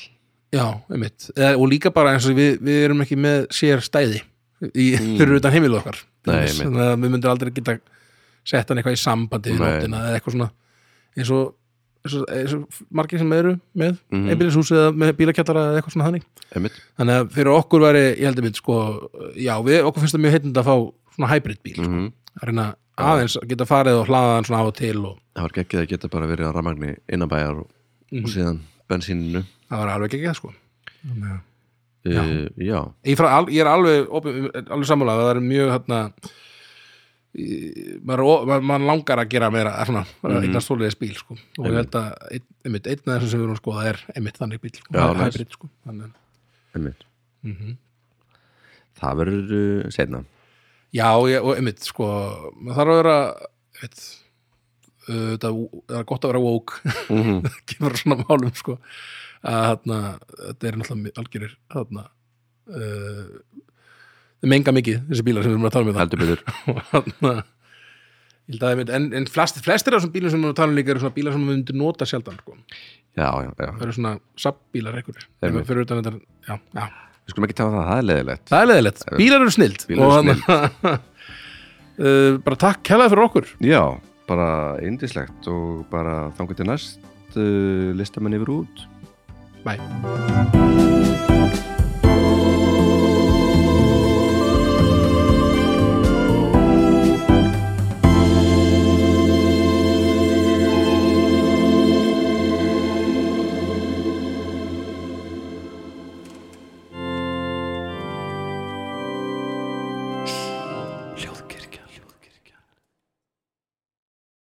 B: já, einmitt, Eða, og líka bara eins og við, við erum ekki með sér stæði í, fyrir utan heimilu okkar
A: Mm. Nei,
B: Þannig
A: einmitt.
B: að við myndum aldrei geta sett hann eitthvað í sambandi við
A: Nei.
B: nóttina eða eitthvað svona eins og, eins og, eins og margir sem eru með mm.
A: Mhm.
B: einbýlishús eða með bílakjallara eða eitthvað svona þannig
A: Einmitt,
B: þannig að fyrir okkur væri, ég heldur mynd sko, já, við, okkur finnst það mjög heitnund að fá svona hybrid bíl,
A: mm
B: að reyna aðeins að geta farið og hlaða hann svona af og til og
A: það var geggið að geta bara verið á rafmagni innanbæjar og, og síðan bensíninu
B: það var alveg ekki það sko Þannig að-
A: Já, Eh, já.
B: ég, fra, al, ég er alveg, opið, alveg sammála það er mjög hérna maður, er o- maður, maður langar að gera meira svona, mm. eignast svoleiðis bíl sko. og ég held að ein, einmitt, einn af þessum sem við erum að skoða er einmitt þannig bíl, sko,
A: Já, nice.
B: hybrid sko. þannig, að- mhm.
A: Einmitt. Það verður uh, setna
B: já, ég, og einmitt sko, maður þarf að vera einmitt, uh, þetta það er gott að vera woke
A: Mhm.
B: kemur að svona málum sko að þarna, þetta er náttúrulega algjörir þarna uh, þeir menga mikið þessi bílar sem við erum að tala um
A: Heldur betur
B: þetta þarna, ég held að það mynd, en, en flest, flestir af þessum bílar sem við erum að tala um líka eru svona bílar sem við myndum nota sjaldan sko.
A: Já, já, já
B: það eru svona sabbílar ekkur
A: Einmitt.
B: fyrir utan þetta, já, já
A: Við skulum ekki tala um það, það er leðilegt
B: það er leðilegt, bílar eru snild
A: Bílar eru
B: uh, bara takk kælaði fyrir okkur
A: Já, bara indislegt og eh, bara þangur til næst uh, listamenn yfir út
B: bye